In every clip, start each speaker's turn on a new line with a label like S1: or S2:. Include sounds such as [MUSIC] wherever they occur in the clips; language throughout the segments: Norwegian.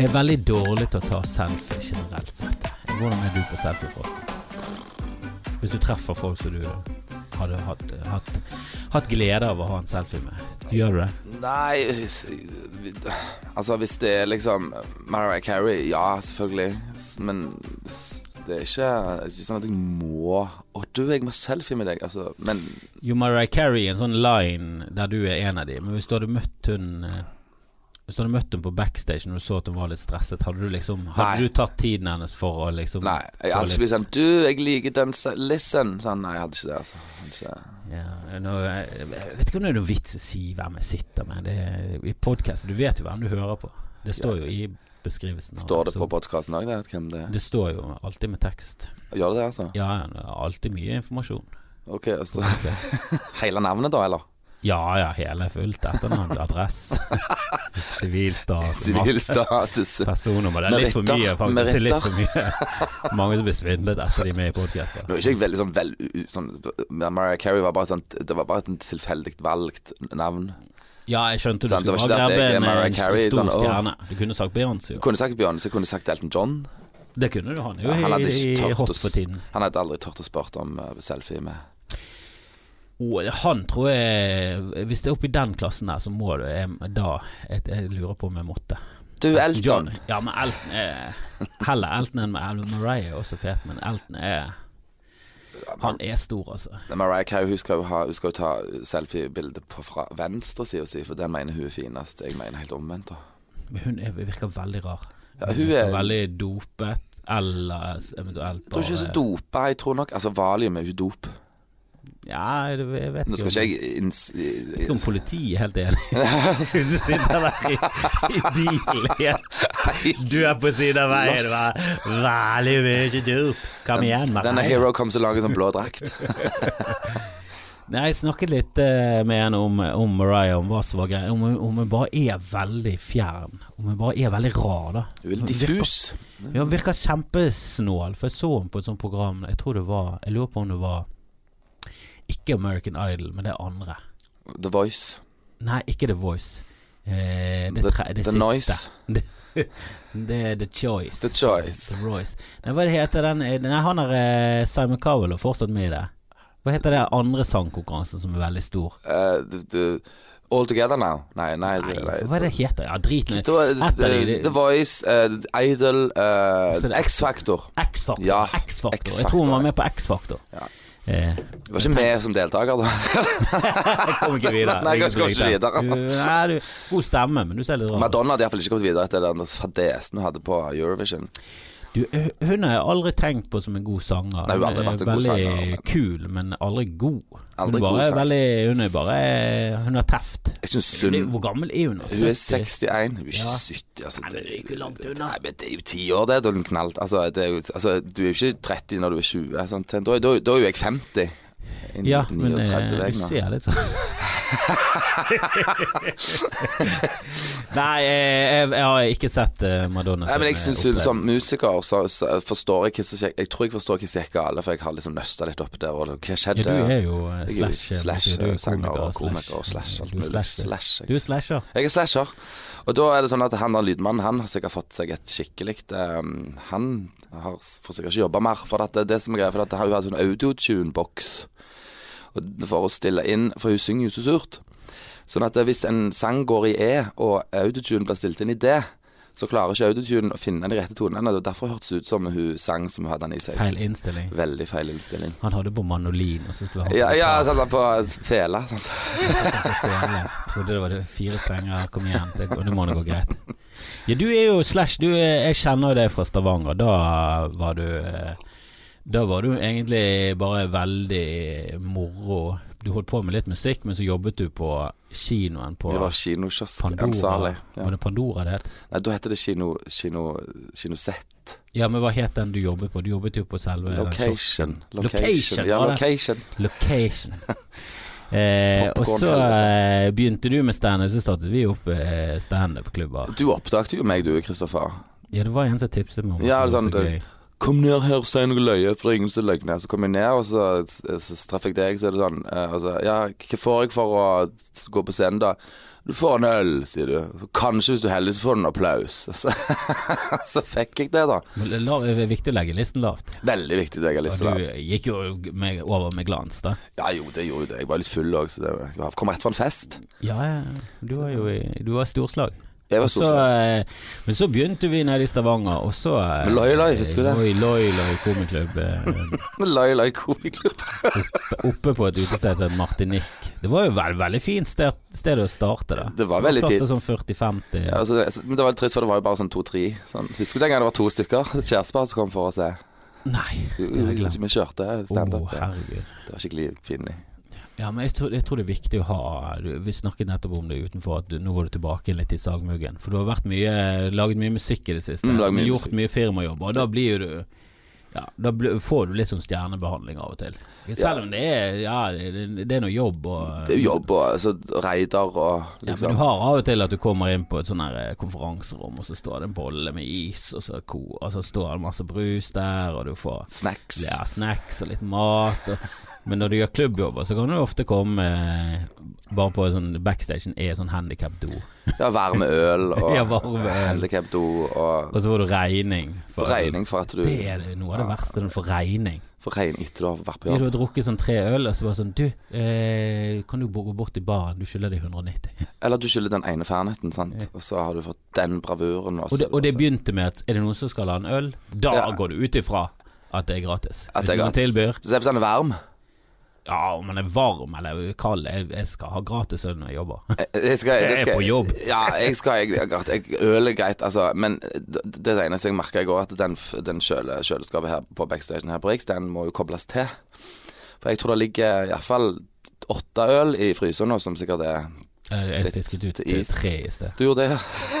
S1: Jeg er veldig dårlig til å ta selfie generelt sett. Hvordan er du på selfie for? Hvis du treffer folk som du hadde hatt, hatt, hatt glede av å ha en selfie med, gjør du det?
S2: Nei s- vi- Altså, hvis det er liksom Mariah Carey, ja, selvfølgelig. S- Men s- det er ikke Jeg synes sånn at jeg må Å, du, jeg må selfie med deg, altså. Men
S1: Jo, Mariah Carey en sånn line der du er en av de, men hvis du hadde møtt hun eh, Hvis du hadde møtt hun på backstage når du så at hun var litt stresset, hadde du liksom Hadde du
S2: Nei.
S1: tatt tiden hennes for å liksom
S2: nei. Jeg
S1: få
S2: hadde ikke
S1: litt-
S2: blitt sånn Du, jeg liker den se- Listen. Sånn, nei, jeg hadde ikke det, altså. Jeg Hadde ikke.
S1: ja, nå, jeg, jeg vet ikke om det er noe vits å si hvem jeg sitter med. Det, er- I podkast Du vet jo hvem du hører på. Det står jo i beskrivelsen. av
S2: Står det på
S1: episoden.
S2: podkasten òg, det? Hvem det er?
S1: altså. Det står jo alltid med tekst.
S2: Gjør det det, altså?
S1: Ja, ja, det er alltid mye
S2: [LAUGHS]
S1: informasjon. [LAUGHS]
S2: Ok, altså. Hele navnet, da, eller?
S1: Ja ja, hele fullt etternavn,
S2: [LAUGHS]
S1: adresse, sivilstat,
S2: Sivil
S1: masse
S2: status.
S1: personnummer. Det er litt for
S2: Meritter,
S1: mye, faktisk. Det er Litt
S2: meritter.
S1: for mye. [LAUGHS] Mange som blir svindlet etter de er med i podkaster.
S2: Nå er ikke jeg veldig sånn vel u- sånn, Mariah Carey var bare sånn Det var bare et tilfeldig valgt navn.
S1: Ja, jeg skjønte du
S2: Sant, det
S1: skulle bare
S2: var ikke det at
S1: grabbe
S2: jeg er
S1: en,
S2: Mariah
S1: en
S2: Carey,
S1: stor
S2: sånn, å.
S1: stjerne. Du kunne sagt Beyoncé.
S2: Jeg
S1: jo.
S2: kunne sagt Beyoncé, jeg kunne sagt Elton John.
S1: Det kunne du. Han er
S2: Ja,
S1: jo
S2: han
S1: i,
S2: hadde ikke
S1: i
S2: tørt
S1: hot
S2: oss.
S1: for tiden.
S2: Han hadde aldri turt å spørre om eh, selfie med
S1: Å, det- han tror jeg Hvis det er oppi den klassen der, så må du jeg- Da jeg, jeg lurer på om jeg måtte.
S2: Du, Elton!
S1: John. Ja, men Elton er Heller Elton enn Elton Mariah er også fet, men Elton er Han er stor, altså.
S2: Mariah Carey hun skal jo, ha, hun skal jo ta selfiebilde på- fra venstresida si, for den mener hun er finest. Jeg mener helt omvendt. da.
S1: Men hun er, virker veldig rar.
S2: Ja,
S1: Hun
S2: hun
S1: virker
S2: er-
S1: veldig dopet, eller eventuelt
S2: Jeg tror ikke hun er
S1: bare
S2: så dopa, jeg tror nok Altså, Valium er jo dop.
S1: Ja, jeg jeg vet
S2: Nå
S1: ikke.
S2: skal
S1: om-
S2: ikke jeg inns...
S1: Jeg vet ikke om politiet er helt
S2: [LAUGHS]
S1: enig. Hvis du sitter der i, i bilen Du er på siden av veien og bare Veldig mye dop. Kom igjen, Mariah.
S2: Denne Hero Comes Along i sånn blå drakt.
S1: Nei, jeg snakket litt eh, med henne om, om Mariah, om hva som var greia. Om, hun- om hun bare er veldig fjern. Om hun bare er veldig rar, da. [LAUGHS]
S2: Hun er litt diffus.
S1: Virker, ja, hun virker kjempesnål, for jeg så henne på et sånt program Jeg tror det var Jeg lurer på om det var ikke American Idol, men det andre.
S2: The Voice.
S1: Nei, ikke The Voice. Eh, det
S2: The-
S1: tre, det
S2: The
S1: siste.
S2: Noise.
S1: Det, det er The Choice.
S2: The Choice.
S1: The Royce. Nei, hva det heter den eh, Nei, han er eh, Simon Cowell og fortsatt med i det. Hva heter den andre sangkonkurransen som er veldig stor?
S2: Eh, du- du- all Together Now. Nei, nei.
S1: Nei,
S2: det- nei
S1: hva er det heter? Ja, drit nå.
S2: Så, eh,
S1: Etter de-
S2: The Voice, eh, Idol, eh,
S1: Så det-
S2: X-Factor.
S1: X-Faktor.
S2: Ja,
S1: X-Faktor. Jeg
S2: X-Faktor,
S1: tror hun var
S2: ja.
S1: med på X-Faktor.
S2: Ja.
S1: Eh, [LAUGHS]
S2: Du var ikke med som deltaker, da?
S1: jeg kom ikke videre.
S2: [LAUGHS] Nei, jeg kom ikke videre.
S1: Du, nei, du, god stemme, men du ser litt rar ut.
S2: [LAUGHS] Madonna hadde iallfall ikke kommet videre etter den fadesen hun hadde på Eurovision.
S1: Du, eh, hu- Hun har jeg aldri tenkt på som en god sanger.
S2: Nei, hun har aldri vært en
S1: veldig
S2: god sanger, men-
S1: kul, men aldri god.
S2: Aldri
S1: hun,
S2: god
S1: bare, er
S2: sanger.
S1: veldig, hun er bare Hun har teft.
S2: Jeg syns
S1: Hun
S2: synd
S1: er, hvor gammel er hun? nå?
S2: Hun er
S1: 70?
S2: 61, hun er ikke
S1: Ja.
S2: 70. Altså,
S1: Nei, men det er ikke langt unna.
S2: Nei, men det er jo ti år, det. Da er hun knalt. Altså, det er jo, altså, du er jo ikke 30 når du er 20. Sant? Da, da, da er jo jeg 50. I
S1: Ja, men eh,
S2: 39
S1: du
S2: jeg nå.
S1: ser
S2: [LAUGHS]
S1: litt sånn Nei, jeg, jeg, jeg har ikke sett eh, Madonna.
S2: Nei, men jeg
S1: som, eh,
S2: synes jo
S1: opplegg.
S2: Som musiker så, så eh, forstår jeg hva som skjer. Jeg tror jeg forstår hva som gikk galt, for jeg har liksom nøsta litt opp der. Og hva
S1: ja,
S2: skjedde?
S1: Du er jo eh,
S2: Jeg er jo
S1: slash, eh,
S2: slash,
S1: du er jo
S2: sanger og
S1: slash,
S2: komiker og slash, alt
S1: du er
S2: mulig.
S1: slasher.
S2: Slash, jeg-
S1: Du er slasher.
S2: Jeg er slasher. Og da er det sånn at han der lydmannen, han har sikkert fått seg et skikkelig ehm, Han har, s- får sikkert ikke jobba mer, for at det, er det som er greia, for at hun har sånn autotune-boks Og for å stille inn, for hun synger jo så surt. Sånn at hvis en sang går i E, og autotune blir stilt inn i D, så klarer ikke autotune å finne de rette tonene. Det var derfor hørtes det ut som hun sang som hun hadde den i seg.
S1: Feil innstilling.
S2: Veldig feil innstilling.
S1: Han hadde på manolin, og så skulle han
S2: Ja,
S1: på
S2: ja
S1: gitar.
S2: sånn på fela. Sånn.
S1: Fele. Trodde det var det fire strenger. Kom igjen, det, går- det må nå gå greit. Ja, du er jo slash du er, Jeg kjenner jo deg fra Stavanger. Da var du eh, Da var du egentlig bare veldig moro. Du holdt på med litt musikk, men så jobbet du på kinoen på
S2: Det var kinokiosk.
S1: Pandora.
S2: Ansvarlig.
S1: Var
S2: Ja.
S1: det Pandora det het?
S2: Nei, da heter det kino... kino... kinosett.
S1: Ja, men hva het den du jobbet på? Du jobbet jo på selve den kiosken.
S2: Location.
S1: Location,
S2: Location. Ja,
S1: var det?
S2: location. [LAUGHS]
S1: Location. Eh, og
S2: Popcorn,
S1: så eh, begynte du med standup, så startet vi opp eh, standup-klubber.
S2: Du oppdaget jo meg, du, Kristoffer.
S1: Ja, det var en som tipset meg om
S2: Ja,
S1: det var
S2: sånn,
S1: så gøy.
S2: 'Kom ned her, si noe løye, for det er ingen som løgner.' Så kom jeg ned, og så, så, så traff jeg deg, så er det sånn eh, altså, 'Ja, hva får jeg for å gå på scenen, da?' 'Du får en øl', sier du. 'Kanskje, hvis du er heldig, så får du en applaus'. [LAUGHS] Så, så fikk jeg det, da.
S1: Men la- Det er viktig å legge listen lavt.
S2: Veldig viktig, det jeg har lyst
S1: Og
S2: til å
S1: du gikk jo med, over med glans, da.
S2: Ja, jo, det gjorde jo det. Jeg var litt full òg, så det jeg kom rett fra en fest.
S1: Ja, ja. Du var jo i- du var storslag.
S2: Jeg var
S1: Og så,
S2: stor.
S1: eh, men så begynte vi nede i Stavanger, og så eh,
S2: Med Loi Loi, husker du det?
S1: Loi Loi Loi komiklubb.
S2: [LAUGHS]
S1: eh,
S2: Lai Lai komiklubb.
S1: Oppe på et utested som het Martinique. Det var jo vel, veldig fint sted, sted å starte, da.
S2: Det var veldig
S1: Plass til
S2: fint.
S1: sånn 40-50.
S2: Ja, altså, det- men det var litt trist, for det var jo bare sånn to-tre. Sånn. Husker du den gangen det var to stykker? [LAUGHS] Et kjærestepar som kom for å se.
S1: Nei,
S2: Jo,
S1: det har jeg glemt.
S2: Vi kjørte
S1: Å,
S2: standup. ja.
S1: herregud.
S2: det var skikkelig pinlig.
S1: Ja, men jeg tror, jeg tror det er viktig å ha du, Vi snakket nettopp om det utenfor, at du, nå var du tilbake litt i sagmuggen. For du har vært mye, laget mye musikk i det siste.
S2: Mm, laget mye
S1: gjort
S2: musikk.
S1: mye firmajobb, og da blir jo du ja, Da blir, får du litt sånn stjernebehandling av og til. Selv om det er Ja, det, det er noe jobb og
S2: Det er jo jobb og altså, raider og
S1: ja, men
S2: liksom.
S1: du har av og til at du kommer inn på et sånn her eh, konferanserom, og så står det en bolle med is, og så, er det ko, og så står det masse brus der, og du får
S2: Snacks.
S1: ja, snacks og litt mat. Og, men når du gjør klubbjobber, så kan du ofte komme eh, bare på en sånn backstagen er sånn handikap-do.
S2: [LAUGHS] Ja, varme
S1: [LAUGHS]
S2: øl og
S1: Ja, varme øl.
S2: handikapdo og
S1: Og så får du regning. for-
S2: regning for at du
S1: Det er det- noe av det verste, når du får regning.
S2: For regning etter du har vært på
S1: Du
S2: jobb.
S1: har drukket sånn tre øl, og så bare sånn Du, eh, kan du bo- gå bort til baren? Du skylder deg 190.
S2: Eller du skylder den ene fernigheten, sant. Og så har du fått den bravuren.
S1: Og det, og det begynte med at er det noen som skal ha en øl? Da
S2: Ja.
S1: går du ut ifra at det er gratis.
S2: At det
S1: Hvis
S2: er
S1: noen
S2: gratis.
S1: tilbyr
S2: Spesielt hvis den er sånn varm.
S1: Ja, om man er varm eller kald. Jeg, jeg skal ha gratis øl når jeg jobber.
S2: [LAUGHS] Jeg, skal, Eh,
S1: Jeg
S2: det
S1: er
S2: skal,
S1: på jobb.
S2: Ja, jeg skal jeg, jeg, jeg, Øl er greit, altså. Men det det eneste jeg merka i går, at den, f- den kjøle, kjøleskapet her på backstagen her på Riks, den må jo kobles til. For jeg tror det ligger iallfall åtte øl i fryseren nå, som sikkert er
S1: Eh, Jeg
S2: Litt
S1: fisket ut
S2: is.
S1: tre i sted.
S2: Du gjorde det, [LAUGHS] ja?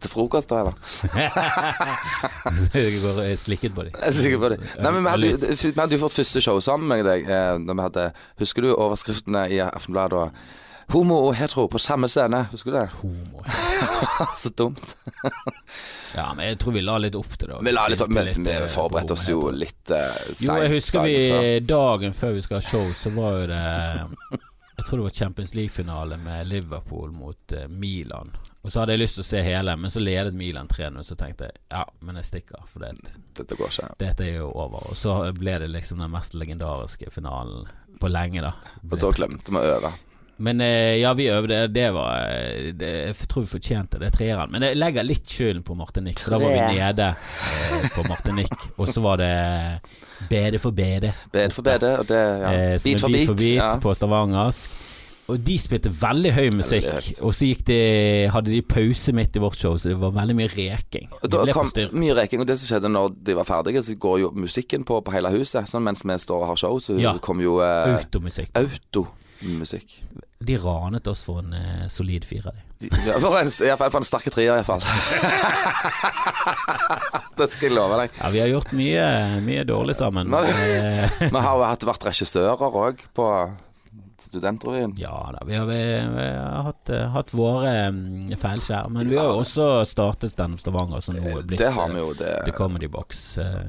S2: til frokost, da, eller?
S1: Så [LAUGHS] jeg går og slikket på dem.
S2: Jeg er sikker på det. Nei, men vi hadde, jo- vi hadde jo vårt første show sammen med deg. Eh, når vi hadde, husker du overskriftene i Aftenbladet? og Homo og hetero på samme scene, husker du det? [LAUGHS]
S1: Homo.
S2: Så dumt.
S1: Ja, men jeg tror vi la litt opp til det.
S2: Vi, la litt,
S1: spilte
S2: vi, vi
S1: eh,
S2: forberedte oss jo
S1: homo, helt.
S2: litt uh, seint.
S1: Jo, jeg husker vi dagen før vi skal ha show, så var jo det [LAUGHS] Jeg tror det var Champions League-finale med Liverpool mot eh, Milan. Og så hadde jeg lyst til å se hele, men så ledet Milan 3-0, så tenkte jeg ja, men jeg stikker, for det,
S2: Dette går ikke.
S1: dette er jo over. Og så ble det liksom den mest legendariske finalen på lenge, da.
S2: Og da glemte vi å øve.
S1: Men eh, ja, vi øvde. Det var eh, det, Jeg tror vi fortjente det treeren. Men jeg legger litt skylden på Martinique. For da var vi
S2: Tre.
S1: nede eh, på
S2: [LAUGHS]
S1: Martinique, og så var det Bede for bede.
S2: Bed for bed, og det ja.
S1: eh, som
S2: Beat
S1: er
S2: for beat.
S1: for beat
S2: ja.
S1: på stavangersk. Og de spilte veldig høy musikk.
S2: høyt.
S1: Og så gikk det, hadde de pause midt i vårt show, så det var veldig mye reking.
S2: Og
S1: Vi
S2: da
S1: ble
S2: kom
S1: forstyrret.
S2: mye reking, og det som skjedde når de var ferdige, så går jo musikken på på hele huset. Sånn mens vi står og har show, så
S1: Ja.
S2: kom jo eh,
S1: Automusikk.
S2: automusikk.
S1: De ranet oss for en eh, solid firer. de.
S2: De- Ja, for en, i hvert fall [LAUGHS] for en sterk trier, iallfall. det skal jeg love deg.
S1: Ja, vi har gjort mye, mye dårlig sammen.
S2: Nei.
S1: Eh,
S2: Vi har jo hatt vært regissører òg på Studentrevyen.
S1: Ja da, vi har, vi, vi har hatt, eh, hatt våre mm, feilskjær, men vi har jo også startet Standup Stavanger, som nå er blitt
S2: Eh, Det har vi jo, det.
S1: The Comedy Box. eh,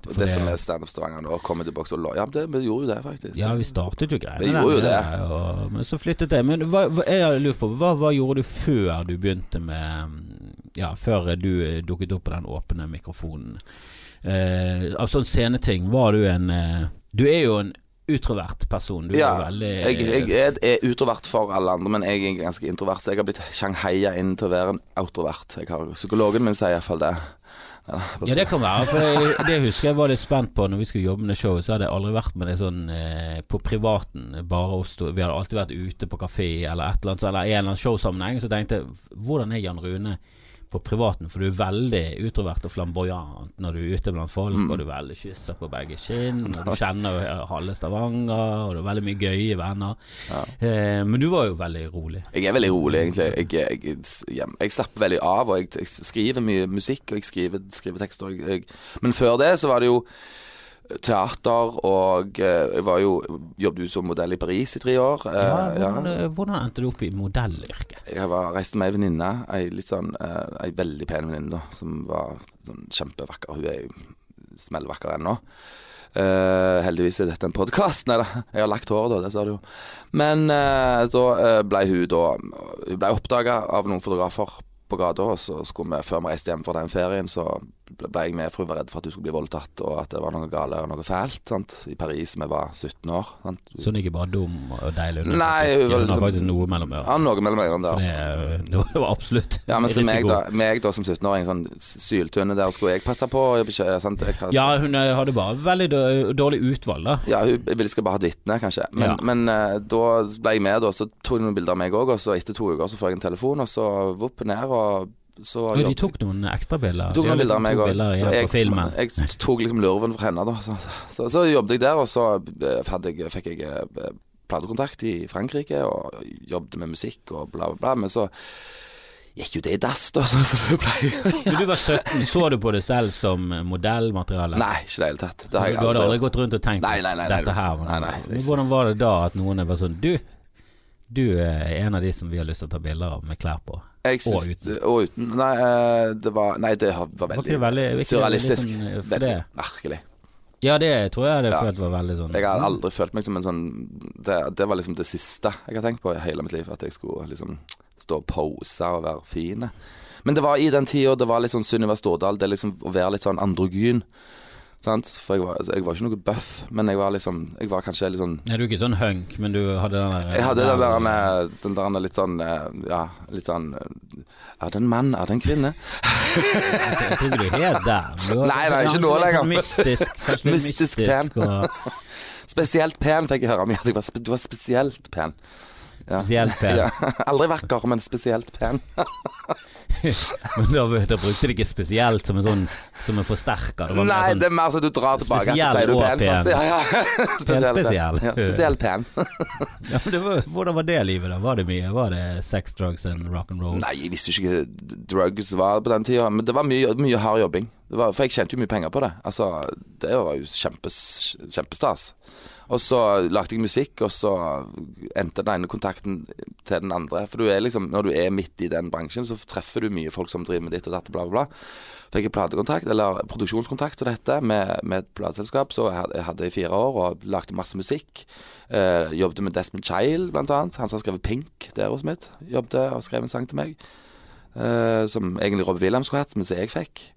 S1: for
S2: Og det som er standup Stavanger nå, Comedy Box og Lo- Ja, det, vi gjorde jo det, faktisk.
S1: Ja, vi startet jo greiene
S2: Vi gjorde jo
S1: der, og, men så flyttet det. Men hva, hva, jeg har lurt på, hva, hva gjorde du før du begynte med mm, Ja, før du eh, dukket opp på den åpne mikrofonen? Eh, av sånne sceneting, var du en eh, Du er jo en utrovert person. Du
S2: Ja,
S1: er jo veldig
S2: jeg, jeg, er- er utrovert for alle andre, men jeg er ganske introvert, så jeg har blitt shanghaia inn til å være en outrovert. Jeg har, psykologen min sier iallfall det.
S1: Ja, det kan være. For jeg, det husker jeg var litt spent på Når vi skulle jobbe med det showet. Så hadde jeg aldri vært med det sånn eh, på privaten. Bare oss to. Vi hadde alltid vært ute på kafé eller et eller annet, eller i en eller annen showsammenheng. Så tenkte jeg hvordan er Jan Rune på privaten? For du er veldig utrovert og flamboyant når du er ute blant folk, og du er veldig kysser på begge skinn, og du kjenner jo halve Stavanger, og du har veldig mye gøye venner. Eh, men du var jo veldig rolig.
S2: Jeg er veldig rolig, egentlig. Jeg, jeg, jeg, hjem- jeg slapper veldig av, og jeg, jeg skriver mye musikk, og jeg skriver, skriver tekster. og Jeg, jeg. Men før det så var det jo teater, og eh, jeg var jo, jobbet jo som modell i Paris i tre år. Eh,
S1: Ja, hvordan, hvordan endte du opp i modellyrket?
S2: Jeg var, reiste med ei venninne, ei litt sånn eh, Ei veldig pen venninne, da, som var sånn kjempevakker. Hun er jo smellvakker ennå. Eh, heldigvis er dette en podkast. [LAUGHS] Nei da, jeg har lagt håret, da. Det ser du jo. Men eh, da eh, ble hun da Hun ble oppdaga av noen fotografer på gata, og så skulle vi, før vi reiste hjem fra den ferien, så ble ble jeg med, for hun var redd for at hun skulle bli voldtatt, og at det var noe galt og noe fælt. Sant? I Paris, vi var 17 år. Sant?
S1: Så hun er ikke bare dum og deilig. Hun
S2: Nei,
S1: faktisk,
S2: hun var
S1: hun har
S2: liksom-
S1: faktisk noe mellom ørene.
S2: Ja, noe mellom ørene der. altså.
S1: Det, er- [LAUGHS] det var absolutt
S2: Ja, men så meg
S1: risiko.
S2: da, meg da som 17-åring, sånn syltynne der, skulle jeg passe på? og Jeg, bekjø- sant? Jeg, kan-
S1: Ja, hun eh, hadde bare veldig dår- dårlig utvalg, da.
S2: Ja, hun ville skal bare ha dittene, kanskje. Men,
S1: Ja.
S2: men eh, da ble jeg med, da, så tok hun noen bilder av meg òg, og så etter to uker så får jeg en telefon, og så vopp ned, og så
S1: Og de tok noen ekstrabilder.
S2: tok noen bilder av meg
S1: og
S2: òg.
S1: liksom bilder igjen på filmen.
S2: jeg, jeg tok liksom lurven fra henne, da. Så, så, så, så jobbet jeg der, og så eh, hadde jeg, fikk jeg eh, platekontakt i Frankrike, og jobbet med musikk og bla, bla, bla. Men så gikk jo det i dass, da, så [LAUGHS] for det ble
S1: Når du var 17, så du på det selv som modellmateriale?
S2: Nei, ikke i det hele tatt. Det
S1: Du
S2: har jeg
S1: hadde
S2: aldri
S1: aldri
S2: gjort.
S1: gått rundt og tenkt
S2: Nei, nei, nei, nei.
S1: dette her. men-
S2: Nei, nei,
S1: Men hvordan var det da at noen var sånn Du, du er en av de som vi har lyst til å ta bilder av med klær på.
S2: Jeg syns-
S1: Og uten.
S2: Og uten. Nei, eh, det var, nei, det har- var
S1: Var ikke
S2: veldig,
S1: det veldig- ikke det
S2: surrealistisk.
S1: litt sånn, eh, for
S2: veldig
S1: det?
S2: merkelig.
S1: Ja, det tror jeg det
S2: Ja.
S1: følt var veldig sånn
S2: Jeg har aldri følt meg som en sånn det, det var liksom det siste jeg har tenkt på i hele mitt liv. At jeg skulle liksom stå og pose og være fin. Men det var i den tida det var litt sånn Sunniva Stordal. Det liksom å være litt sånn androgyn. Sant? For jeg var, altså, jeg var ikke noe bøff, men jeg var liksom Jeg var kanskje litt sånn
S1: Nei, du er ikke sånn hunk, men du hadde den der
S2: Jeg hadde den der, eh, den der litt sånn eh, Ja, litt sånn eh, Er det en mann? Er det en kvinne?
S1: Jeg tror ikke du er helt der. men du var
S2: Nei, nei,
S1: kanskje-
S2: ikke nå
S1: kanskje litt
S2: lenger.
S1: sånn Mystisk. Kanskje litt
S2: Mystisk
S1: mystisk, og [LAUGHS]
S2: Spesielt pen fikk jeg høre mye. at jeg var spe- Du var spesielt pen. Ja.
S1: spesielt pen.
S2: Ja. [LAUGHS] Aldri vakker, men spesielt pen.
S1: Men da, da brukte de ikke spesielt som en sånn Som en forsterker. Det var mer
S2: Nei,
S1: sånn,
S2: det er mer så du drar tilbake.
S1: Spesiell
S2: så sier du
S1: og
S2: pen.
S1: pen.
S2: sant? Ja, [LAUGHS] ja. Spesielt pen.
S1: spesiell.
S2: Ja, spesielt pen. [LAUGHS]
S1: ja, men det var, hvordan var det livet, da? Var det mye? Var det sex, drugs and rock and roll?
S2: Nei, jeg visste jo ikke hva drugs var på den tida, men det var mye, mye hard jobbing. Det var, for jeg tjente jo mye penger på det. Altså, det var jo kjempes, kjempestas. Og så lagde jeg musikk, og så endte den ene kontakten til den andre. For du er liksom, når du er midt i den bransjen, så treffer du mye folk som driver med ditt og datt og bla, bla, bla. Fikk jeg platekontakt, eller produksjonskontakt som det heter, med, med et plateselskap. Så had- jeg hadde i fire år og lagde masse musikk. Eh, jobbet med Desmond Child, blant annet. Han som har skrevet Pink, det er hos mitt. Jobbet og skrev en sang til meg. Eh, som egentlig Robbie Williams skulle hatt, men som jeg fikk.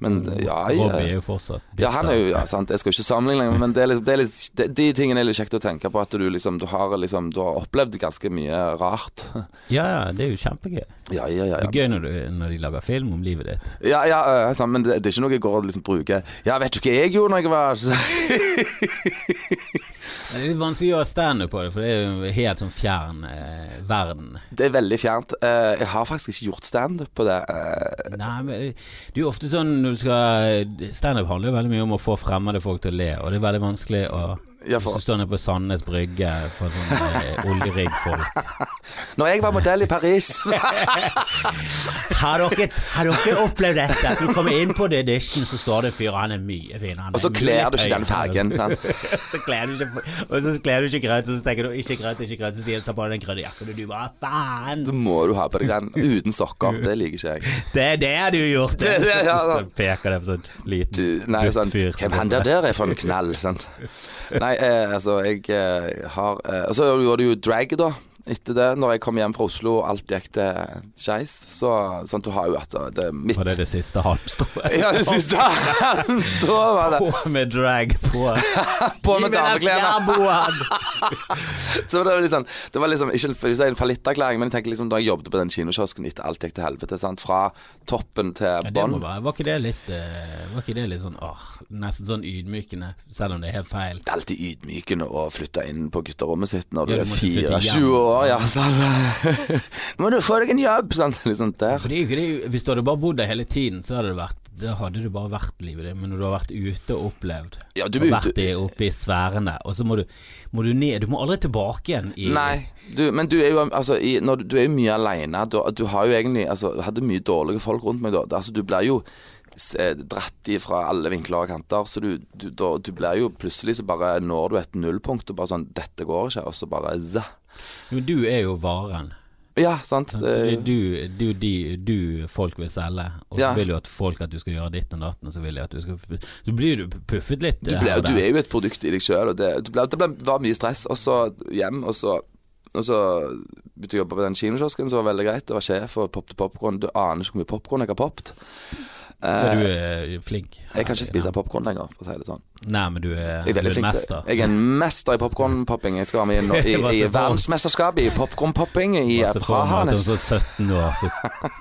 S2: Men ja, jeg,
S1: Robbie er jo fortsatt bitter.
S2: ja, han er jo ja, sant. Jeg skal jo ikke sammenligne, lenger, men det er liksom, det er litt, de, de tingene er litt kjekt å tenke på. At du liksom du har, liksom, du har opplevd ganske mye rart.
S1: Ja, ja, det er jo kjempegøy.
S2: Ja, ja, ja.
S1: Det
S2: ja.
S1: er gøy når, du, når de lager film om livet ditt.
S2: ja, ja eh, sant, men det, det er ikke noe jeg går og liksom bruker Ja, vet du hva jeg gjorde når jeg var
S1: Men Det er litt vanskelig å gjøre standup på det, for det er jo helt sånn fjern eh, verden.
S2: Det er veldig fjernt. Eh, jeg har faktisk ikke gjort standup på det. eh,
S1: Nei, men det er jo ofte sånn når du skal Standup handler jo veldig mye om å få fremmede folk til å le, og det er veldig vanskelig å
S2: Ja, for-
S1: Hvis du står nede på Sandnes Brygge for sånne eh, oljeriggfolk
S2: Når jeg var modell i Paris
S1: [LAUGHS] Har dere, har dere opplevd dette? At du kommer inn på The Edition, så står det en fyr, han er mye finere. han er
S2: Og så
S1: mye
S2: kler du ikke den
S1: høyere.
S2: fargen. Sant?
S1: [LAUGHS] så kler du ikke Og så kler du ikke grønt, og så tenker du ikke grønt, ikke grønt, så sier du ta på deg den grønne jakken, og du bare faen!
S2: Så må du ha på deg den uten sokker. Det liker ikke jeg.
S1: Det er det du har gjort!
S2: [LAUGHS] Det er det, ja, da.
S1: Så peker det på sånn liten
S2: du, nei, sånn,
S1: buttfyr.
S2: Hvem han der der er for en knall, sant? Nei, eh, altså, jeg eh, har eh, Og så gjorde jeg jo drag, da. Etter det, når jeg kom hjem fra Oslo og alt gikk til skeis, så sånn, du har jo at det er mitt
S1: Var det det siste halmstrået?
S2: Ja, du [LAUGHS] syns det Han står var det.
S1: [LAUGHS] På med drag på.
S2: på
S1: Gi
S2: med
S1: meg den
S2: dameklærne.
S1: fjærboaen.
S2: [LAUGHS] Så det var liksom, det var liksom ikke for å si en fallitterklæring, men jeg tenker liksom da jeg jobbet på den kinokiosken etter alt gikk til helvete, sant? fra toppen til
S1: Ja, det må
S2: bånn.
S1: være Var ikke det litt eh, Var ikke det litt sånn åh, nesten sånn ydmykende, selv om det er helt feil?
S2: Det er alltid ydmykende å flytte inn på gutterommet sitt når du
S1: Ja, du
S2: er
S1: må flytte hjem.
S2: 24 år. Ja, sånn. Nå [LAUGHS] må du få deg en jobb! Sånn, liksom der.
S1: For det er jo ikke det, Hvis du hadde bare bodd der hele tiden, så hadde det vært Da hadde du bare vært livet ditt. Men når du har vært ute og opplevd,
S2: Ja, du
S1: og
S2: blir
S1: vært i, oppe i sfærene, og så må du, må du ned Du må aldri tilbake igjen i
S2: Nei, du, men du er jo altså, i, når, du- du er jo mye aleine. Du, du har jo egentlig altså, jeg hadde mye dårlige folk rundt meg da. Altså, du blir jo s- eh, dratt i fra alle vinkler og kanter. Så du, du, da, du blir jo plutselig så bare når du et nullpunkt og bare sånn 'Dette går ikke', og så bare zah.
S1: Men du er jo varen.
S2: Ja, sant.
S1: Sant?
S2: Det-
S1: Det er du, du, de, du folk vil selge, og så
S2: Ja.
S1: vil jo at folk at du skal gjøre ditten og datten, og så vil de at du skal Så blir du puffet litt.
S2: Eh,
S1: eh,
S2: Du, ble, du er jo et produkt i deg sjøl, og det, du ble, det ble, var mye stress. Og så hjem, og så, og så begynte jeg å jobbe på den kinokiosken, som var veldig greit. Det var sjef og poppet popkorn. Du aner ikke hvor mye popkorn jeg har poppet.
S1: Og
S2: Eh,
S1: du er flink.
S2: jeg kan ikke spise popkorn lenger, for å si det sånn.
S1: Nei, men du er,
S2: Jeg er
S1: du er
S2: veldig
S1: en
S2: flink. til-
S1: mester.
S2: Jeg er en mester i popkornpopping. Jeg skal være
S1: [LAUGHS]
S2: med i, no- i,
S1: Det var
S2: i
S1: så bra.
S2: verdensmesterskapet i popkornpopping i
S1: Og så får
S2: Praha.
S1: du at om
S2: neste-
S1: så 17 år, så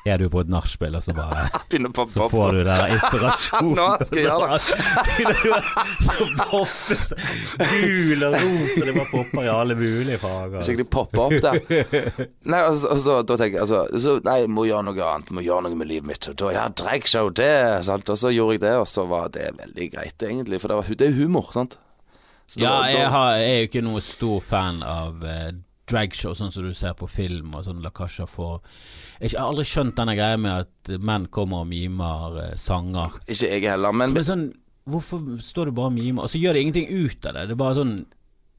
S1: er du på et nachspiel, og så bare
S2: [LAUGHS] Begynner på
S1: Så får
S2: popkorn.
S1: du den inspirasjonen.
S2: [LAUGHS] Nå skal jeg gjøre
S1: det. [LAUGHS] Så poppes gul og ros, og det bare popper i alle mulige farger. altså.
S2: Skikkelig poppe opp
S1: [LAUGHS]
S2: der. Nei, altså, altså, da tenker jeg altså, så, Nei, jeg må gjøre noe annet. Må gjøre noe med livet mitt. Og da, ja, dragshow, det. Sant? Og så gjorde jeg det, og så var det veldig greit, egentlig. For det, var, det er humor, sant. Så da-
S1: Ja,
S2: da-
S1: jeg, har, jeg er jo ikke noen stor fan av eh, dragshow, sånn som du ser på film og sånn La Casha får Jeg har aldri skjønt denne greia med at menn kommer og mimer eh, sanger.
S2: Ikke jeg heller, men
S1: Som er sånn Hvorfor står du bare og mimer? Og så gjør det ingenting ut av det. Det er bare sånn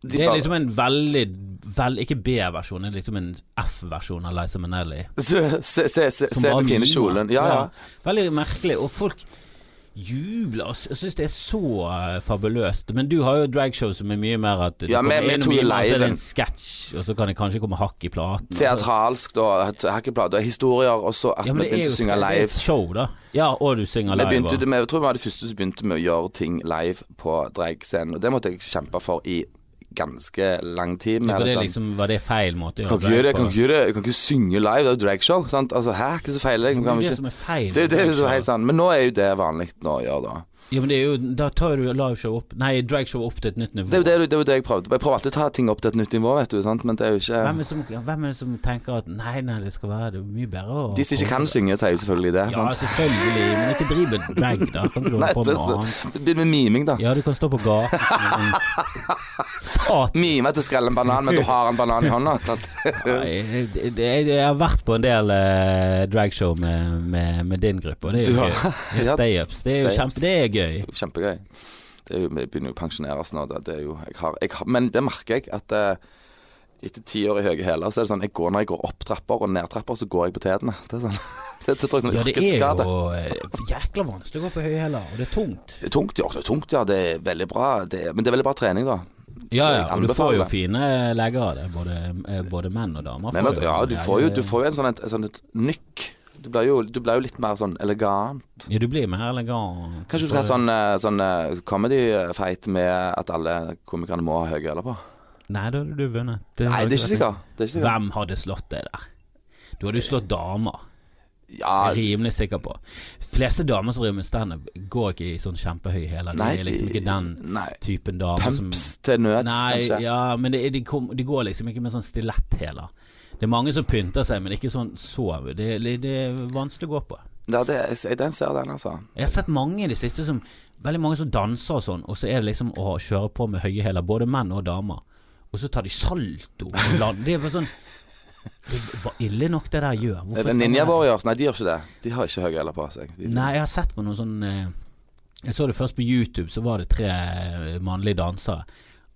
S2: De
S1: Det er
S2: bare-
S1: liksom en veldig vel, Ikke B-versjon, det er liksom en F-versjon av Liza Minnelli.
S2: se, [LAUGHS] se, se, se
S1: Som
S2: den
S1: bare
S2: fine
S1: mimer.
S2: kjolen. Ja, ja.
S1: Veldig merkelig. Og folk jubler og sy- syns det er så eh, fabuløst. Men du har jo dragshow som er mye mer at du
S2: Ja, men-
S1: kommer
S2: men jeg
S1: inn og
S2: tror jo
S1: mimer, og så er det
S2: liven-
S1: en sketsj, og så kan det kanskje komme hakk i platen.
S2: Teatralsk, da. Hakkeplater, historier, og så at
S1: ja, men det
S2: vi
S1: er
S2: begynte
S1: jo
S2: å synge
S1: det er et
S2: live.
S1: show, da. Ja, og du synger
S2: Vi
S1: live.
S2: begynte,
S1: og-
S2: det med, jeg tror vi var de første som begynte med å gjøre ting live på dragscenen. Og det måtte jeg kjempe for i ganske lang tid. med
S1: var, det
S2: sånn-
S1: liksom, var det feil måte å
S2: Kan
S1: gjøre
S2: ikke gjøre det,
S1: på?
S2: kan ikke gjøre det. Jeg kan ikke synge live, det er jo dragshow. Sant? Altså, hæ, hva er det som feiler deg?
S1: Det
S2: Kan
S1: er
S2: vi
S1: det
S2: ikke-
S1: som er feil.
S2: Det, det er jo
S1: med
S2: så
S1: dragshow.
S2: helt sant. Men nå er jo det vanlig nå å gjøre, da.
S1: Ja, men det er jo, da tar du liveshow opp Nei, dragshow opp til et nytt nivå.
S2: Det er jo det, det, er jo det jeg prøvde. Jeg prøver alltid å ta ting opp til et nytt nivå, vet du. Sant? Men det er jo ikke
S1: Hvem er, det som, ja, hvem er det som tenker at nei, nei, det skal være det er mye bedre å
S2: De som ikke kan synge, sier jo selvfølgelig det.
S1: Ja,
S2: Sant?
S1: selvfølgelig, men ikke driv med drag, da. Kan ikke du
S2: [LAUGHS] Nei,
S1: holde på
S2: det
S1: med noe annet?
S2: begynner med miming, da.
S1: Ja, du kan stå på gaten som en stat.
S2: Mime til å skrelle en banan, [LAUGHS] men du har en banan i hånda. Sant? [LAUGHS]
S1: Jeg, jeg, jeg, jeg har vært på en del eh, dragshow med, med, med din gruppe, og det er
S2: Du
S1: jo
S2: har-
S1: gøy. Ja,
S2: Ja,
S1: Stay-ups. Det er jo
S2: stay-ups.
S1: kjempe... Det er gøy.
S2: Kjempegøy. Det er jo, vi begynner jo å pensjonere oss nå. da. Det er jo, jeg har, jeg har, men det merker jeg at eh, etter ti år i høye hæler, så er det sånn jeg går, Når jeg går opp trapper og ned trapper, så går jeg på tærne. Det er sånn [LAUGHS] Det, det tror jeg er sånn
S1: Ja, det er
S2: yrkesskade.
S1: jo eh, jækla vanskelig å gå på høyhæler, og det er tungt.
S2: Det er tungt, ja. Det er tungt, ja. Det er veldig bra. Det er, men det er veldig bra trening, da.
S1: Ja,
S2: Så jeg
S1: ja, og du får
S2: anbefaler
S1: jo
S2: det.
S1: fine legger av det. Både, eh, både menn og damer.
S2: Men
S1: får
S2: at,
S1: jo-
S2: ja, du får jo, du får jo en sånn et, et, sånn et nykk. Du blir, jo, du blir jo litt mer sånn elegant.
S1: Ja, du blir mer elegant.
S2: Kanskje du skal ha sånn, eh, sånn eh, comedy-fight med at alle komikerne må ha høye hæler på?
S1: Nei, da hadde du vunnet.
S2: sånn- Nei, det er ikke sikkert. Det er ikke sikkert.
S1: Hvem hadde slått det der? Du hadde jo slått damer.
S2: Ja,
S1: Jeg er Rimelig sikker på. Fleste damer som driver med standup, går ikke i sånn kjempehøy hæler. De
S2: nei,
S1: er liksom ikke den
S2: Nei.
S1: typen damer som
S2: Pumps til nøds,
S1: Nei,
S2: kanskje.
S1: ja, men det, er- de, kom, de går liksom ikke med sånn stiletthæler. Det er mange som pynter seg, men det er ikke sånn så Det, det er vanskelig å gå på.
S2: Ja, det, jeg, den ser den, altså.
S1: Jeg har sett mange i det siste som Veldig mange som danser og sånn, og så er det liksom å kjøre på med høye hæler, både menn og damer. Og så tar de salto og land. Det er bare sånn Det var ille nok det der gjør. Hvorfor
S2: Er det
S1: stemmer
S2: Ninja Warriors? Nei, de gjør ikke det. De har ikke høye hæler på seg. De,
S1: Nei, jeg har sett på noe sånn eh, Jeg så det først på YouTube, så var det tre eh, mannlige dansere.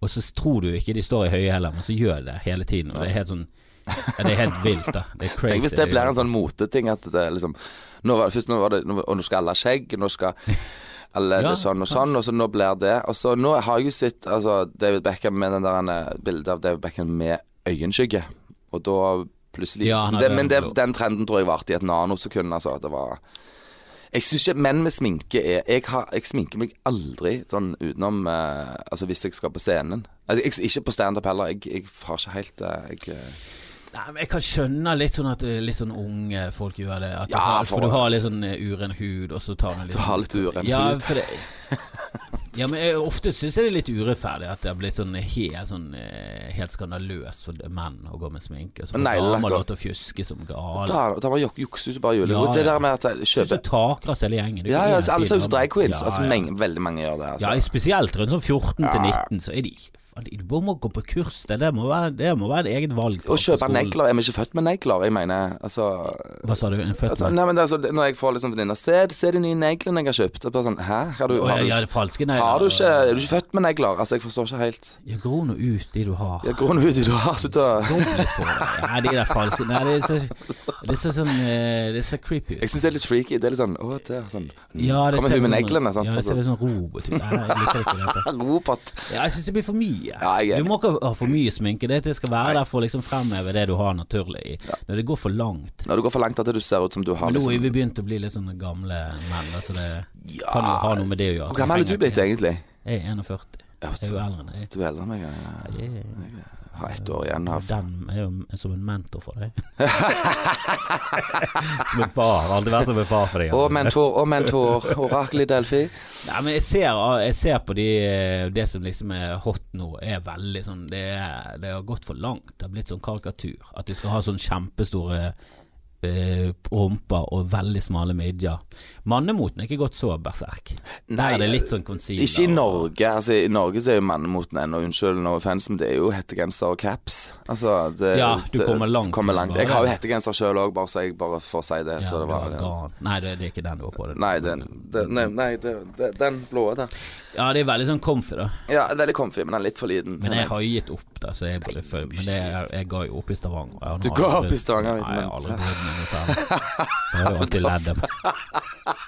S1: Og så tror du ikke de står i høye hæler, men så gjør de det hele tiden. Og det er helt sånn ja, Det er helt vilt, da. Det er crazy.
S2: Tenk hvis det blir en sånn moteting at det er liksom nå var det, Først nå var det nå, Og nå skal alle ha skjegg, nå skal
S1: [LAUGHS]
S2: alle
S1: Ja,
S2: det sånn og sånn, og så nå blir det Og så nå har jeg jo sett altså, David Beckham med den der eh, bildet av David Beckham med øyenskygge, og da plutselig
S1: Ja, han hadde
S2: det, Men det,
S1: en blå-
S2: den trenden tror jeg varte i et nanosekund, altså. Det var jeg syns ikke menn med sminke er jeg, har, jeg sminker meg aldri sånn utenom eh, Altså hvis jeg skal på scenen. Altså, jeg, ikke på standup heller. Jeg, jeg har ikke helt eh, jeg, eh,
S1: Nei, men Jeg kan skjønne litt sånn at eh, litt sånn unge folk gjør det. At du
S2: Ja,
S1: har,
S2: for-
S1: for du har litt sånn eh, uren hud, og så tar du litt sånn-
S2: Du har litt uren
S1: ja,
S2: hud.
S1: for det, ja, men jeg, ofte syns jeg det er litt urettferdig at det har blitt sånn helt, sånn, eh, helt skandaløst for menn å gå med sminke. og Så får
S2: Nei,
S1: damer
S2: lakk-
S1: lov til å fjuske som gale.
S2: Da, da var juk- juksus bare juling.
S1: Ja,
S2: og det
S1: ja.
S2: der med at jeg
S1: Synes
S2: kjøper
S1: du takras hele gjengen. Det er
S2: Ja,
S1: ikke
S2: ja,
S1: én
S2: alle ser ut
S1: fyr,
S2: som drag queens.
S1: ja,
S2: altså,
S1: ja.
S2: meng- veldig mange gjør det. Altså.
S1: Ja, spesielt rundt sånn 14 til 19, så er de faen, Du må gå på kurs, det, det, må, være, det må være et eget valg. for
S2: Å
S1: oss på
S2: kjøpe
S1: skolen.
S2: negler Er vi ikke født med negler? Jeg mener, altså,
S1: Hva sa du? En født
S2: altså
S1: negl?
S2: Nei, men det er altså, Når jeg får liksom venninner sted, se de nye neglene jeg har kjøpt. Det er bare sånn Hæ? Har du,
S1: Å,
S2: har du,
S1: ja, ja, det er falske negler.
S2: har du ikke Er du ikke født med negler? Altså, jeg forstår ikke helt.
S1: Ja, gro nå ut de du har.
S2: Jeg går nå ut i du har slutt å
S1: Dumt litt på det. Nei, de der falske Nei, det er så, det er så sånn eh, Det er så creepy. ut.
S2: Jeg syns det er litt freaky. Det er litt sånn Å, det er sånn
S1: Ja, det
S2: Kommer
S1: ser
S2: hun med
S1: ut som-
S2: neglene, sant?
S1: Ja, det ser ut
S2: Altså.
S1: som robot ut. Nei, jeg liker ikke dette.
S2: [LAUGHS] Robot.
S1: Ja, jeg syns det blir for mye.
S2: Ja, jeg er
S1: du må ikke ha for mye sminke. Det, det skal være der for å liksom fremheve det du har naturlig. i. Når det går for langt.
S2: Når du går for langt at du ser ut som du har
S1: Men nå er
S2: liksom
S1: vi begynt å bli litt sånne gamle menn, da, så det
S2: Ja
S1: kan jo ha noe med det å gjøre.
S2: Hvor gammel er du blitt, egentlig?
S1: Jeg er 41.
S2: Ja,
S1: Jeg er jo eldre enn deg.
S2: Du er eldre enn meg. Jeg
S1: Jeg er-
S2: har eh, ett år igjen av
S1: Den er jo som en mentor for
S2: [LAUGHS]
S1: deg. som en far. Alltid vært som en far for deg.
S2: Å, mentor, å, mentor. Orakel i Delfi.
S1: Nei, men jeg ser, jeg ser på de, det som liksom er hot nå, er veldig sånn det, er, det har gått for langt. Det har blitt sånn karikatur. At de skal ha sånn kjempestore eh, rumper og veldig smale midjer. Mannemoten er ikke gått så berserk. Der
S2: Nei,
S1: er det litt sånn concealer.
S2: Ikke i
S1: og-
S2: Norge. altså I Norge så er jo mannemoten ennå, unnskyld no offense, men det er jo hettegenser og caps. Altså, det,
S1: Ja, du
S2: det-
S1: kommer langt.
S2: kommer langt. Jeg har jo hettegenser sjøl òg, bare så jeg bare får si det.
S1: Ja,
S2: så det var,
S1: det var garn. Nei, det, det er ikke den du har på deg.
S2: Nei, den, den, nei, nei det, det, den blå der.
S1: Ja, det er veldig sånn comfy, da.
S2: Ja, veldig comfy, men den er litt for liten.
S1: Men jeg har jo gitt opp, da. Så jeg, bare føler- men det, jeg, jeg ga jo opp i Stavanger. Jeg har
S2: Du
S1: aldri
S2: ga opp
S1: brydd-
S2: i Stavanger,
S1: Nei, jeg har aldri
S2: men-
S1: brydd meg noe særlig. Da har jeg alltid ledd
S2: [LAUGHS]
S1: av meg.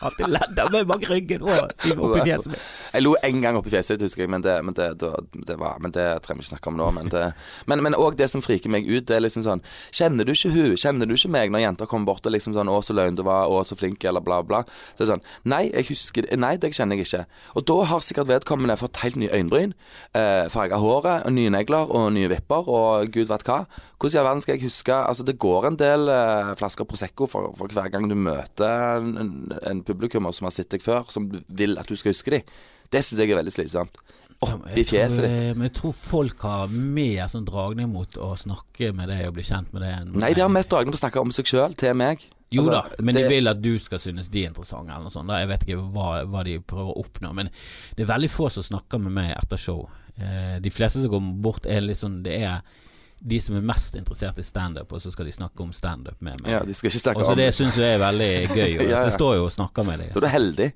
S1: Alltid ledd av meg bak ryggen og i- opp i fjeset mitt.
S2: Jeg lo en gang opp i fjeset, husker jeg, men det, men det, da, det var Men det trenger vi ikke snakke om nå. Men det Men men òg det som friker meg ut, det er liksom sånn Kjenner du ikke hun? Kjenner du ikke meg når jenter kommer bort og liksom sånn 'Å, så løgn du var. Å, så flink', eller bla, bla. Så det er sånn Nei, jeg husker Nei, det kjenner jeg ikke. Og da har sikkert vedkommende fått helt nye øyenbryn, eh, farga håret, og nye negler og nye vipper og gud vet hva. Hvordan i all verden skal jeg huske Altså, det går en del eh, flasker Prosecco for, for hver gang du møter en, en- en publikummer som har sett deg før, som du vil at du skal huske dem. Det syns jeg er veldig slitsomt. Opp i
S1: Jeg
S2: fjeset
S1: tror,
S2: ditt.
S1: eh, Men jeg tror folk har mer sånn dragning mot å snakke med deg og bli kjent med deg. enn-
S2: Nei, det har mest dragende på å snakke om seg sjøl, til meg.
S1: Jo da,
S2: Altså,
S1: men de
S2: det-
S1: vil at du skal synes de er interessante eller noe sånt. da. Jeg vet ikke hva, hva de prøver å oppnå, men det er veldig få som snakker med meg etter show. Eh, de fleste som kommer bort, er litt sånn Det er de som er mest interessert i standup, og så skal de snakke om standup med meg.
S2: Ja, de skal ikke snakke
S1: og så
S2: om
S1: Altså, Det
S2: det.
S1: syns jeg er veldig
S2: [LAUGHS]
S1: gøy. Og
S2: Ja,
S1: Så
S2: ja.
S1: jeg står jo og snakker med
S2: Da
S1: dem.
S2: er du heldig.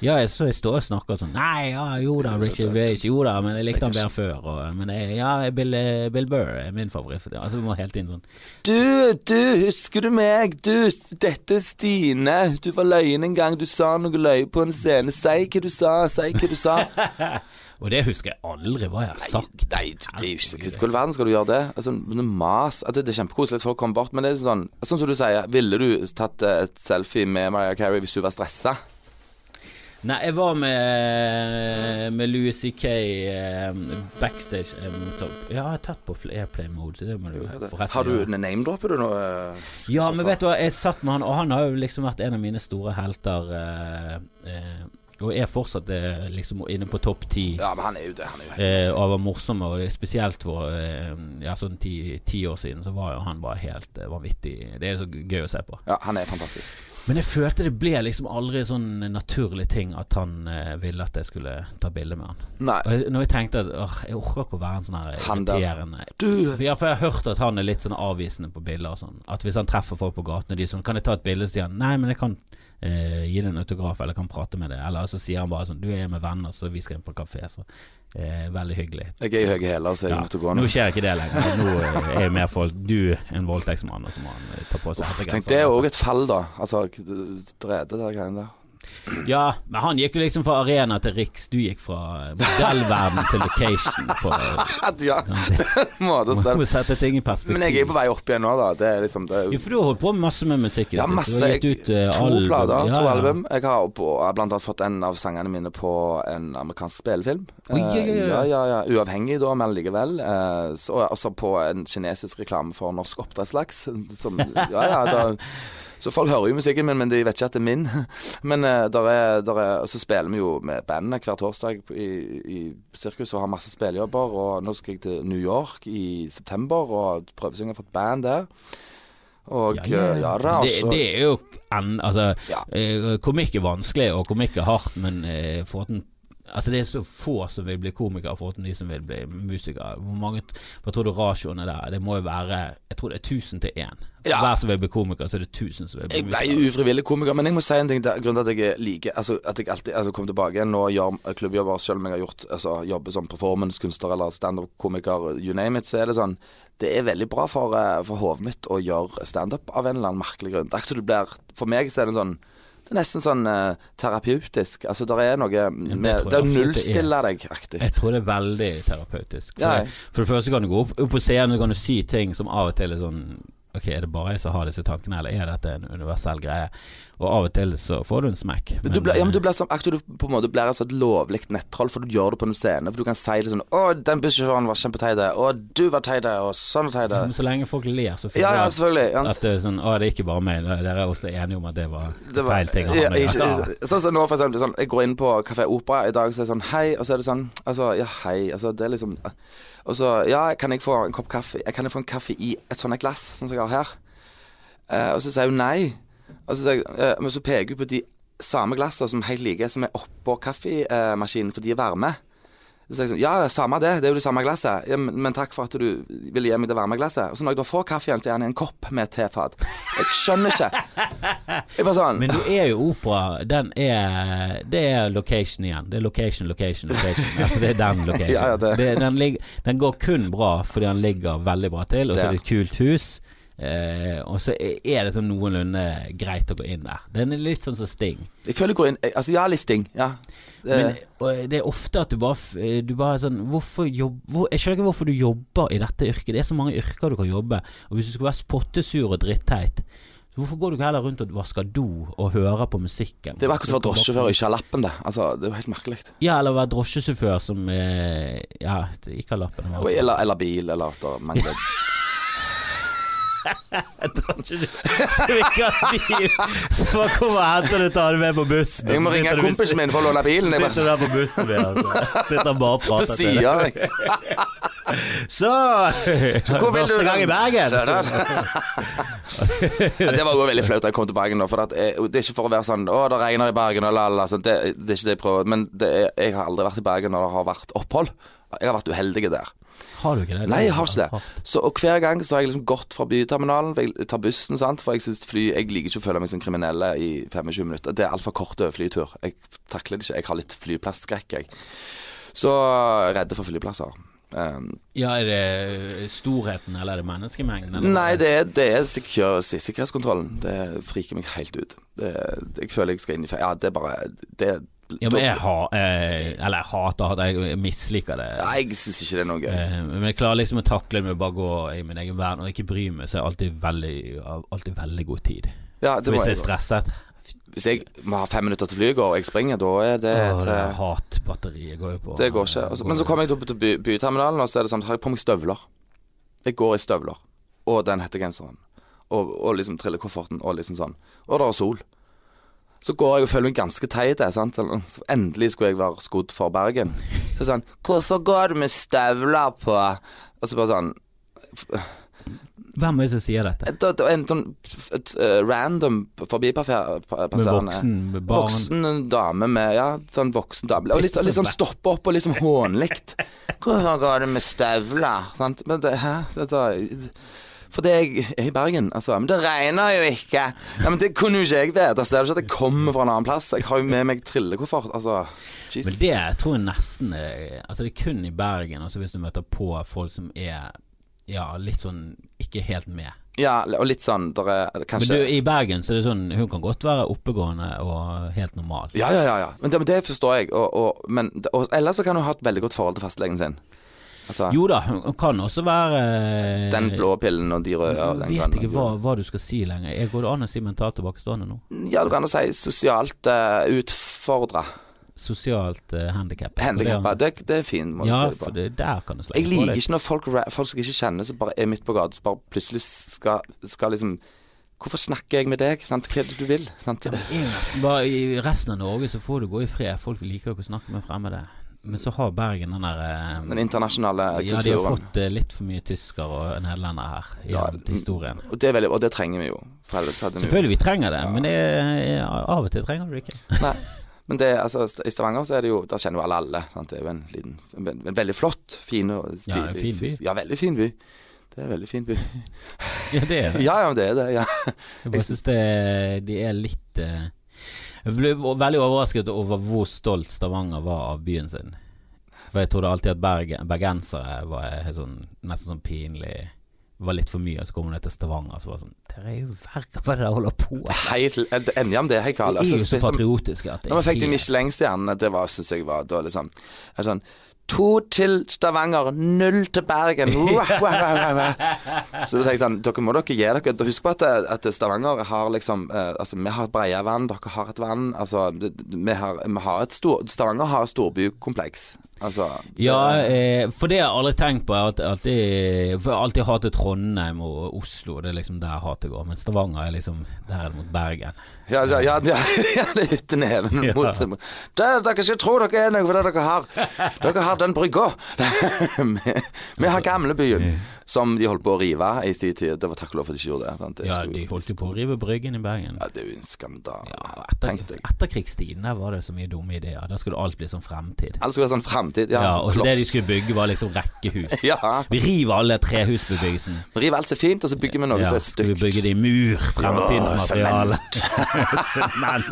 S1: Ja, jeg, så jeg står og snakker sånn Nei, ja, jo da, Richard Rage, jo da, men jeg likte han bedre før. Og, men jeg, ja, Bill, eh, Bill Burr er min favoritt. Altså, vi må hele tiden sånn
S2: Du, du, husker du meg? Du, dette er Stine. Du var løyen en gang. Du sa noe løye på en scene. Si hva du sa, si hva
S1: [LAUGHS]
S2: du sa.
S1: Og det husker jeg aldri hva jeg har sagt.
S2: Nei, du, det er jo ikke Hvordan i verden skal du gjøre det? Altså, men det mas altså, Det er kjempekoselig at folk kommer bort, men det er sånn Sånn som du sier, ville du tatt eh, et selfie med Mariah Carey hvis hun var stressa?
S1: Nei, jeg var med, med Louis C.K. eh, backstage. eh, mot- Ja, jeg har tatt på fl- airplay mode, så det må du forresten
S2: Har du
S1: gjøre.
S2: name-dropper du nå? eh,
S1: Ja,
S2: Kristoffer?
S1: men vet du hva, jeg satt med han, og han har jo liksom vært en av mine store helter. eh, eh, og er fortsatt eh, liksom inne på topp ti.
S2: Ja, men han er jo det. Han er jo helt
S1: Eh, og han var morsom, og det er spesielt for eh, ja, sånn ti, ti år siden så var jo han bare helt eh, vanvittig. Det er jo så gøy å se på.
S2: Ja, han er fantastisk.
S1: Men jeg følte det ble liksom aldri sånn naturlig ting at han eh, ville at jeg skulle ta bilde med han.
S2: Nei.
S1: Og jeg, når jeg tenkte at åh, jeg orker ikke å være en sånn her
S2: Han der.
S1: irriterende
S2: Du,
S1: ja, for Jeg har hørt at han er litt sånn avvisende på bilder og sånn. At hvis han treffer folk på gaten og de er sånn 'Kan jeg ta et bilde?' Så sier han 'Nei, men jeg kan eh, gi deg en autograf, eller kan prate med deg'. Eller så sier han bare sånn 'Du er med venner, så vi skal inn på kafé', så eh, Veldig hyggelig.
S2: jeg er i høye hæler, så jeg er
S1: Ja,
S2: nødt til å gå
S1: nå
S2: nå.
S1: skjer ikke det lenger. Nå eh, er mer folk Du, en voldtektsmann, og så må han eh, ta på seg
S2: Tenk,
S1: hettegenser.
S2: det er òg et fall, da. Altså, drede der greiene der. [LAUGHS]
S1: Ja, men han gikk jo liksom fra arena til Riks. Du gikk fra modellverden til location. På,
S2: [LAUGHS] Ja, måte
S1: man
S2: selv.
S1: må sette ting i perspektiv.
S2: Men jeg er på vei opp igjen nå, da. Det er liksom det er
S1: jo,
S2: jo
S1: for du har holdt på med masse med musikken
S2: ja,
S1: sin.
S2: masse.
S1: Du har
S2: Jeg,
S1: gitt ut eh,
S2: to
S1: album.
S2: plater,
S1: Ja,
S2: to
S1: ja.
S2: album. Jeg har på, jeg har blant annet fått en av sangene mine på en amerikansk spillefilm.
S1: Oi, oi, oi, oi.
S2: ja, ja, ja. Uavhengig, da, men likevel. Eh, så, også på en kinesisk reklame for norsk oppdrettslaks. Som, ja, ja, da,
S1: [LAUGHS]
S2: så folk hører jo musikken min, men de vet ikke at det er min. [LAUGHS] Men eh, der er, der er, og så spiller vi jo med bandet hver torsdag i, i sirkus og har masse spillejobber. Og nå skal jeg til New York i september og prøvesynger for et band der. Og ja, ja, da,
S1: det,
S2: og så-
S1: det er jo en, altså,
S2: Ja.
S1: eh, Komikk er vanskelig, og komikk er hardt, men eh, for at den Altså Det er så få som vil bli komikere, foruten de som vil bli musikere. Hvor mange, t- Hva tror du ratioen er der? Det må jo være Jeg tror det er 1000 til 1. For
S2: Ja.
S1: hver som vil bli komiker, så er det 1000 som vil bli
S2: Jeg ble
S1: musikere.
S2: jo ufrivillig komiker, men jeg må si en ting. Der, grunnen til at jeg liker altså, At jeg alltid altså, kom tilbake igjen og gjør eh, klubbjobber, selv om jeg har gjort altså, jobber som performancekunstner eller standup-komiker, you name it, så er det sånn Det er veldig bra for, eh, for hodet mitt å gjøre standup av en eller annen merkelig grunn. Det er ikke så du blir For meg så er det en sånn det er nesten sånn eh, terapeutisk. Altså, det er noe med
S1: tror jeg
S2: Det er å
S1: absolutt det er.
S2: nullstille deg-aktig.
S1: Jeg tror det er veldig terapeutisk. Så
S2: Ja.
S1: det, for det første kan du gå opp, opp på scenen og kan du si ting som av og til er sånn Ok, er det bare jeg som har disse tankene, eller er dette en universell greie? Og av og til så får du en smekk.
S2: Du blir,
S1: eh,
S2: ja, men du blir som, akkurat du på en måte blir et sånt lovlig nettroll, for du gjør det på en scene. For du kan si det sånn 'Å, den bussjåføren var kjempeteit', 'Å, du var teit', og sånn
S1: Men
S2: var
S1: [LAUGHS]
S2: teit.
S1: eh, så lenge folk ler, så føler
S2: Ja, ja,
S1: jeg
S2: selvfølgelig. Ja.
S1: at det er sånn Å, det er ikke bare meg. Dere er også enige om at det var,
S2: Det var-
S1: feil ting. å ha
S2: ja,
S1: med å
S2: ikke-
S1: gjøre.
S2: ikke- Sånn som nå, for eksempel. Sånn, jeg går inn på Kafé Opera i dag, så er det sånn 'Hei', og så er det sånn Altså, ja, hei. Altså, det er liksom Og så, ja, kan jeg få en kopp kaffe? Jeg Kan jeg få en kaffe i et sånt glass, sånn som jeg har her? Eh, og så sier hun nei. Og så, sier jeg, eh, men så peker hun på de samme glassene som helt like, som er oppå kaffemaskinen, for de er varme. Så sier jeg sånn, ja, det er samme det, det er jo det samme glasset. Ja, men, men takk for at du ville gi meg det varme glasset. Og så når jeg da får kaffe igjen, så er han i en kopp med et tefat. Jeg skjønner ikke. Jeg bare sånn,
S1: Men du er jo opera. Den er Det er location igjen. Det er location, location, location. Altså det er
S2: [LAUGHS]
S1: den location.
S2: Ja, ja, det-
S1: den, ligger- den går kun bra fordi den ligger veldig bra til, og så er det et kult hus. Eh, og så er det sånn noenlunde greit å gå inn der. Den er litt sånn som Sting.
S2: jeg føler jeg går inn, jeg, altså ja, litt sting, ja. Det,
S1: Men og det er ofte at du bare, f- du bare er sånn hvorfor jobb, hvor, Jeg skjønner ikke hvorfor du jobber i dette yrket. Det er så mange yrker du kan jobbe. Og hvis du skulle være spottesur og dritteit, så hvorfor går du ikke heller rundt og vasker do og hører på musikken?
S2: det var akkurat som å være drosjesjåfør og ikke ha lappen, det. Altså, det er jo helt merkelig.
S1: Ja, eller være drosjesjåfør som eh, Ja, ikke har lappen.
S2: Og-
S1: [LAUGHS]
S2: Eller, eller bil, eller at det mangler
S1: Drosjesjåfør som ikke har bil, som bare kommer og henter det og tar det med på bussen.
S2: Jeg må
S1: Så
S2: ringe
S1: sitter du-
S2: kompisen min for å låne bilen. Jeg bare, sånn,
S1: Sitter der på bussen din, altså. Sitter bare og
S2: på
S1: prater til deg.
S2: siden, jeg.
S1: Så
S2: hvor vil
S1: Første
S2: du-
S1: gang i Bergen. [LAUGHS]
S2: Ja, det var jo veldig flaut da jeg kom til Bergen nå. For at jeg, det er ikke for å være sånn 'Å, det regner i Bergen' og la-la. sånn. Det, det er ikke det jeg prøver. Men det er, jeg har aldri vært i Bergen når det har vært opphold. Jeg har vært uheldig der.
S1: Har du ikke det?
S2: Nei, jeg har ikke det. Så, og hver gang så har jeg liksom gått fra byterminalen, for jeg tar bussen, sant. For jeg syns fly Jeg liker ikke å føle meg som kriminelle i 25 minutter. Det er altfor kort over flytur. Jeg takler det ikke. Jeg har litt flyplasskrekk, jeg. Så redde for flyplasser. Um,
S1: Ja, Er det storheten, eller er det menneskemengden? Eller?
S2: Nei, det er, det er sikker, si- sikkerhetskontrollen. Det friker meg helt ut. Det, jeg føler jeg skal inn i fe- Ja, det er bare det,
S1: Ja, men jeg har eh, Eller jeg hater hater, jeg misliker det.
S2: Nei, jeg syns ikke det er noe gøy.
S1: Eh, Men jeg klarer liksom å takle det med å bare gå i min egen verden og ikke bry meg, så er jeg alltid veldig, har alltid veldig god tid.
S2: Ja, det Eh,
S1: For
S2: må
S1: hvis jeg
S2: jeg,
S1: er stresset
S2: hvis jeg må ha fem minutter til flyet går, og jeg springer, da er det
S1: Åh,
S2: et,
S1: det
S2: eh,
S1: hatbatteriet går jo på.
S2: Det går ikke. Altså, men så kommer jeg opp til by, byterminalen, og så er det sånn Har jeg på meg støvler? Jeg går i støvler. Og den hettegenseren. Og, og liksom trillekofferten, og liksom sånn. Og det er sol. Så går jeg og føler meg ganske teit. jeg, sant? Sånn, Så Endelig skulle jeg være skodd for Bergen. Så sånn 'Hvorfor går du med støvler på?' Og så bare sånn
S1: Hvem er det som sier dette?
S2: et, et, en sånn et, eh, random
S1: Med
S2: forbipasserende
S1: voksen, med barn
S2: altså, Voksen dame med Ja, sånn voksen dame. Og litt, litt sånn stoppe opp og liksom hånlikt. [LAUGHS] Hvorfor går det med støvler? Sant? Men det, hæ? Dette, for det jeg er i Bergen, altså. Men det regner jo ikke! Ja, men det kunne jo ikke jeg vite. Ser du ikke at jeg kommer fra en annen plass? Jeg har jo med meg trillekoffert. Altså,
S1: Men
S2: Jesus.
S1: det tror jeg nesten er Altså, det er kun i Bergen, altså hvis du møter på folk som er ja, litt sånn ikke helt med.
S2: Ja, og litt sånn der er
S1: Men
S2: kanskje
S1: du, i Bergen så er det sånn Hun kan godt være oppegående og helt normal.
S2: ja, ja, ja, ja. Men det, men det forstår jeg. Og, og, men, og, ellers så kan hun ha et veldig godt forhold til fastlegen sin. Altså,
S1: Jo da, hun kan også være eh,
S2: Den blå pillen og de røde og den
S1: Jeg vet
S2: grønne.
S1: ikke hva, hva du skal si lenger. Jeg går det an å si mentalt tilbakestående nå?
S2: Ja, du kan jo si sosialt uh, utfordra.
S1: Sosialt uh,
S2: [LAUGHS]
S1: handikap.
S2: Handikappa. Det, det er fin måte
S1: Ja,
S2: å si det
S1: for
S2: på.
S1: det, der kan du slenge
S2: Jeg liker ikke når folk, ra- folk som jeg ikke kjenner, som bare er midt på gata, som bare plutselig skal, skal liksom Hvorfor snakker jeg med deg? Sant? Hva er det du vil? Sant?
S1: Det er jo nesten bare I resten av Norge så får du gå i fred. Folk liker jo ikke å snakke med fremmede. Men så har Bergen den der eh,
S2: Den internasjonale
S1: Ja, de har
S2: kulturen.
S1: fått eh, litt for mye tysker og nederlendere her
S2: Ja,
S1: gjennom historien.
S2: og, det er veldig, og det trenger vi jo. For ellers hadde vi jo
S1: Selvfølgelig vi trenger det, men det, er- av og til trenger du det ikke. [LAUGHS]
S2: Nei. Men det, altså, st- i Stavanger så er det jo Der kjenner jo alle alle. Sant? Det er jo en liten En, ve- en veldig flott, fin og
S1: Ja, en fin by.
S2: Ja, veldig fin by. Det er en veldig fin by.
S1: Ja, det er det.
S2: Ja, ja, men det er det.
S1: [LAUGHS]
S2: Ja.
S1: Jeg bare syns det, de er litt eh, Jeg ble veldig overrasket over hvor stolt Stavanger var av byen sin. For jeg trodde alltid at berg, bergensere var helt sånn, nesten sånn pinlig Var litt for mye, og så kom de til Stavanger, og så var det sånn Dere er jo verre på det dere holder på med.
S2: Hei, til- en- Enig om det, hei, Karl.
S1: De er
S2: Altså,
S1: jo så
S2: spesielt-
S1: patriotiske at det
S2: Når vi fikk de
S1: helt-
S2: Michelin-stjernene, det var, synes jeg var da liksom er det sånn, To til Stavanger, null til Bergen.
S1: [LAUGHS]
S2: Wah, wah, wah, wah, wah. Så da tenkte jeg sånn, dere må dere gi dere dere Husk på at, at Stavanger har liksom eh, Altså, vi har et Breiavann, dere har et vann. Altså, det- vi har, vi har et stor, Stavanger har et storbykompleks. Altså
S1: Ja, eh, for det har jeg aldri tenkt på. Jeg har alltid, alltid, for jeg har alltid hatet Trondheim og Oslo, det er liksom der hatet går. Men Stavanger er liksom der er det mot Bergen.
S2: Ja, ja, ja, ja, [LAUGHS] ja det er uten neven
S1: Ja.
S2: mot mot- Der, Dere skal tro dere er noe for det dere har. Dere har den brygga. [LAUGHS] vi, vi har gamlebyen, som de holdt på å rive i sin tid. Det var takk og lov for at de ikke gjorde det. sant? Det
S1: Ja,
S2: skulle-
S1: de holdt jo på å rive Bryggen i Bergen.
S2: ja, Det er jo en skandale.
S1: Ja,
S2: Tenk
S1: etter,
S2: deg.
S1: etterkrigstiden der var det så mye dumme ideer. Da skulle alt bli sånn fremtid.
S2: Alt skulle være sånn framtid. Ja,
S1: Ja, og så
S2: kloss.
S1: det de skulle bygge var liksom rekkehus.
S2: [LAUGHS] Ja.
S1: Vi river alle trehusbebyggelsen.
S2: Rive alt som er fint, og så bygger vi noe
S1: Ja,
S2: som er
S1: skal vi
S2: stygt.
S1: bygge det i mur? Fremtidsmateriale. [LAUGHS] Sement.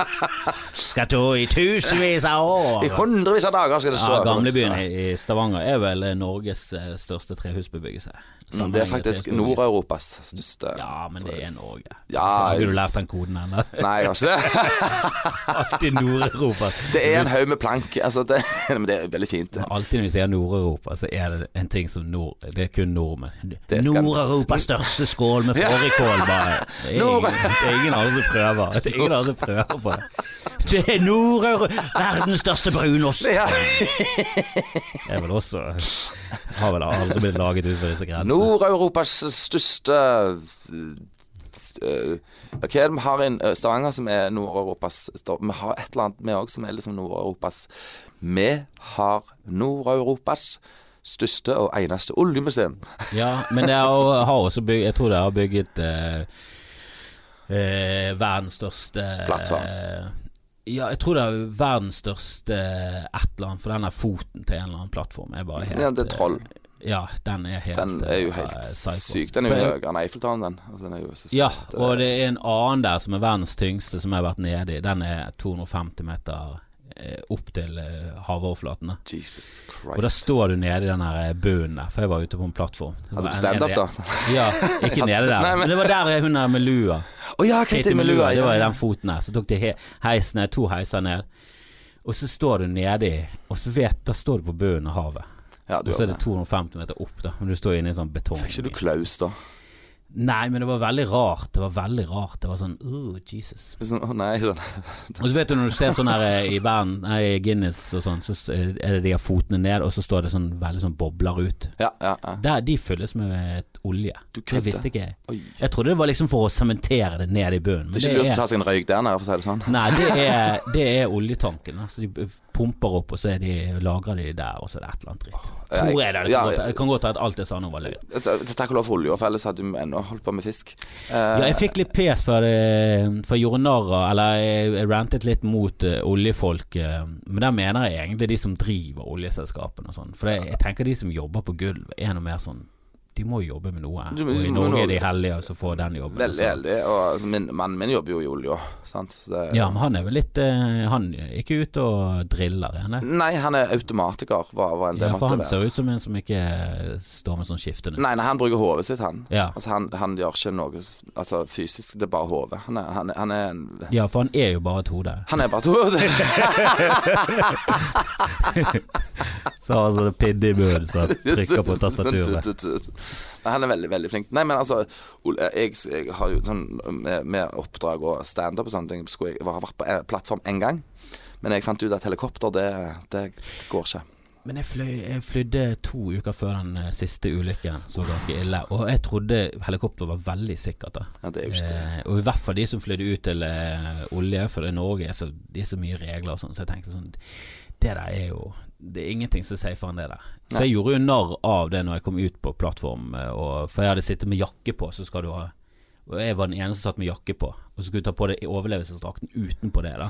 S1: Skal ta i tusenvis av år.
S2: I hundrevis av dager skal det stå.
S1: Ja, Gamlebyen i i Stavanger er vel eh, Norges eh, største trehusbebyggelse.
S2: Mm, Det er faktisk
S1: Sammenhengende
S2: Nord-Europas største
S1: Ja, men det er Norge.
S2: Ja,
S1: Har du lært den koden ennå? [LAUGHS]
S2: Nei, jeg har ikke det.
S1: Alltid Nord-Europa.
S2: [LAUGHS] Det er en haug med plank. Altså, det, [LAUGHS] men det er veldig fint.
S1: Men Alltid når vi sier Nord-Europa, så er det en ting som nord... Det er kun nordmenn.
S2: Det skal-
S1: Nord-Europas største skål med fårikål, bare. Det er
S2: Nord-
S1: ingen, det er ingen andre som prøver. Det er ingen andre som prøver på det. Det er Nord-Europa! Verdens største brunost!
S2: Ja.
S1: Det er vel også Har vel aldri blitt laget utenfor disse grensene.
S2: Nord-Europas største eh, Ok, vi har en eh, Stavanger som er Nord-Europas stør- Vi har et eller annet vi òg som er liksom Nord-Europas Vi har Nord-Europas største og eneste oljemuseum.
S1: Ja, men det er, jo- har også bygget Jeg tror det har bygget eh, eh, verdens største
S2: Plattform.
S1: eh, ja, jeg tror det er verdens største eh, et eller annet, for den er foten til en eller annen plattform. Er bare helt, eh,
S2: Ja, det er Troll.
S1: Ja, den er helt
S2: Den er jo
S1: eh,
S2: helt
S1: psycho.
S2: syk. Den er jo
S1: For-
S2: høyere enn Eiffeltårnet, den. Altså, den er jo så
S1: Ja,
S2: sykt, eh,
S1: og det er en annen der som er verdens tyngste, som jeg har vært nede i. Den er 250 meter eh, opp til eh, havoverflatene.
S2: Jesus
S1: Og da
S2: Christ.
S1: står du nede i den her eh, bunnen der, for jeg var ute på en plattform.
S2: Hadde du
S1: En-
S2: standup,
S1: en-
S2: da?
S1: Ja, ikke nede der.
S2: Nei, men-
S1: men... det var der hun er med lua.
S2: Å ja, Katie
S1: Kate med lua, det var i
S2: ja.
S1: den foten her. Så tok de he heisen ned, to heiser ned. Og så står du nedi, og så vet Da står du på bunnen av havet.
S2: ja, du
S1: Og så er
S2: gjorde
S1: det 250 meter opp, da. Men du står inne i en sånn betong.
S2: Fikk ikke du klaus, da?
S1: Nei, men det var veldig rart. Det var veldig rart. Det var sånn oh, Jesus.
S2: Sånn, å nei, sånn.
S1: Og så vet du når du ser sånn her eh, i verden, nei, i Guinness og sånn, så s- er det de har fotene ned, og så står det sånn veldig sånn bobler ut.
S2: Ja, ja, ja.
S1: Der, de fylles med olje.
S2: Du
S1: Det
S2: kødder.
S1: visste ikke jeg.
S2: Oi.
S1: Jeg trodde det var liksom for å sementere det ned i bunnen. men
S2: Det er
S1: det
S2: ikke lurt å
S1: er-
S2: ta seg en røyk der nede, for å si det sånn.
S1: Nei, det er, det er oljetankene. Så de b- pumper opp, og så er de, lagrer de de der, og så er det et eller annet dritt. Tror jeg det. det
S2: Ja,
S1: kan, godt,
S2: ja.
S1: det kan godt være at alt det sa nå var løgn.
S2: Altså, Takk og lov for olja, for ellers hadde vi ennå holdt på med fisk. Eh,
S1: Ja, jeg fikk litt pes for, det- for jeg gjorde narr av Eller jeg jeg rantet litt mot eh, oljefolk, eh, men der mener jeg egentlig de som driver oljeselskapene og sånn. For det, jeg tenker de som jobber på gulv, er noe mer sånn De må jo jobbe med noe.
S2: Du-
S1: Og
S2: du
S1: i
S2: må
S1: Norge
S2: nå-
S1: er de heldige, og så får den jobben. og
S2: veldig
S1: så-
S2: heldig. Og altså, min, mannen min jobber jo i olja, sant. Så Det,
S1: Ja, men han er vel litt eh, Han er ikke ute og driller, er han det?
S2: Nei, han er automatiker, var, var en det
S1: Ja, for
S2: måtte
S1: han
S2: være.
S1: ser ut som en som ikke står med sånn skifte nå.
S2: Nei, nei, han bruker hodet sitt, han.
S1: Ja.
S2: Altså, han, han gjør ikke noe s- altså, fysisk, det er bare hodet. Han, er- han, er- han er en
S1: ja, for han er jo bare et hode.
S2: han er bare et hode.
S1: Så har han sånn pidde i munnen
S2: [LAUGHS]
S1: som trykker
S2: Sånn,
S1: på tastaturet.
S2: Nei, Han er veldig, veldig flink. Nei, men altså, Ole, jeg, jeg har jo sånn med, med oppdrag og standup og sånne ting Skulle jeg jeg har vært på en plattform én gang, men jeg fant ut at helikopter, det, det går ikke.
S1: Men jeg, fløy, jeg flydde to uker før den eh, siste ulykken, som var ganske ille. Og jeg trodde helikopter var veldig sikkert. da
S2: Ja, det er jo ikke det.
S1: Eh, og i hvert fall de som flydde ut til eh, olje, for i Norge er så, det er så mye regler og sånn, så jeg tenkte sånn Det der er jo Det er ingenting som er safer enn det der. Så jeg gjorde jo narr av det når jeg kom ut på plattform, eh, og, for jeg hadde sittet med jakke på, så skal du ha og jeg var den eneste som satt med jakke på, og så skulle du ta på deg overlevelsesdrakten utenpå det, da.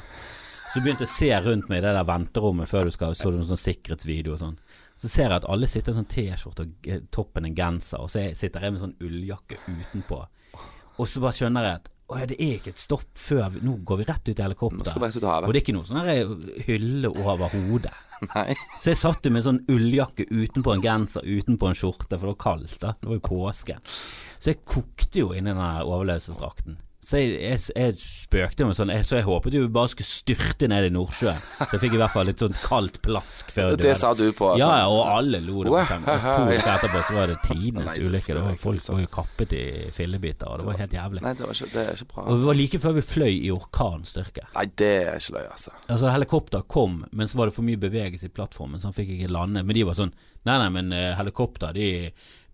S1: Så begynte jeg å se rundt meg i det der venterommet før du skal, så du noen sånn sikkerhetsvideo og sånn. Så ser jeg at alle sitter i sånn T-skjorte og eh, toppen en genser, og så jeg- sitter jeg med sånn ulljakke utenpå. Og så bare skjønner jeg at å ja, det er ikke et stopp før vi, Nå går vi rett ut i
S2: Nå skal vi rett
S1: helikopteret.
S2: ut i havet.
S1: Og det er ikke noe sånn her hylle over hodet.
S2: [LAUGHS] Nei.
S1: Så jeg satt jo med sånn ulljakke utenpå en genser, utenpå en skjorte, for det var kaldt da. Det var jo påske. Så jeg kokte jo inni den der overlevelsesdrakten. Så jeg, jeg, jeg spøkte jo med sånn, jeg, så jeg håpet jo vi bare skulle styrte ned i Nordsjøen. Så jeg fikk i hvert fall litt sånn kaldt plask før jeg
S2: Det sa du på, altså.
S1: Ja, ja, og alle lo det på skjermen. Og
S2: [LAUGHS]
S1: så To
S2: Wow.
S1: uker etterpå så var det tidenes
S2: Nei, det
S1: ulykke. Det
S2: forstår jeg
S1: var folk
S2: ikke,
S1: var jo kappet i fillebiter, og det var helt jævlig.
S2: Nei, det, var ikke, det er ikke bra.
S1: Og det var like før vi fløy i orkanstyrke.
S2: Nei, det er ikke løye, altså.
S1: Altså Helikopter kom, men så var det for mye bevegelse i plattformen, så han fikk ikke lande. Men de var sånn Nei, nei, men eh, helikopter de,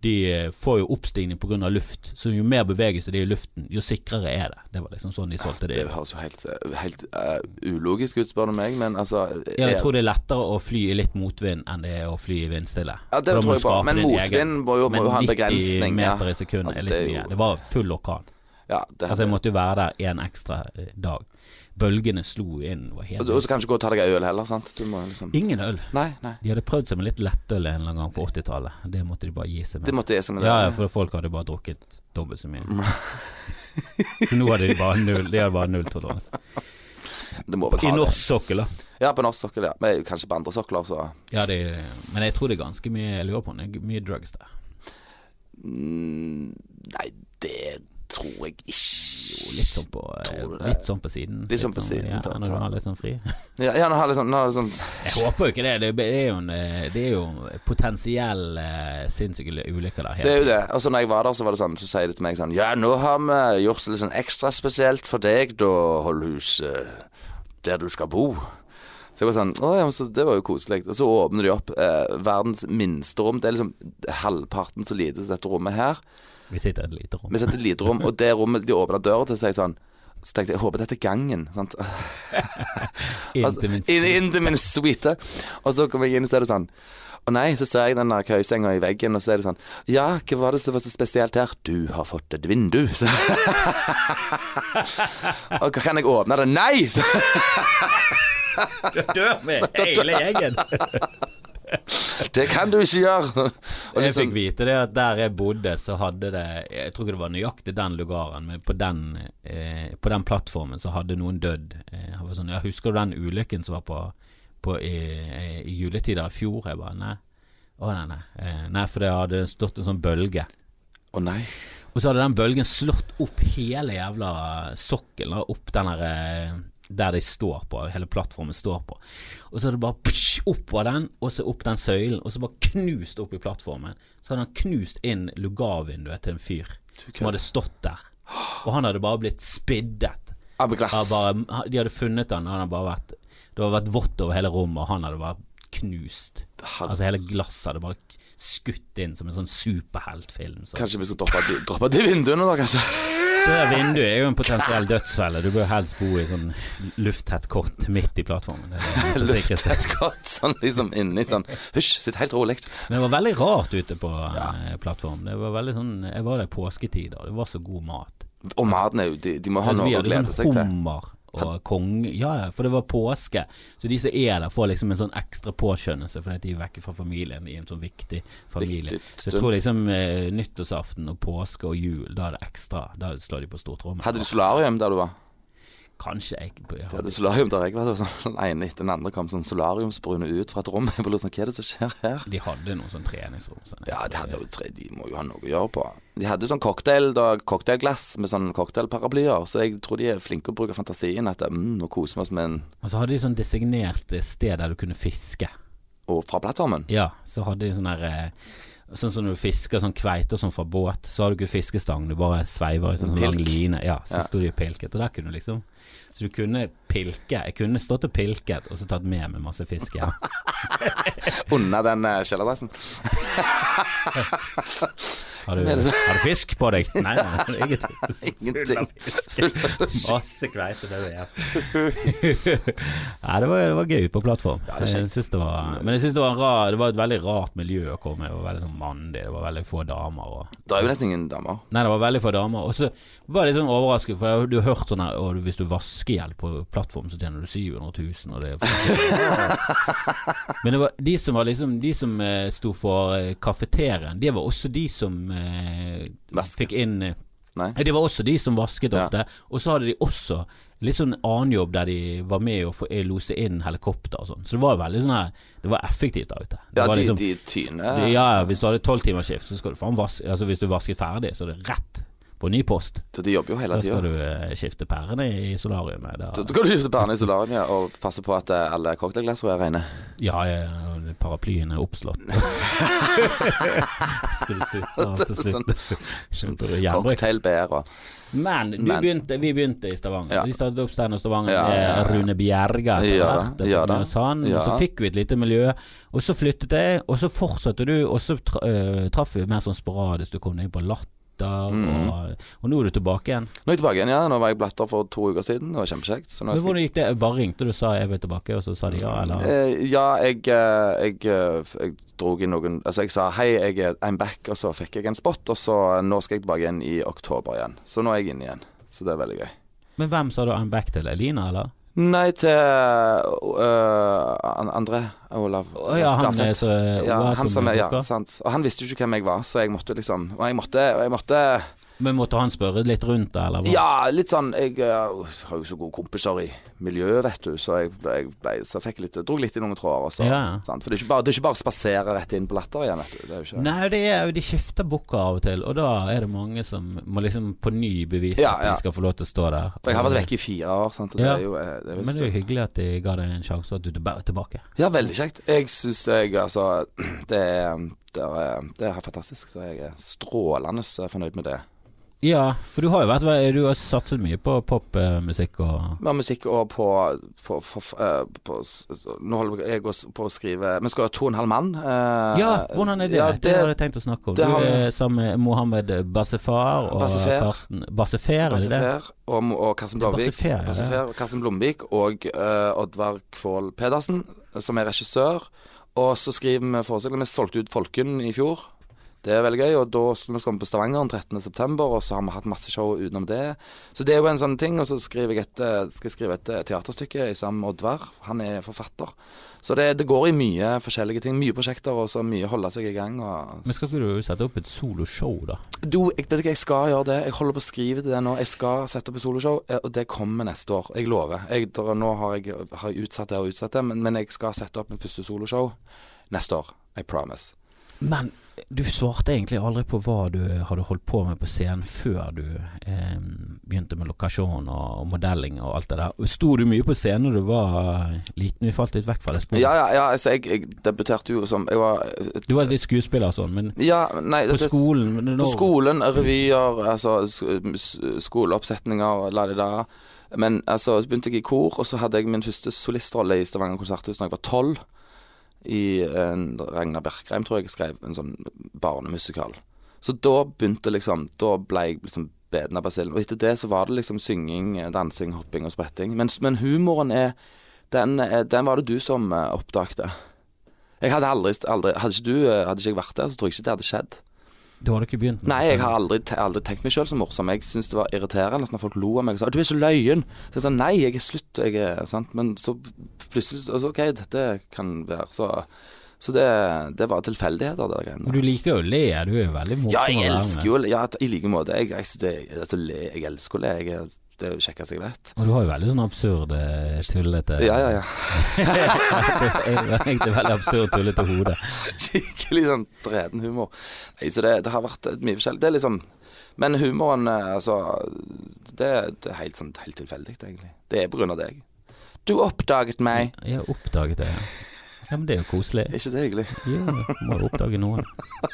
S1: de eh, får jo oppstigning pga. luft, så jo mer bevegelse det er i luften, jo sikrere er det. Det var liksom sånn de solgte det.
S2: Det høres jo helt, helt eh, ulogisk ut, spør du meg, men altså
S1: Ja, jeg
S2: er-
S1: tror det er lettere å fly i litt motvind enn det er å fly i vindstille.
S2: Ja, det
S1: For da må
S2: tror
S1: du
S2: jeg på,
S1: skape
S2: men
S1: din
S2: motvind
S1: egen-
S2: må jo- må
S1: Men
S2: jo ha en
S1: 90
S2: begrensning, ja.
S1: meter i sekundet
S2: Altså,
S1: er litt
S2: det er jo-
S1: mye. Det var full orkan.
S2: ja, det,
S1: Altså Jeg måtte jo være der en ekstra eh, dag. Bølgene slo inn. Var
S2: Og
S1: helt
S2: du- og så kan du ikke gå og ta deg en øl heller, sant? Du må liksom
S1: Ingen øl.
S2: Nei, nei.
S1: De hadde prøvd seg med litt lettøl en eller annen gang på 80-tallet. Det måtte de bare gi seg
S2: Det
S1: med.
S2: måtte jeg som en
S1: Ja, ja, for folk hadde bare drukket dobbelt
S2: [LAUGHS]
S1: så mye. Så nå hadde de bare null, de hadde bare null toleranse.
S2: Det må vel
S1: I
S2: ha det.
S1: norsk sokkel, da.
S2: Ja, på norsk sokkel, ja. Men kanskje på andre sokler, så
S1: Ja, det, men jeg tror det er ganske mye Jeg lurer på om det er mye drugs der.
S2: mm, Nei, det tror jeg ikke.
S1: Litt sånn på,
S2: Tror du det?
S1: litt sånn på siden.
S2: Litt sånn på siden,
S1: Ja,
S2: da,
S1: når du
S2: tror jeg.
S1: har litt sånn fri.
S2: [LAUGHS] Ja, ja nå har jeg sånn, nå har jeg sånn
S1: Jeg håper jo ikke det. Det er jo, en, eh, det er jo potensiell eh, sinnssyke ulykker der.
S2: Det er
S1: Helt.
S2: jo det. Og så når jeg var der, så var det sånn, så sier de til meg sånn Ja, nå har vi gjort det litt sånn ekstra spesielt for deg, da, Holdhus, eh, der du skal bo. Så jeg var sånn Å ja, men så det var jo koselig. Og så åpner de opp eh, verdens minste rom. Det er liksom halvparten så lite som dette rommet her.
S1: Vi sitter i et lite rom.
S2: Vi setter et lite rom, og det rommet de åpner døra til, sier sånn så tenkte jeg, jeg håper dette er gangen. Sant?
S1: Inn
S2: Altså,
S1: til min [LAUGHS]
S2: in, in til min suite. Og så kom jeg inn, og så er det sånn Å nei, så ser jeg den der køysenga i veggen, og så er det sånn Ja, hva var det som var så spesielt her? Du har fått et vindu. [LAUGHS] Så. og kan jeg åpne det? Nei! [LAUGHS] Så,
S1: dør med hele gjengen.
S2: det kan du ikke gjøre. Og
S1: Jeg
S2: liksom,
S1: fikk vite det at der jeg bodde, så hadde det Jeg tror ikke det var nøyaktig den lugaren, men på den, eh, på den plattformen så hadde noen dødd. Eh, jeg var sånn, ja, husker du den ulykken som var på, på i, i juletider i fjor? Jeg bare nei. Å nei, nei. Eh, nei, for det hadde stått en sånn bølge.
S2: Å nei.
S1: Og så hadde den bølgen slått opp hele jævla sokkelen, da, opp den der eh, der de står på, hele plattformen står på. Og så hadde det bare psh, oppover den, og så opp den søylen, og så bare knust opp i plattformen. Så hadde han knust inn lugarvinduet til en fyr som hadde stått der. Og han hadde bare blitt spiddet.
S2: Av
S1: Han
S2: glass.
S1: bare, de hadde funnet han, han hadde bare vært Det hadde vært vått over hele rommet, og han hadde vært knust.
S2: Herre-
S1: Altså hele glasset hadde bare skutt inn som en sånn superheltfilm. Så.
S2: Kanskje vi skal droppe, de- droppe de vinduene, da, kanskje?
S1: Det der vinduet er jo en potensiell dødsfelle. Du bør helst bo i sånn lufttett kott midt i plattformen. Det er det eneste
S2: [LAUGHS]
S1: sikreste.
S2: Luftet godt, sånn liksom inni sånn Hysj, sitt helt rolig.
S1: Men det var veldig rart ute på eh, plattformen. Det var veldig sånn, jeg var der i påsketider, og det var så god mat.
S2: Og maten er jo De, de må ha
S1: Altså, vi
S2: noe å
S1: hadde
S2: glede seg
S1: sånn
S2: til.
S1: hummer og konge Ja, ja, for det var påske. Så de som er der, får liksom en sånn ekstra påskjønnelse fordi at de er vekke fra familien i en sånn viktig familie.
S2: Viktig
S1: Så jeg tror liksom eh, nyttårsaften og påske og jul, da er det ekstra. Da slår de på stortrommen.
S2: Hadde du solarium der du var?
S1: Kanskje jeg
S2: Jeg hadde solarium der jeg var. så var Sånn, [LAUGHS] den ene etter den andre kom sånn solariumsbrune ut fra et rom. [LAUGHS] Jeg bare lurte sånn, Hva er det som skjer her?
S1: De hadde noen sånn treningsrom. Sånn,
S2: Ja, de hadde jo tre De må jo ha noe å gjøre på. De hadde sånn cocktail, da, cocktailglass med sånn cocktailparaplyer, så jeg tror de er flinke å bruke fantasien. At mm, nå koser vi oss med en
S1: Og så hadde de sånn designert eh, sted der du kunne fiske.
S2: Og fra plattformen. [LAUGHS]
S1: Ja, så hadde de sånn der eh, Sånn som når du fisker sånn kveite og sånn fra båt, så har du ikke fiskestang, du bare sveiver ut en sånn lang
S2: Pilk.
S1: line. Ja, så
S2: Ja.
S1: sto de og pilket, og der kunne du liksom Så du kunne pilke. Jeg kunne stått og pilket, og så tatt med meg masse fisk hjem.
S2: eh, Under den uh, kjellerdressen.
S1: Har du,
S2: er det så-
S1: har du fisk på deg? Nei, nei, det er ingenting.
S2: [LAUGHS] Ingenting.
S1: Full av fisk. Masse kveite med ja. Nei, det var, det var gøy på plattform.
S2: det er kjekt.
S1: jeg syns det var, men jeg syns det var en rar Det var et veldig rart miljø å komme i. Det var veldig sånn mandig, det var veldig få damer. Og
S2: Det er jo nesten ingen damer.
S1: Nei, det var veldig få damer. Og så var jeg litt sånn overrasket, for jeg, hadde jo hørt sånn her «Å, du- Hvis du vasker hjelp på plattform, så tjener du 700 000, og det
S2: [LAUGHS]
S1: Men det var de som var liksom De som eh, sto for eh, kafeteriaen, det var også de som eh,
S2: Vasket.
S1: fikk inn eh,
S2: Nei.
S1: Det var også de som vasket
S2: Ja.
S1: ofte, og så hadde de også litt sånn annen jobb der de var med å få eh, lose inn helikopter og sånn. Så det var veldig sånn her Det var effektivt der ute. Det
S2: Ja,
S1: var
S2: de,
S1: liksom-
S2: de tyner
S1: det- Ja, ja, hvis du hadde tolvtimersskift, så skal du faen vaske Altså hvis du vasket ferdig, så er det rett på ny post.
S2: De jobber jo hele
S1: Da skal
S2: tida.
S1: du eh, skifte pærene i solariumet. Da.
S2: Så skal du skifte pærene i solariet ja, og passe på at eh, alle cocktailglassene er rene.
S1: Ja, ja, ja, paraplyen er oppslått. [LAUGHS] skal du sitte og til slutt Skjønte du? Jernbrøk.
S2: Cocktailbær og
S1: Men, du
S2: Men-
S1: Begynte, vi begynte i Stavanger.
S2: Ja.
S1: Vi startet opp Stein og Stavanger
S2: Ja,
S1: med
S2: ja, ja.
S1: Rune Bjerga. etter
S2: Ja da,
S1: hvert, altså, og
S2: ja
S1: så
S2: da,
S1: Nynäshamn,
S2: ja.
S1: Og så fikk vi et lite miljø, og så flyttet jeg, og så fortsatte du, og så tra øh, traff vi mer sånn sporadisk. Du kom deg inn på Latter, og, og nå er du tilbake igjen.
S2: Mhm. Nå er jeg tilbake igjen, ja. Nå var jeg blatter for to uker siden. Det var kjempekjekt. Så nå
S1: Men
S2: skal
S1: Hvordan gikk det? Bare ringte du og sa 'jeg vil tilbake', og så sa de ja, eller?
S2: Eh, ja, jeg, eh, jeg, eh, f- jeg dro inn noen Altså, jeg sa hei, jeg er I'm back, og så fikk jeg en spot, og så eh, nå skal jeg tilbake igjen i oktober igjen. Så nå er jeg inne igjen. Så det er veldig gøy.
S1: Men hvem sa du 'I'm back' til? Elina, eller?
S2: Nei til eh, An- André Olav
S1: Å ja, han er
S2: Skarseth.
S1: så
S2: ja,
S1: Ola
S2: han
S1: som
S2: som er, ja,
S1: dukker.
S2: sant. Og han visste jo ikke hvem jeg var, så jeg måtte liksom Og jeg måtte, og jeg måtte
S1: Men måtte han spørre litt rundt det, eller? hva?
S2: Ja, litt sånn Jeg eh, har jo så gode kompiser i miljøet, vet du, så jeg, ble- jeg ble, så fikk litt, dro litt i noen tråder. Og så,
S1: Ja, ja.
S2: sant? For det er ikke bare, det er ikke bare å spasere rett inn på latter igjen, vet du. Det er jo ikke
S1: Nei, det er, jo- de skifter booker av og til, og da er det mange som må liksom på ny bevise
S2: Ja,
S1: at
S2: ja.
S1: de skal få lov til å stå der.
S2: For jeg har vært vekke i fire år, sant. Og
S1: Ja.
S2: det er jo, eh, det er jo
S1: Men det er jo hyggelig at de ga deg en sjanse, og at du er tilbake.
S2: Ja, veldig kjekt. Jeg syns jeg altså [CLEARS THROAT] det er, det, er, det er fantastisk. Så jeg er strålende fornøyd med det.
S1: Ja, for du har jo vært Du har satset mye på popmusikk og
S2: Vi har musikk og på, på, for- eh, på s- Nå holder jeg oss på å skrive Vi skal ha to og en halv mann. eh,
S1: Ja, hvordan er det?
S2: Ja,
S1: det,
S2: det,
S1: hadde jeg tenkt å snakke om. Du
S2: det har vi.
S1: er sammen med Mohammed Basefar og
S2: Bassefer.
S1: Karsten Bassefer, er det det?
S2: Bassefer og, Mo- og Karsten
S1: Det er
S2: Blomvik.
S1: Bassefer, ja, det er.
S2: Bassefer og Karsten Blomvik og eh, Oddvar Kvål Pedersen, som er regissør. Og så skriver vi forestillinger. Vi solgte ut Folken i fjor. Det er veldig gøy. Og da skal vi komme på Stavanger den 13.9., og så har vi hatt masse show utenom det. Så det er jo en sånn ting. Og så skriver jeg et, eh, skal jeg skrive et eh, teaterstykke sammen med Oddvar. Han er forfatter. Så det, det går i mye forskjellige ting. Mye prosjekter, og så mye holde seg i gang. Og
S1: Men skal ikke du sette opp et soloshow, da?
S2: du, jeg, vet ikke, jeg skal gjøre det. Jeg holder på å skrive til det nå. Jeg skal sette opp et soloshow, eh, og det kommer neste år. Jeg lover. Jeg, der, nå har jeg har jeg utsatt det og utsatt det, men, men jeg skal sette opp mitt første soloshow neste år. I promise.
S1: Men du svarte egentlig aldri på hva du eh, hadde holdt på med på scenen før du eh, begynte med lokasjon og, og modelling og alt det der. Sto du mye på scenen da du var eh, liten? Vi falt litt vekk fra det sporet.
S2: Ja, ja, ja altså, jeg, jeg debuterte jo som Jeg var eh,
S1: Du var litt skuespiller og sånn, men
S2: Ja, nei
S1: på
S2: det-
S1: skolen men
S2: På
S1: når-
S2: skolen, revyer, altså sk- s- skoleoppsetninger, la det da. Men altså, så begynte jeg i kor, og så hadde jeg min første solistrolle i Stavanger konserthus da jeg var tolv. I en Ragnar Bjerkreim, tror jeg, skrev en sånn barnemusikal. Så da begynte liksom Da ble jeg liksom beden av basillen. Og etter det så var det liksom synging, dansing, hopping og spretting. Men, men humoren er den, eh, den var det du som eh, oppdagte. Jeg hadde aldri, aldri Hadde ikke du eh, Hadde ikke jeg vært der, så tror jeg ikke det hadde skjedd.
S1: Du hadde ikke begynt med
S2: Nei, jeg har aldri, te aldri tenkt meg sjøl så morsom. Jeg syntes det var irriterende når folk lo av meg og sa 'du er så løyen'. Så jeg sa nei, jeg er slutt, jeg er sant. Men så plutselig så- altså, OK, dette kan være så Så det, det var tilfeldigheter, det der
S1: Men
S2: greiene.
S1: Du liker jo å le, du er jo veldig morsom. å
S2: Ja, jeg
S1: være med.
S2: elsker jo Ja, i like måte. Jeg, jeg, synes det, altså, le, jeg elsker å le. Jeg, er- det er jo det kjekkeste jeg vet.
S1: Og du har jo veldig sånn absurd, eh, tullete
S2: Ja, ja, ja.
S1: [LAUGHS] Egentlig veldig absurd, tullete hode.
S2: Skikkelig sånn dreden humor. Nei, så det, det har vært mye forskjellig. Det er liksom Men humoren, eh, altså Det, det er helt, sånn, helt tilfeldig, egentlig. Det er på grunn av deg. Du oppdaget meg.
S1: Jeg har oppdaget det. Mm. Ja, men det er jo koselig.
S2: Er ikke det hyggelig?
S1: Jo, må jo oppdage noen. [LAUGHS]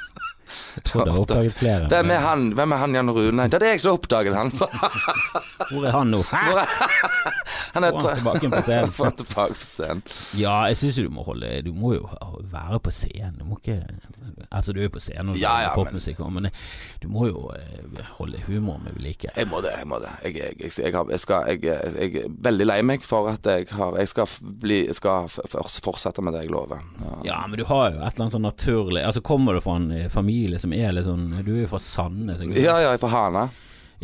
S1: Tror det har oppdaget flere.
S2: Hvem er han Hvem er han Jan Rune? Det er jeg som oppdaget han, sa han.
S1: Hvor er han nå? Hæ?
S2: Han er
S1: Få han tilbake på [LAUGHS] scenen.
S2: [LAUGHS] Få han tilbake på scenen.
S1: Ja, jeg syns du må holde Du må jo være på scenen. Du må ikke Altså, du er på scenen og
S2: Ja,
S1: lager
S2: ja, men-
S1: popmusikk, men, du må jo eh, holde humoren ved like.
S2: Jeg må det, jeg må det. Jeg, jeg, jeg, jeg, har, jeg, skal, jeg, jeg, jeg er veldig lei meg for at jeg har Jeg skal, f- bli, jeg skal f- f- fortsette med det jeg lover. Ja.
S1: Ja, men du har jo et eller annet sånn naturlig Altså, kommer du fra en eh, familie som er litt sånn Du er jo fra Sandnes, ikke sant?
S2: Ja, ja, jeg får hane.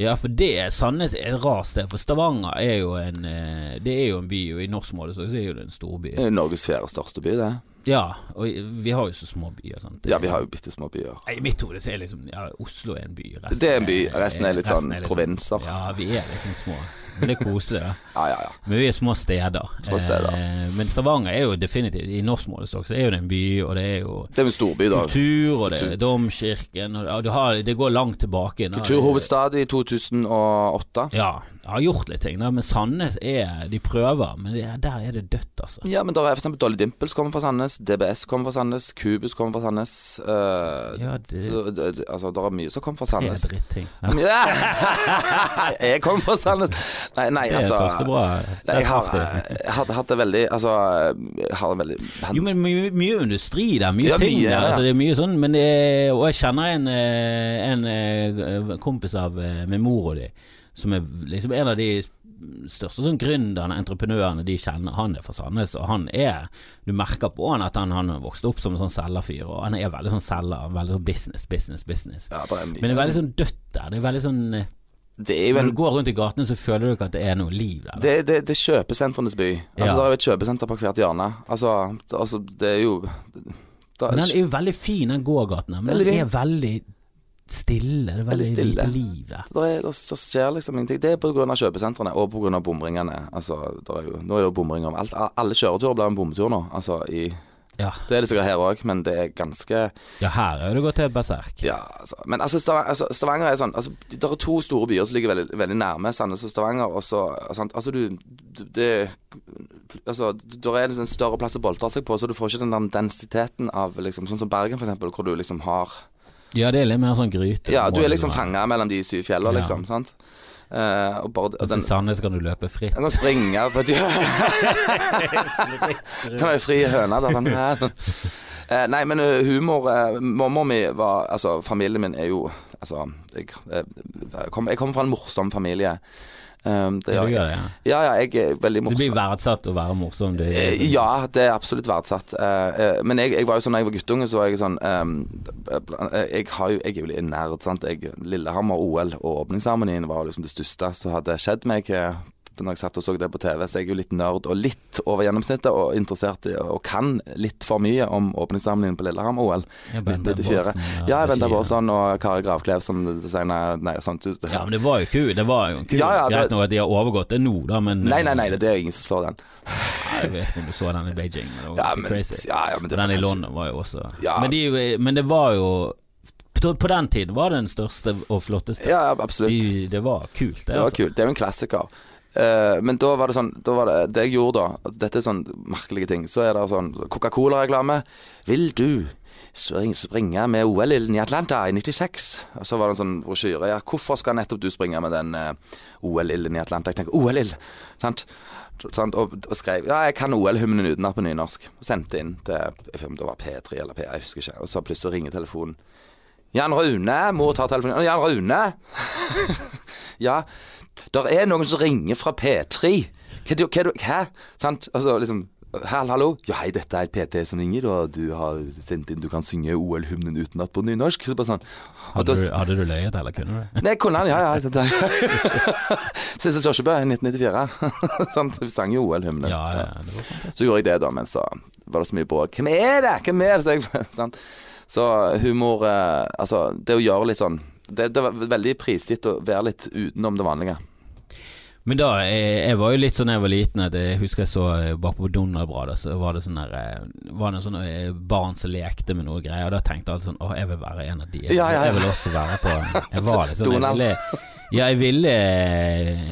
S1: Ja, for det er Sandnes er et rart sted, for Stavanger er jo en eh, Det er jo en by, og i norsk måte så er jo det en storby.
S2: Det er Norges fjerde største by, det.
S1: Ja, og i- vi har jo så små byer, sant.
S2: Ja, vi har jo bitte små byer.
S1: Nei, I mitt hode så er liksom ja, Oslo er en by. resten
S2: Det er en by, resten er litt sånn
S1: liksom-
S2: provinser.
S1: Ja, vi er liksom små. Men det er koselig, da.
S2: Ja, ja, ja.
S1: Men vi er små steder.
S2: Små steder.
S1: Eh, men Stavanger er jo definitivt I norsk målestokk så er jo det en by, og det er jo
S2: Det er jo en storby, da.
S1: kultur, og det er domkirken og ja, du har, Det går langt tilbake. da.
S2: Kulturhovedstad i 2008.
S1: Ja. Jeg har gjort litt ting, da, men Sandnes er De prøver, men det, er- der er det dødt, altså.
S2: Ja, men der er for eksempel Dolly Dimples kommer fra Sandnes, DBS kommer fra Sandnes, Cubus kommer fra Sandnes. eh,
S1: Ja, det-
S2: så, det, det- altså, der er mye som kommer fra
S1: Det er
S2: Sandnes.
S1: dritting. Ja.
S2: Ja. [LAUGHS] jeg kommer fra Sandnes. Nei, nei,
S1: Det er
S2: altså
S1: første bra.
S2: Nei,
S1: Der
S2: jeg, har,
S1: traff det.
S2: jeg hadde hatt det veldig Altså, jeg har veldig
S1: Jo, men mye, mye industri der, mye
S2: Ja,
S1: ting
S2: mye,
S1: der.
S2: ja.
S1: Altså, det er mye sånn, men det er, og jeg kjenner en, eh, en eh, kompis av eh, min mor og de, som er liksom en av de største sånn gründerne, entreprenørene de kjenner. Han er fra Sandnes, og han er Du merker på han at han, han vokste opp som en sånn selgerfyr, og han er veldig sånn selger, veldig sånn business, business, business.
S2: ja, det, er mye.
S1: Men det er veldig sånn dødt der. Det er veldig sånn eh,
S2: det er jo
S1: Når
S2: en
S1: du går rundt i gatene, så føler du ikke at det er noe liv der.
S2: Det, det, det er kjøpesentrenes by. Altså,
S1: Ja.
S2: Det er jo et kjøpesenter på hvert hjørne. Altså, det, altså, det er jo det
S1: Men den
S2: er,
S1: er jo veldig fin, den gågaten her, men
S2: Veldig
S1: den
S2: fin.
S1: er veldig stille. Det er veldig,
S2: Veldig stille.
S1: lite liv der.
S2: det, er, det skjer liksom ingenting. Det er pga. kjøpesentrene og pga. bomringene. Altså, det er jo, nå er det jo bomringer. om Alt, alle kjøreturer blir en bomtur nå. Altså, i,
S1: Ja,
S2: det er det sikkert her òg, men det er ganske
S1: ja her er det gått til berserk.
S2: Ja, altså. Men altså, Stavanger, altså, Stavanger er sånn altså, Det er to store byer som ligger veldig, veldig nærme, Sandnes og Stavanger. Og så, sant? Altså, du, du det, altså, Der er liksom en større plass å boltre seg på, så du får ikke den der densiteten av liksom, Sånn som Bergen, for eksempel, hvor du liksom har
S1: Ja, det er litt mer sånn gryte.
S2: Ja, du er liksom
S1: fanget
S2: fanga mellom de syv fjellene,
S1: Ja.
S2: liksom. Sant? Eh, og bare, og
S1: Altså,
S2: den,
S1: I Sandnes kan du løpe fritt.
S2: den kan springe på et
S1: [LAUGHS]
S2: Det var ei fri høne. Da. Den her. Eh, Nei, men eh, humor eh, Mamma mi var Altså, familien min er jo Altså, jeg, eh, jeg kommer jeg kommer fra en morsom familie. Um, det
S1: Ja,
S2: gjør
S1: du
S2: jeg.
S1: gjør det, ja.
S2: Ja, ja, jeg er veldig
S1: Du blir
S2: morsom.
S1: verdsatt å være morsom. liksom- Du,
S2: Eh, Ja, det er absolutt verdsatt. Eh, eh, Men jeg, jeg var jo sånn da jeg var guttunge, så var jeg sånn eh, Jeg, har jo, jeg er jo litt nerd, sant. Jeg, Lillehammer OL og åpningsseremonien var liksom det største som hadde skjedd meg. eh, Når jeg satt og så det på TV, så jeg er jo litt nerd og litt over gjennomsnittet, og interessert i og kan litt for mye om åpningsseremonien på Lillehammer-OL.
S1: Ja, Bente
S2: 1994.
S1: Bårdsen,
S2: Ja,
S1: ja,
S2: Bente
S1: regi, ja.
S2: Bårdsen og Kari Gravklev som designer Nei, sånt. du-
S1: Ja, men det var jo kul. Det var jo en kul.
S2: Ja, ja, det-
S1: Greit nok at de har overgått det nå, da, men
S2: Nei, nei, nei, det er ingen som slår den.
S1: Jeg vet ikke om du så den i Beijing, men det var
S2: Ja,
S1: ganske
S2: men,
S1: crazy.
S2: ja, ja, men det
S1: Og den i
S2: var-
S1: London var jo også
S2: Ja.
S1: men, de, men det var jo på- På den tiden var det den største og flotteste.
S2: Ja, ja, absolutt.
S1: De, det var kult, det.
S2: Det var
S1: altså.
S2: kult. Det er jo en klassiker. Eh, men da var det sånn da var det, det jeg gjorde da Dette er sånn merkelige ting. Så er det sånn Coca-Cola-reklame. Vil du spring- springe med OL-ilden i Atlanta i 96? Og så var det en sånn brosjyre. Ja, hvorfor skal nettopp du springe med den eh, OL-ilden i Atlanta? Jeg tenker OL-ild, sant? sant? Og, og skrev Ja, jeg kan OL-hymnen utenat på nynorsk. Og sendte inn til jeg vet ikke om det var P3 eller P, jeg husker ikke. Og så plutselig ringer telefonen. Jan Rune, mor tar telefonen. Jan Rune! Ja, der er noen som ringer fra P3. Hva, du, hva, du, hæ? Sant? Altså, liksom Hall, hallo? Ja, hei, dette er PT som ringer, og du har sendt inn Du kan synge OL-hymnen utenat på nynorsk. Så bare sånn. Og
S1: Hadde
S2: da-
S1: du, hadde du løyet, eller kunne du det?
S2: Nei, kunne han, ja, ja. [LAUGHS] dette er- Sissel Kyrkjebø, 1994. [LAUGHS] Sant? Vi sang jo OL-hymnen.
S1: Ja, ja, det var fantastisk.
S2: Så gjorde jeg det, da, men så var det så mye bråk. Hvem er det?! Hvem er det?! Så, jeg, sant? så humor eh, Altså, det å gjøre litt sånn Det, det var veldig prisgitt å være litt utenom det vanlige.
S1: Men da, jeg, jeg var jo litt sånn da jeg var liten at jeg husker jeg så eh, bak på Donald-bladet, så var det sånn der eh, Var det en sånn eh, barn som lekte med noe greier, og da tenkte jeg alltid sånn Å, jeg vil være en av de. Jeg,
S2: Ja, ja, ja.
S1: jeg vil også være på Jeg var litt sånn jeg
S2: Donald.
S1: ville, Ja, jeg ville,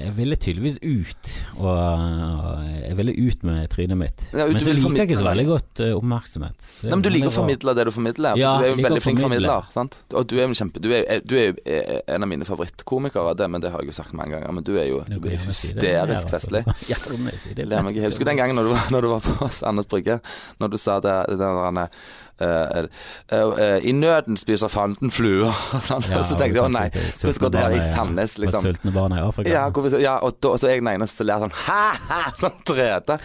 S1: jeg ville tydeligvis ut. Og, og jeg ville ut med trynet mitt.
S2: Ja, ut-
S1: Men
S2: du
S1: så liker
S2: vil
S1: jeg
S2: formidle
S1: ikke så
S2: det.
S1: veldig godt eh, oppmerksomhet. Så det
S2: Nei, men Du
S1: er
S2: liker å
S1: veldig rart.
S2: formidle det du formidler.
S1: Ja,
S2: for du er jo
S1: jeg
S2: en
S1: liker
S2: veldig
S1: å
S2: flink
S1: formidle.
S2: formidler. sant? Og du er jo en kjempe Du er, jo- du er jo eh, en av mine favorittkomikere, det, men det har jeg jo sagt mange ganger. Men du er jo
S1: Det går gjerne å si det.
S2: hysterisk festlig.
S1: [LAUGHS] Ja, altså. Gjerne si det.
S2: Ler meg i hjel. Husker du den gangen når du, var- [LAUGHS] når du var på Sandnes Brygge, når du sa det, det der han, eh, eh, eh, I nøden spiser fanden fluer. [LAUGHS] sant?
S1: Ja,
S2: og så
S1: og
S2: tenkte jeg
S1: du
S2: å
S1: kan
S2: nei,
S1: si til
S2: hvordan går det her i
S1: sultne barna
S2: Sandnes,
S1: og
S2: liksom?
S1: Sultne barna i Afrika.
S2: Ja, hvorfor, ja og, da, og så er jeg den eneste som ler sånn [LAUGHS] ha-ha, sånn trete.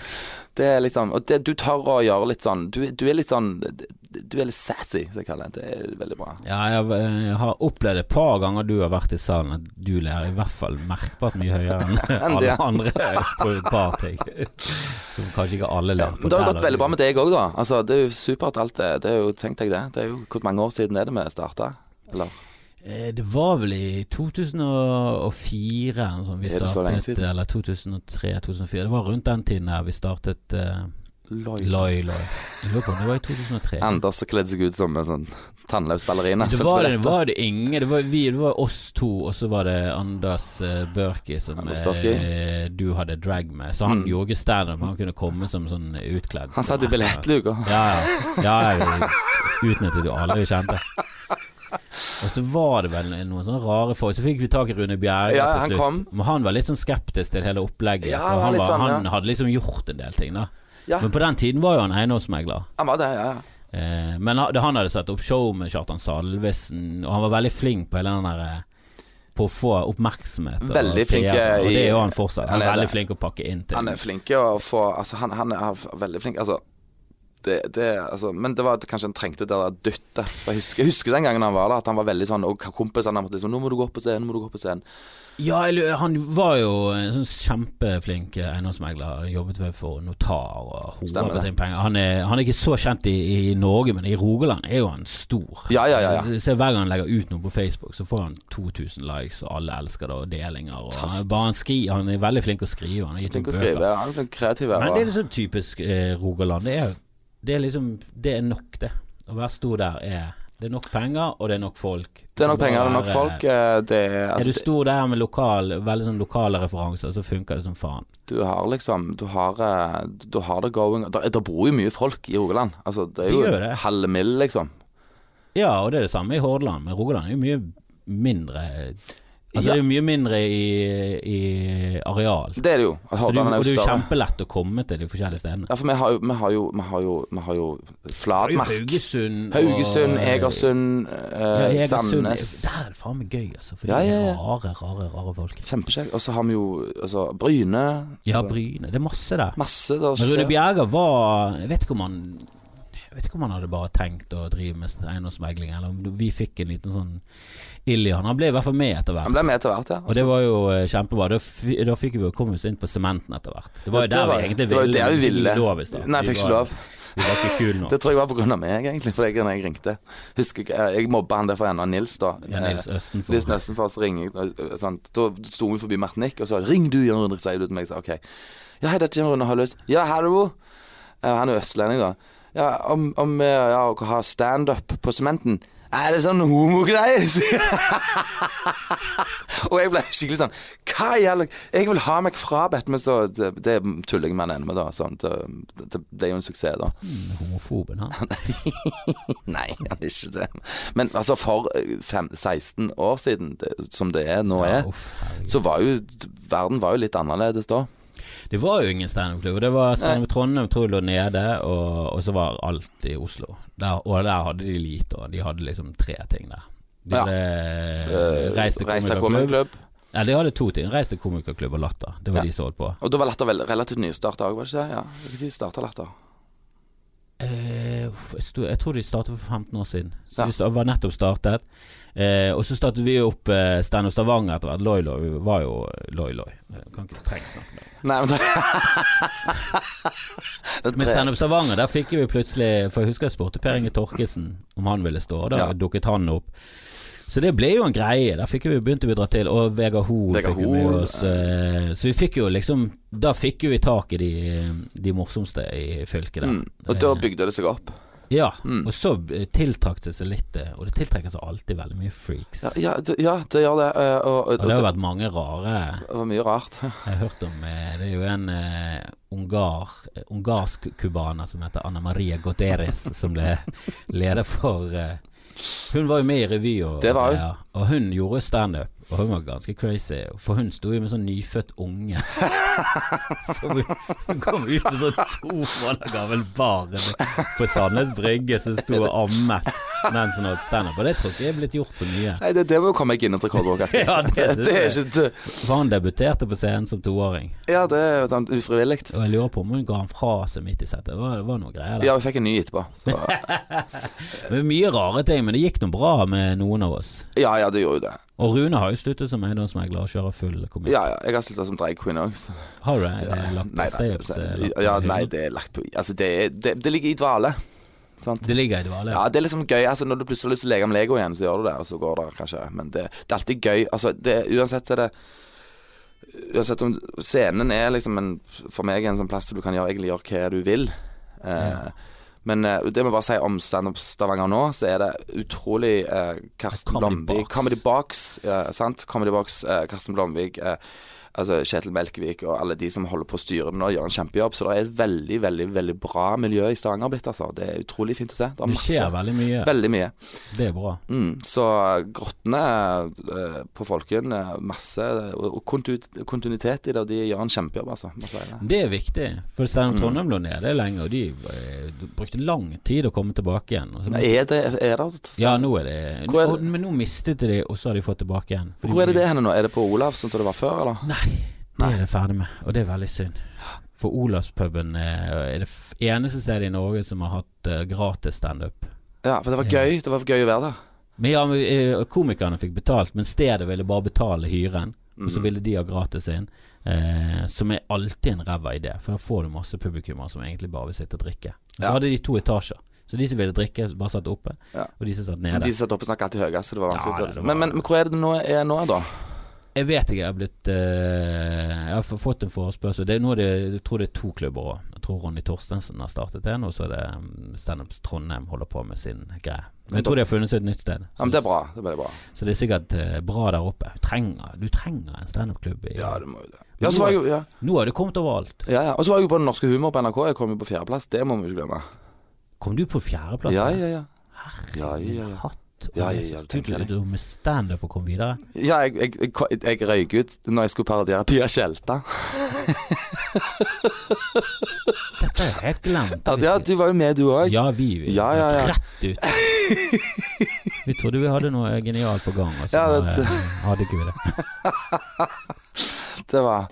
S2: Det er liksom Og det, du tør å gjøre litt sånn Du, du er litt sånn Du er litt sassy, som jeg kaller det. Det er veldig bra.
S1: Ja, jeg, eh, har opplevd et par ganger du har vært i salen at du ler i hvert fall merkbart mye høyere
S2: [LAUGHS]
S1: enn
S2: Enn
S1: alle
S2: det.
S1: andre på et par ting. [LAUGHS] Som kanskje ikke alle ler på.
S2: Men det har jo
S1: Der
S2: gått
S1: er
S2: veldig bra
S1: du-
S2: med deg òg, da. Altså, det er jo supert alt det. Det er jo, tenk deg det. Det er jo Hvor mange år siden er det vi starta? Eller?
S1: Eh, Det var vel i 2004 eller noe sånt vi
S2: Er det så lenge
S1: startet,
S2: siden?
S1: eller 2003-2004. Det var rundt den tiden her vi startet eh,
S2: Loi.
S1: Loi Loi. Jeg lurer på om det var i 2003.
S2: Anders har kledd seg ut som en sånn tannløs ballerina.
S1: Det
S2: som
S1: var, det
S2: toaletter.
S1: var det ingen, det var, vi, det var oss to, og så var det Anders eh, Børki som
S2: Anders Børki.
S1: eh, du hadde drag med. Så han
S2: Mm.
S1: gjorde standup, han kunne komme som sånn utkledd.
S2: [LAUGHS] Han satt i
S1: som-
S2: billettluka.
S1: [LAUGHS] Ja, ja. ja jeg utnyttet jo alle vi kjente. Og så var det vel noen sånne rare folk. Så fikk vi tak i Rune Bjerre
S2: Ja, han
S1: til slutt.
S2: kom.
S1: Men han var litt sånn skeptisk til hele opplegget.
S2: Ja,
S1: for
S2: han var
S1: han,
S2: litt
S1: var,
S2: sånn, ja.
S1: han hadde liksom gjort en del ting, da.
S2: Ja.
S1: Men på den tiden var jo han eiendomsmegler.
S2: Han var det, ja. ja.
S1: Eh, men han, han hadde satt opp show med Kjartan Salvesen, og han var veldig flink på hele den der eh, på å få oppmerksomhet. og
S2: Veldig flink,
S1: PR, Og det
S2: eh, i-
S1: er jo han fortsatt. Han
S2: han
S1: er
S2: er
S1: veldig
S2: det.
S1: flink å pakke inn til.
S2: Han er flink til å få Altså, han, han, er, han er veldig flink. Altså, det, det, altså, men det var at kanskje han trengte det der dyttet. For Jeg husker, jeg husker den gangen han var der, at han var veldig sånn Og kompisene måtte liksom 'Nå må du gå opp på scenen, nå må du gå opp på scenen'.
S1: Ja, jeg lurer- han var jo en sånn kjempeflink eh, eiendomsmegler. Jobbet vel for notar og
S2: Stemmer
S1: hodet
S2: det.
S1: inn penger. Han er, han er ikke så kjent i, i Norge, men i Rogaland er jo han stor.
S2: Ja, ja, ja, ja.
S1: Du ser Hver gang han legger ut noe på Facebook, så får han 2000 likes, og alle elsker det, og delinger. Og han, er
S2: Fantastisk.
S1: bare, han, skri, han er veldig flink å skrive. Han har gitt
S2: Flink
S1: ut
S2: å
S1: bøker.
S2: skrive, han er flink kreativ.
S1: Men
S2: og-
S1: det er liksom typisk eh, Rogaland. Det er, det er liksom Det er nok, det. Å være stor der er Det er nok penger, og det er nok folk.
S2: Det er nok penger, det er nok
S1: Bare-
S2: folk. eh, Det er, altså,
S1: sånn er du stor der med lokal, veldig sånn lokale referanser, så funker det som faen.
S2: Du har liksom Du har, eh, du har det going der, der bor jo mye folk i Rogaland. Altså, det er
S1: Det
S2: jo
S1: gjør det.
S2: halve mill., liksom.
S1: Ja, og det er det samme i Hordaland, men Rogaland er jo mye mindre Altså
S2: Ja.
S1: det er jo mye mindre i, i areal.
S2: Det er det jo.
S1: Så du,
S2: Hordaland
S1: og det
S2: er
S1: er
S2: jo
S1: jo
S2: større.
S1: kjempelett å komme til de forskjellige stedene.
S2: Ja, for vi har jo Vi har jo, vi har jo, vi har jo
S1: Det er jo
S2: Flatmark.
S1: Haugesund og-
S2: Haugesund, Egersund,
S1: Ja,
S2: eh,
S1: Egersund.
S2: Sandnes.
S1: Der er det faen meg gøy, altså. For
S2: Ja,
S1: det
S2: ja,
S1: er
S2: ja.
S1: rare, rare, rare folk.
S2: Kjempekjekt. Og så har vi jo altså, Bryne.
S1: Ja,
S2: Altså,
S1: Bryne. Det er masse der.
S2: Masse der
S1: Men Rune
S2: skjer.
S1: Bjerger var Jeg vet ikke om han Jeg vet ikke om han hadde bare tenkt å drive med eiendomsmegling, eller om vi fikk en liten sånn ild i han. Han ble i hvert fall med etter
S2: Han
S1: hvert.
S2: ble med etter hvert, ja.
S1: Og det var jo eh, kjempebra. Da, fi- da fikk vi jo komme oss inn på sementen etter hvert. Det var jo
S2: Ja, det
S1: der
S2: var-
S1: vi egentlig
S2: det var jo der vi
S1: men
S2: ville.
S1: fikk lov i starten.
S2: Nei,
S1: Vi
S2: fikk ikke
S1: var-
S2: lov.
S1: Vi var ikke kule nok.
S2: Det tror jeg var på grunn av meg, egentlig, for jeg, når jeg ringte. Husker ikke, Jeg mobba han der for enden av Nils, da. Eh,
S1: Ja, Nils Østenfor.
S2: Nils Nøstenfor, så ringer jeg øh, sant? Da sto vi forbi Martinique, og så 'Ring du, Jan Rune', sier du til meg. Så, ok. 'Ja, hei, det er Jim Rune Hølløs'. 'Ja, hallo'. Eh, Han er jo østlending, da. 'Ja, om, om eh, ja, å ha standup på sementen'. Er det sånn homogreier? [LAUGHS] sier jeg. og jeg ble skikkelig sånn Hva i alle Jeg vil ha meg frabedt, men så Det, det tuller jeg med han ene med, da. Sånn, det, det ble jo en suksess, da. [LAUGHS]
S1: Mm, Homofoben, han.
S2: Nei, han er ikke det. Men altså, for eh, fem, 16 år siden, det, som det er nå
S1: Ja,
S2: er,
S1: uff, herregud.
S2: så var jo verden var jo litt annerledes da.
S1: det var jo ingen standup-klubb. Det var Standup Trondheim tror jeg lå nede, og, og så var alt i Oslo. Der, og der hadde de lite, og de hadde liksom tre ting der. De
S2: Ja.
S1: hadde
S2: Eh,
S1: Reis til
S2: Reise til
S1: komikerklubb.
S2: komikerklubb.
S1: Ja, de hadde to ting. Reis til komikerklubb og Latter. Det var
S2: Ja.
S1: de som holdt på.
S2: Og da var Latter vel relativt nystarta òg, var det ikke det? Ja, jeg kan si starta Latter.
S1: Eh, uff, jeg, sto, jeg tror de startet for 15 år siden. Så
S2: Ja.
S1: de sta- var nettopp startet. Eh, og så startet vi opp eh, Stand Up Stavanger etter hvert. Loi-Loi var jo Loi-Loi. Jeg Kan ikke trenge å snakke om det.
S2: Nei,
S1: [LAUGHS]
S2: men
S1: Men
S2: det
S1: Stand Up Stavanger, der fikk vi plutselig For jeg husker jeg spurte Per Inge Torkesen om han ville stå, og da
S2: Ja.
S1: dukket han opp. Så det ble jo en greie. Der fikk vi begynte vi å dra til. Og Vegard Hoel
S2: Vegard
S1: fikk vi med
S2: Hoel,
S1: oss. eh, Så vi fikk jo liksom Da fikk jo vi tak i de, de morsomste i fylket der.
S2: mm. Og da bygde det seg opp.
S1: Ja, og så eh, tiltrakk det seg litt eh, Og det tiltrekker seg alltid veldig mye freaks.
S2: Ja, ja, det, ja, det gjør det. eh, Og, og,
S1: Og det har vært mange rare
S2: det var mye rart. [LAUGHS]
S1: Jeg har hørt om eh, Det er jo en eh, ungar eh, ungarsk cubaner som heter Anna Maria Goderes, som ble leder for eh, Hun var jo med i revy, og,
S2: Det var hun.
S1: ja, og hun gjorde standup. Og hun var ganske crazy, for hun sto jo med sånn nyfødt unge. [LAUGHS] Så hun- hun kom ut med sånn to måneder gammel barn på Sandnes Brygge som sto og ammet mens hun holdt standup. Og det tror ikke jeg er blitt gjort så mye.
S2: Nei, det, det må jo komme meg inn i et rekordbok.
S1: [LAUGHS] Ja, det synes
S2: det er
S1: jeg.
S2: ikke det.
S1: For han debuterte på scenen som toåring.
S2: Ja, det er sånn ufrivillig.
S1: Og jeg lurer på om hun ga han fra seg midt i settet. Det var, det var noe greier der.
S2: Ja, vi fikk en ny etterpå. Så.
S1: [LAUGHS] Det var mye rare ting, men det gikk noe bra med noen av oss.
S2: Ja, ja, det gjorde jo det.
S1: Og Rune har jo sluttet som eiendomsmegler og kjører full komikk.
S2: Ja, ja, jeg har slutta som drag queen òg.
S1: Har du det? Er det lagt
S2: Nei,
S1: på
S2: nei,
S1: steps? eh, lagt på
S2: ja,
S1: hyllen?
S2: nei, det er lagt på Altså, det, er- det, det ligger i dvale. Sant?
S1: Det ligger i dvale.
S2: Ja, det er liksom gøy. Altså, når du plutselig har lyst til å leke med Lego igjen, så gjør du det, og så går det kanskje. Men det, det er alltid gøy. Altså, det, uansett så er det Uansett om Scenen er liksom en, for meg en sånn plass hvor du kan gjøre, egentlig gjøre hva du vil. Eh, Men eh, det må jeg bare si om Standup Stavanger nå, så er det utrolig eh, Karsten
S1: Comedy
S2: Blomvik
S1: Box.
S2: Comedy Box, eh, sant? Comedy Box, eh, Karsten Blomvik eh, Altså Kjetil Melkevik og alle de som holder på å styre det nå, gjør en kjempejobb. Så det er et veldig, veldig veldig bra miljø i Stavanger blitt, altså. Det er utrolig fint å se. Det er
S1: Det
S2: masse
S1: skjer veldig mye.
S2: Veldig mye.
S1: Det er bra.
S2: Mm, så grottene eh, på Folken, eh, masse og og kontu- kontinuitet i det, og de gjør en kjempejobb, altså. må jeg si det.
S1: Det er viktig, for
S2: Mm.
S1: Steinar Trondheim lå nede lenge, og de eh, brukte lang tid å komme tilbake igjen. Og så-
S2: Er det, er det
S1: Ja, nå er det
S2: Hvor er det-
S1: og- Men nå mistet de, og så har de fått tilbake igjen. Fordi-
S2: Hvor er det det henne nå? Er det på Olav, sånn som det var før, eller?
S1: Nei, det er det ferdig med, og det er veldig synd. For Olavspuben eh, er det f- eneste stedet i Norge som har hatt eh, gratis standup.
S2: Ja, for det var gøy. Det var gøy å være der.
S1: Men ja, men, eh, Komikerne fikk betalt, men stedet ville bare betale hyren. Og
S2: Mm.
S1: så ville de ha gratis inn, eh, som er alltid en ræva idé. For da får du masse publikummere som egentlig bare vil sitte og drikke. Og så
S2: Ja.
S1: hadde de to etasjer. Så de som ville drikke, bare satt oppe.
S2: Ja.
S1: Og de som satt
S2: Men
S1: nede.
S2: de som satt oppe, snakket alltid høyest, så det var vanskelig.
S1: Ja,
S2: så-
S1: det var-
S2: men, men, men hvor er det nå er nå, da?
S1: Jeg vet ikke, jeg har blitt eh, Jeg har f- fått en forespørsel. Det er nå det, jeg tror det er to klubber òg. Jeg tror Ronny Torstensen har startet en, og så er det mm, Standup Trondheim holder på med sin greie. Men jeg tror de har funnet seg et nytt sted.
S2: Ja, men det er bra. Det er veldig bra.
S1: Så det er sikkert eh, bra der oppe. Du trenger, du trenger en standup-klubb. i-
S2: Ja, det må jo det. Ja, så var jeg jo ja.
S1: Nå har det kommet overalt.
S2: Ja, ja. Og så var jeg jo på Den norske humor på NRK. Jeg kom jo på fjerdeplass. Det må vi jo ikke glemme.
S1: Kom du på fjerdeplass?
S2: Ja,
S1: da?
S2: ja, ja. Ja,
S1: Min
S2: ja, ja.
S1: Hatt.
S2: Ja, ja, ja, det
S1: Du
S2: tenker jeg.
S1: drev med standup og kom videre?
S2: Ja, jeg, jeg, jeg, jeg røyk ut når jeg skulle parodiere Pia Tjelta.
S1: Dette har jeg helt glemt.
S2: Ja, ja, du var jo med, du òg.
S1: Ja, vi vi
S2: Ja, ja, ja.
S1: rett
S2: [LAUGHS]
S1: ut. Vi trodde vi hadde noe genialt på gang, og så
S2: Ja, det-
S1: bare, hadde ikke vi det.
S2: Det var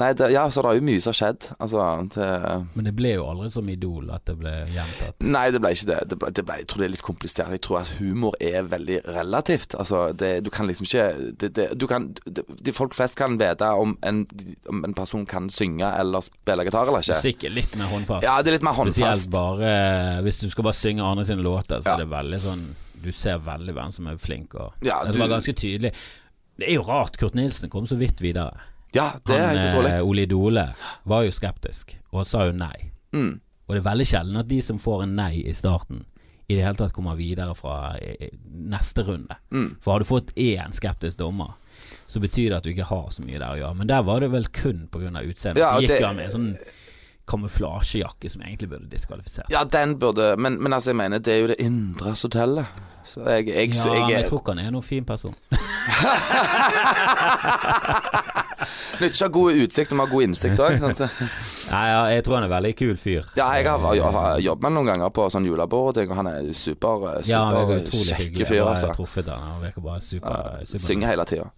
S2: Nei, det, ja, så det er jo mye som har skjedd. Altså det,
S1: Men det ble jo aldri som Idol at det ble gjentatt.
S2: Nei, det ble ikke det. det, ble, det ble, jeg tror det er litt komplisert. Jeg tror at humor er veldig relativt. Altså, det, du kan liksom ikke det, det, du kan, det, de Folk flest kan vite om en, om en person kan synge eller spille gitar eller ikke.
S1: Sikkert litt mer håndfast.
S2: Ja, det er litt mer
S1: Spesielt
S2: håndfast.
S1: bare eh, hvis du skal bare synge andre sine låter, så
S2: Ja.
S1: er det veldig sånn Du ser veldig hvem som er flink, og
S2: Ja,
S1: det
S2: du-
S1: var ganske tydelig. Det er jo rart, Kurt Nilsen kom så vidt videre.
S2: Ja, det er
S1: Han,
S2: helt
S1: eh,
S2: utrolig.
S1: Ole Idole var jo skeptisk, og sa jo nei.
S2: Mm.
S1: Og det er veldig sjelden at de som får en nei i starten, i det hele tatt kommer videre fra eh, neste runde.
S2: Mm.
S1: For har du fått én skeptisk dommer, så betyr det at du ikke har så mye der å gjøre. Men der var det vel kun pga. utseendet.
S2: Ja,
S1: så gikk
S2: det-
S1: han med en sånn kamuflasjejakke som egentlig burde diskvalifisert.
S2: Ja, den burde Men, men altså, jeg mener, det er jo det indre som teller. Så jeg, jeg,
S1: Ja,
S2: jeg,
S1: men
S2: jeg
S1: jeg tror ikke han er noen fin person.
S2: Nytt ikke å ha god utsikt, du må ha god innsikt
S1: [LAUGHS]
S2: òg.
S1: Nei, ja, jeg tror han er veldig kul fyr.
S2: Ja, jeg har, jeg har jobbet med han noen ganger på sånn julebord, og jeg- og han er super, eh,
S1: Ja, han
S2: super
S1: virker utrolig hyggelig.
S2: kjekke
S1: Jeg
S2: fyr,
S1: har
S2: altså.
S1: truffet han, han virker bare super, super
S2: Synger hele tida.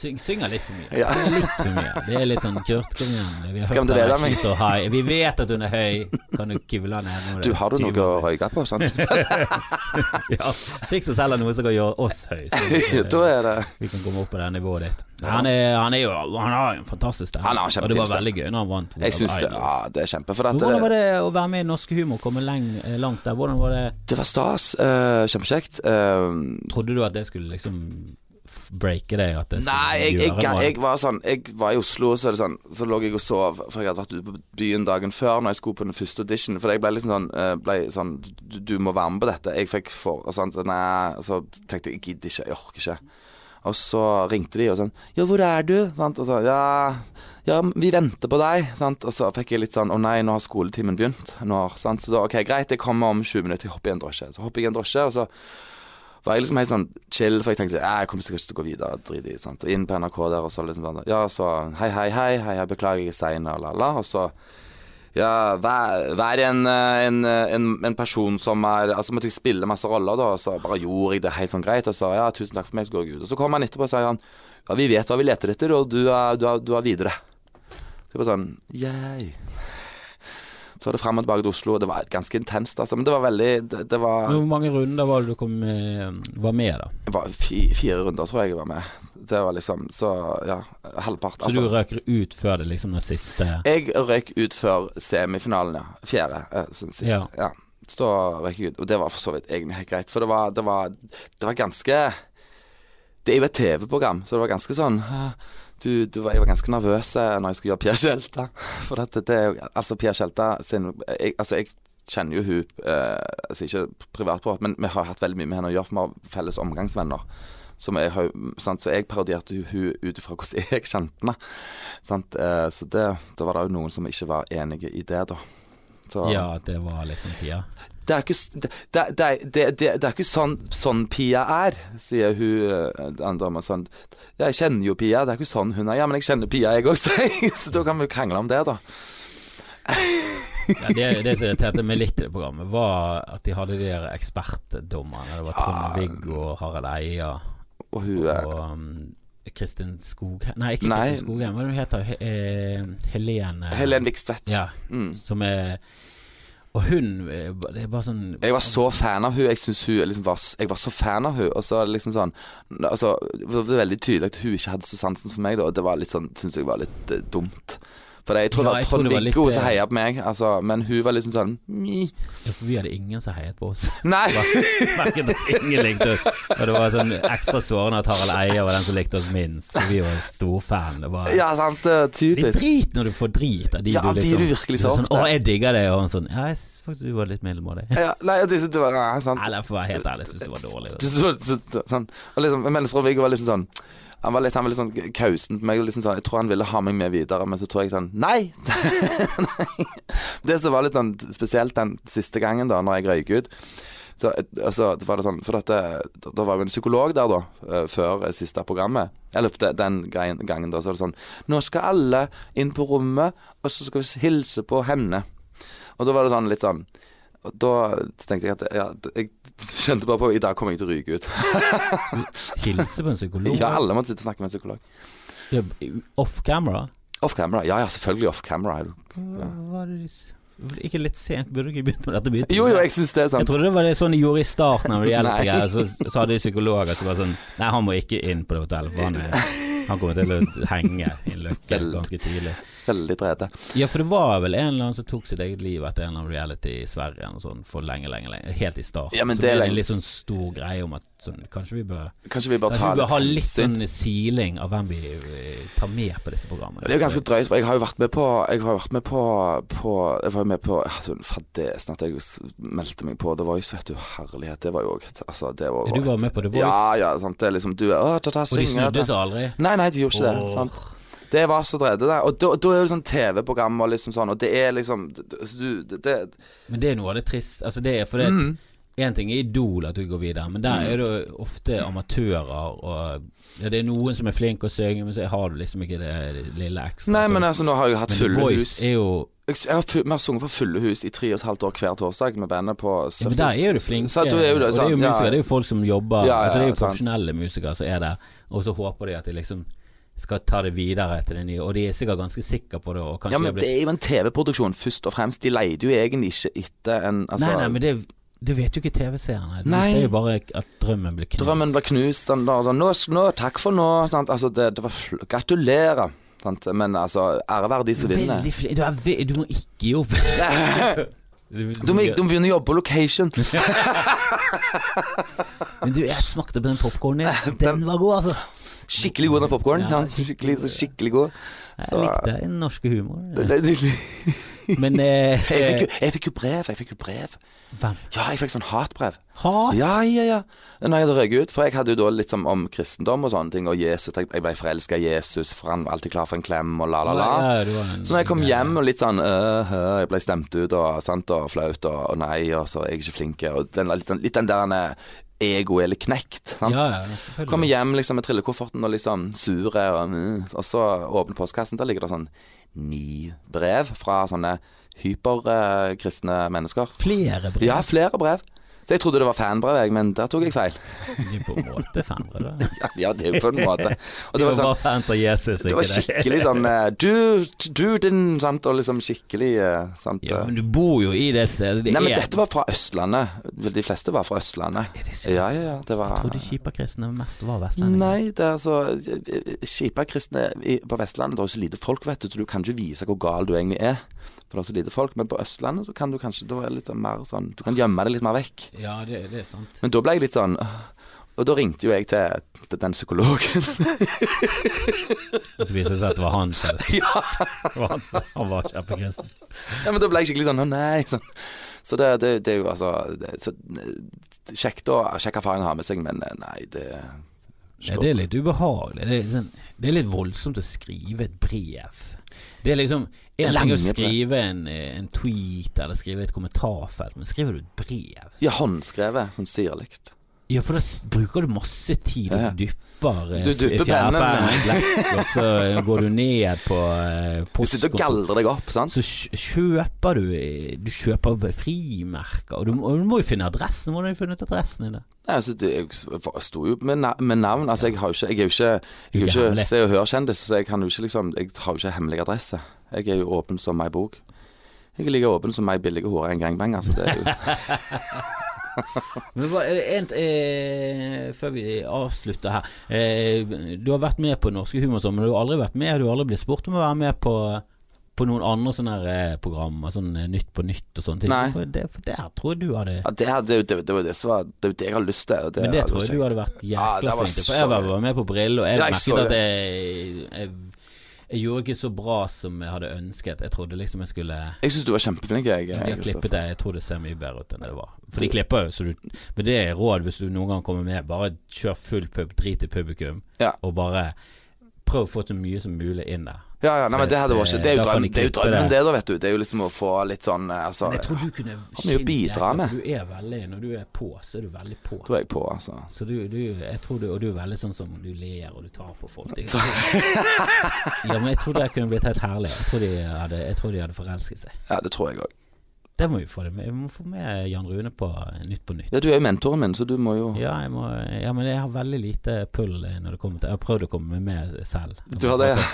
S1: Syng, synger litt for mye. [LAUGHS]
S2: Ja.
S1: Synger litt for mye. Det er litt sånn Kurt, kom igjen. Vi, har
S2: Skal
S1: hørt
S2: du lede
S1: at han er
S2: meg?
S1: ikke så high. vi vet at hun er høy. Kan du kivle henne ned? når
S2: Du,
S1: det er
S2: har du
S1: 20
S2: noe å
S1: år siden?
S2: røyke på?
S1: [LAUGHS]
S2: Sant? [LAUGHS]
S1: Ja. Fiks og selg noe som kan gjøre oss høy så
S2: [LAUGHS]
S1: vi,
S2: da er det
S1: vi kan komme opp på det nivået ditt. Nei, Han, er, han, er jo, han har jo en fantastisk stemme.
S2: Han har en
S1: og det var
S2: kjempefin
S1: veldig gøy når han vant. World
S2: Jeg syns det,
S1: Idol.
S2: ja, det er kjempe. For at
S1: Men hvordan
S2: det,
S1: var det å være med i Norske Humor, komme leng, eh, langt der? Hvordan var det
S2: det var stas. eh, Kjempekjekt. eh,
S1: Trodde du at det skulle liksom f- breake deg at det skulle
S2: Nei, jeg, jeg,
S1: gjøre noe?
S2: jeg var sånn Jeg var i Oslo, så, er det sånn, så lå jeg og sov, for jeg hadde vært ute på byen dagen før Når jeg skulle på den første audition. For jeg ble liksom sånn, eh, ble sånn du, du må være med på dette. Jeg fikk for og sånn, så Nei, så tenkte jeg jeg gidder ikke, jeg orker ikke. Og så ringte de og sånn Ja, hvor er du? Sant? Og så ja, ja, vi venter på deg. Sant? Og så fikk jeg litt sånn Å nei, nå har skoletimen begynt. Nå, sant? Så da OK, greit, jeg kommer om 20 minutter. Jeg hopper i en drosje. Så hopper jeg i en drosje, og så var jeg liksom helt sånn chill, for jeg tenkte «Ja, jeg kommer sikkert ikke til å gå videre. Drit i. sant? Og inn på NRK der, og så liksom sånn Ja, så hei, hei, hei, hei, jeg beklager jeg er sein, og la-la. Og så ja, vær, vær en, eh, en, eh, en, en person som er Altså måtte jeg spille masse roller, da, og så bare gjorde jeg det helt sånn greit. Og så ja, tusen takk for meg, så går jeg ut. Og så kom han etterpå og sa han ja, vi vet hva vi leter etter, og du er, du er, du er videre. Så jeg bare sånn yeah. Så var det frem og tilbake til Oslo, og det var ganske intenst, altså. Men det var veldig Det, det var
S1: Men Hvor mange runder var det du kom, eh, var med, da?
S2: det var fi- fire runder, tror jeg jeg var med. Det var liksom Så ja, halvpart. altså.
S1: Så du røker ut før det liksom den siste
S2: jeg røyk ut før semifinalen, ja. Fjerde, eh, som sist.
S1: Ja.
S2: Ja. Så da røyk jeg ut. Og det var for så vidt egentlig helt greit, for det var, det var, det var ganske Det er jo et TV-program, så det var ganske sånn «Hæ, du, du, var- Jeg var ganske nervøs eh, når jeg skulle gjøre Pia Skjelta. For dette, det er jo Altså, Pia Skjelta sin jeg, Altså, jeg kjenner jo hun eh, Altså, ikke privat, privat, men vi har hatt veldig mye med henne å gjøre, for vi har felles omgangsvenner. Som jeg, har- sant? Så jeg parodierte jo hun ut ifra hvordan jeg kjente henne. Sant? Eh, så det, da var det jo noen som ikke var enige i det, da. Så,
S1: Ja, at det var liksom Pia.
S2: Det er ikke, s- det, det, det, det, det, det er ikke sånn, sånn Pia er, sier hun eh, den dama sånn. Jeg kjenner jo Pia, det er ikke sånn hun er. Ja, men jeg kjenner Pia, jeg òg, sier jeg. [LAUGHS] Så da kan vi krangle om det, da.
S1: Ja, det, det som irriterte meg litt i det programmet, var at de hadde de der ekspertdommerne. Det var Trond-Viggo og Harald Eia
S2: Og hun eh,
S1: og um, Kristin Skogheim Nei, ikke
S2: Nei.
S1: Kristin Skogheim, hva er det hun heter He- eh, Helene
S2: Helen Vikstvedt.
S1: Ja,
S2: Mm.
S1: som er Og hun eh, Det er bare sånn
S2: Jeg var så fan av hun Jeg synes hun liksom var s- Jeg var så fan av hun Og så er det liksom sånn altså, Det var veldig tydelig at hun ikke hadde så sansen for meg da, Og det var litt sånn Synes jeg var litt eh, dumt For det, jeg tror
S1: Ja,
S2: det var
S1: jeg tror det
S2: Trond
S1: var litt,
S2: Viggo som
S1: eh,
S2: heia på meg altså, Men hun var liksom sånn «Mi».
S1: ja, for Vi hadde ingen som heiet på oss. [LAUGHS]
S2: Nei
S1: Merket at ingen likte oss. Og det var sånn ekstra sårende at Harald Eia var den som likte oss minst, for vi var storfan. Det var
S2: Ja, sant eh,
S1: Det er
S2: Typisk
S1: drit når du får drit av de
S2: Ja,
S1: du
S2: av de
S1: liksom
S2: du virkelig
S1: er sånn,
S2: savner.
S1: 'Å, jeg digger det', og han sånn 'Ja, jeg syns faktisk du var litt middelmådig'. [LAUGHS]
S2: ja, Nei, jeg synes det var ja, sant
S1: Eller for å være helt ærlig, jeg syns det var dårlig.
S2: Så- så- så- Sånn Og liksom Men Trond Viggo var liksom sånn han var litt, han var litt sånn kausen på meg og liksom sånn, Jeg tror han ville ha meg med videre Men så tror jeg sånn, nei [LAUGHS] Det som var litt sånn spesielt den siste gangen da Når jeg røyk ut så, altså, det var det sånn, for dette, da- Da var jo en psykolog der da eh, Før eh, siste programmet Eller de- den greien- gangen da Så var det sånn, nå skal alle inn på rommet Og så skal vi hilse på henne Og da var det sånn litt sånn og da tenkte jeg at ja, Jeg skjønte bare på I dag kommer jeg til å ryke ut.
S1: Hilse på en psykolog.
S2: Ja, alle måtte sitte og snakke med en psykolog.
S1: Ja, Off camera?
S2: Off camera. Ja ja, selvfølgelig off camera. er du-
S1: Hva var det de s- var det Ikke litt sent? Burde du ikke begynt med dette? Begynt
S2: Jo jo, jeg syns det er
S1: Jeg
S2: sant.
S1: trodde det var det sånn de gjorde i starten av
S2: Nei.
S1: reality-greier. Så,
S2: [LAUGHS]
S1: så hadde de psykologer som var sånn Nei, han må ikke inn på det hotellet, for han, er, han kommer til å henge i løkken ganske tidlig.
S2: Veldig drete.
S1: Ja, for det var vel en eller annen som tok sitt eget liv etter en eller annen reality i Sverige eller noe sånt, for lenge, lenge, lenge. Helt i starten.
S2: Ja, men
S1: så
S2: det er
S1: ble det
S2: lenge-
S1: en litt sånn stor greie om at sånn, kanskje vi bør,
S2: Kanskje vi bare
S1: kanskje
S2: tar
S1: vi bør ha litt
S2: hensyn.
S1: sånn siling av hvem vi eh, tar med på disse programmene.
S2: Det er jo ganske drøyt, for jeg har jo vært med på Jeg har vært med på, på Jeg var jo med på sånn, jeg hadde jo en Fadesen at jeg s- meldte meg på The Voice, vet du. Herlighet. Det var jo også- Altså, det var
S1: Du var med på The Voice,
S2: Ja ja, sant. Det er liksom Du er Å, ta-ta,
S1: og de
S2: synger
S1: snudde seg aldri.
S2: Nei, nei, de gjorde ikke det.
S1: Åh.
S2: Sant? Det var så drede, det. Og da, da er det sånn TV-program og liksom sånn, og det er liksom d- d- så du- det, det,
S1: Men det er noe av det trist Altså det er fordi
S2: Mm.
S1: at En ting er idol at du går videre Men der er det ofte amatører og, ja, Det er noen som er flink å synge Men så har du liksom ikke det lille ekstra
S2: Nei,
S1: Så-
S2: men altså, nå har jeg jo hatt
S1: men
S2: fulle hus.
S1: Voice er jo
S2: Jeg, jeg har, fu- vi har sunget for fulle hus i tre og et halvt år hver torsdag med bandet på
S1: ja, Men der er jo du flink eh,
S2: Så at du er jo det,
S1: Og det er jo
S2: sant, ja.
S1: musikere Det er jo folk som jobber
S2: Ja, ja,
S1: altså, Det er jo
S2: sant.
S1: profesjonelle musikere som er der Og så håper de at de liksom Skal ta det videre til det nye Og de er sikkert ganske sikre på det Og kanskje
S2: Ja, men
S1: blir-
S2: det er jo en TV-produksjon, først og fremst. De leide jo egentlig ikke etter en altså,
S1: Nei, nei, men det det vet jo ikke TV-seerne De
S2: Nei.
S1: ser jo bare at drømmen blir knust
S2: Drømmen ble knust. Sånn, da, da, nå, nå, takk for nå. Sant? Altså, det, det var fl- Gratulerer. Sant? Men altså, ære være de som vinner.
S1: Veldig flink Du, er ve- du må ikke gi opp
S2: [LAUGHS] Du må, du må begynne å jobbe på location.
S1: [LAUGHS] Men du, jeg smakte på den popkornen
S2: [LAUGHS]
S1: din. Den var god, altså.
S2: Skikkelig god, den popkorn.
S1: Ja,
S2: Ja, skikkelig, så skikkelig god.
S1: Jeg
S2: Så-
S1: likte den norske
S2: [LAUGHS]
S1: humoren.
S2: Det- det-
S1: Men eh,
S2: Jeg fikk, jo, jeg fikk jo brev. Jeg fikk jo brev.
S1: Hvem?
S2: Ja, jeg fikk sånn hatbrev.
S1: Hat?
S2: Ja, ja, ja. Når jeg hadde røyket ut. For jeg hadde jo da litt sånn om kristendom og sånne ting, og Jesus. Jeg jeg ble forelska i Jesus, for han var alltid klar for en klem, og la, la, la.
S1: Ja, det var en-
S2: Så når jeg kom hjem og litt sånn øh, øh, Jeg ble stemt ut og, sant, og flaut og, og nei, og så er jeg ikke flink og den, litt, sånn, litt den der eh, egoet er litt knekt. Sant?
S1: Ja, ja, selvfølgelig.
S2: Kommer hjem liksom med trillekofferten og liksom sure, og, mm, og så åpner postkassen. Der ligger det sånn ni brev fra sånne hyperkristne mennesker.
S1: Flere brev
S2: Ja, flere brev. Så jeg trodde det var fanbrev, jeg, men der tok jeg feil. [LAUGHS]
S1: på en måte. Fem brev. da.
S2: Ja, [LAUGHS] det er jo på en måte.
S1: [LAUGHS]
S2: Og det var
S1: Vi
S2: sånn
S1: bare fans av Jesus,
S2: det var skikkelig sånn eh, Du, du din, sant, og liksom skikkelig eh, sant,
S1: Ja,
S2: eh.
S1: men du bor jo i det stedet. Det
S2: Nei, men
S1: er-
S2: dette var fra Østlandet. De fleste var fra Østlandet.
S1: Er det sant?
S2: Ja, ja, ja. Det
S1: Jeg
S2: var
S1: trodde skipakristne mest var vestlendinger.
S2: Nei, det er altså Kjipa kristne i- på Vestlandet, det er jo så lite folk, vet du, så du kan ikke vise hvor gal du egentlig er. For det er så lite folk. Men på Østlandet så kan du kanskje Da er det litt sånn mer sånn Du kan gjemme deg litt mer vekk.
S1: Ja, det, det er sant.
S2: Men da ble jeg litt sånn «Åh». Og da ringte jo jeg til, til den psykologen. [LAUGHS]
S1: Og så viser det seg at det var han selv.
S2: [LAUGHS] ja,
S1: [LAUGHS] Det var Han, som- han var kjempekristen.
S2: ja, men da ble jeg skikkelig sånn Å, nei. Sånn. Så det, det, det er jo altså det, så, eh, Kjekt å Kjekk erfaring å ha med seg, men eh, nei, det
S1: Ja, det er litt ubehagelig. Det er, sånn, det er litt voldsomt å skrive et brev. Det er liksom En ting
S2: Lange
S1: å
S2: brev.
S1: skrive en, eh, en tweet eller skrive et kommentarfelt, men skriver du et brev
S2: Ja, håndskrevet, sånn sirlig.
S1: Ja, for da s- bruker du masse tid
S2: Ja, ja.
S1: og dypper eh,
S2: Du
S1: f-
S2: dypper
S1: fjærpennen
S2: pennen.
S1: i blekk, og så eh, går du ned på eh,
S2: Du sitter og
S1: postkontoret.
S2: galdrer deg opp, sant?
S1: Så kj- kjøper du eh, Du kjøper b- frimerker, og du, må- og du må jo finne adressen. Hvordan har du funnet adressen din? da?
S2: Nei, altså, det, jeg sto jo med, na med navn. Altså, jeg, har jo ikke, jeg er jo ikke, jeg er jo
S1: ikke
S2: ikke
S1: hemmelig.
S2: Se og Hør-kjendis, så jeg, kan jo ikke, liksom, jeg har jo ikke hemmelig adresse. Jeg er jo åpen som ei bok. Jeg er like åpen som ei billig hore i en gangbanger. Så det
S1: [LAUGHS]
S2: er jo,
S1: Men hva, eh, en, eh, før vi avslutter her eh, Du har vært med på Norske Humorsommer, men du har aldri vært med Du har aldri blitt spurt om å være med på På noen andre sånne her, eh, programmer, sånn eh, Nytt på nytt og sånne ting.
S2: Nei.
S1: For, det, for der tror jeg du hadde
S2: ja, det, her- det, er jo- det, det, var det, som var- det er jo det jeg har lyst til. Og det,
S1: Men det
S2: hadde
S1: tror jeg
S2: vært
S1: du
S2: kjekt.
S1: hadde vært jækla
S2: Ja, det var
S1: flink til. For
S2: så-
S1: jeg var- var med på Brille, og jeg
S2: Ja, jeg så
S1: merket at jeg, jeg, jeg gjorde ikke så bra som jeg hadde ønsket. Jeg trodde liksom jeg skulle
S2: Jeg syns du var kjempeflink. Jeg,
S1: de har
S2: jeg,
S1: klippet det, jeg tror det ser mye bedre ut enn det var. For de klipper jo, så du Men det er råd hvis du noen gang kommer med, bare kjør full pub, drit i publikum,
S2: Ja.
S1: og bare prøv å få så mye som mulig inn der.
S2: ja, ja, nei, men det, hadde vært, kjekt. det er jo
S1: Eh, Da kan de
S2: drømmen, det, er jo
S1: klippe
S2: drømmen
S1: det.
S2: det, da, vet du. Det er jo liksom å få litt sånn eh, altså,
S1: Men jeg tror du kunne
S2: mye å bidra med.
S1: for Du er veldig Når du er på, så er du veldig på.
S2: Da er jeg på, altså.
S1: Så du, du, jeg tror du, og du er veldig sånn som du ler og du tar på folk. Jeg,
S2: [LAUGHS]
S1: ja, men jeg tror det kunne blitt helt herlig. Jeg tror de hadde, jeg tror de hadde forelsket seg.
S2: Ja, det tror jeg òg.
S1: Det må vi få det med. Vi må få med Jan Rune på Nytt på nytt.
S2: Ja, du er jo mentoren min, så du må jo
S1: Ja, jeg må, ja, men jeg har veldig lite pull eh, når det kommer til Jeg har prøvd å komme med meg selv.
S2: Du har det, ja.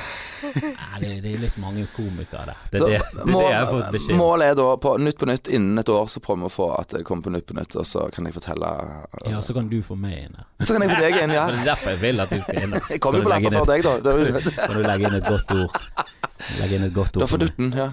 S1: Nei, det, det er litt mange komikere der. Det
S2: Så
S1: er
S2: [LAUGHS]
S1: det, det, er det
S2: mål-
S1: jeg har fått beskjed om.
S2: Målet er da på Nytt på Nytt innen et år så prøver vi å få at det kommer på Nytt på Nytt, og så kan jeg fortelle
S1: Ja, så kan du få meg inn her.
S2: Så kan jeg få deg inn, ja.
S1: Det er derfor jeg vil at du skal
S2: [LAUGHS]
S1: inn.
S2: Jeg kommer jo på lapper for deg, da. Det er jo-
S1: Kan du legge inn et godt ord? Legge inn et godt
S2: Da
S1: ord.
S2: får
S1: for meg.
S2: du den, ja.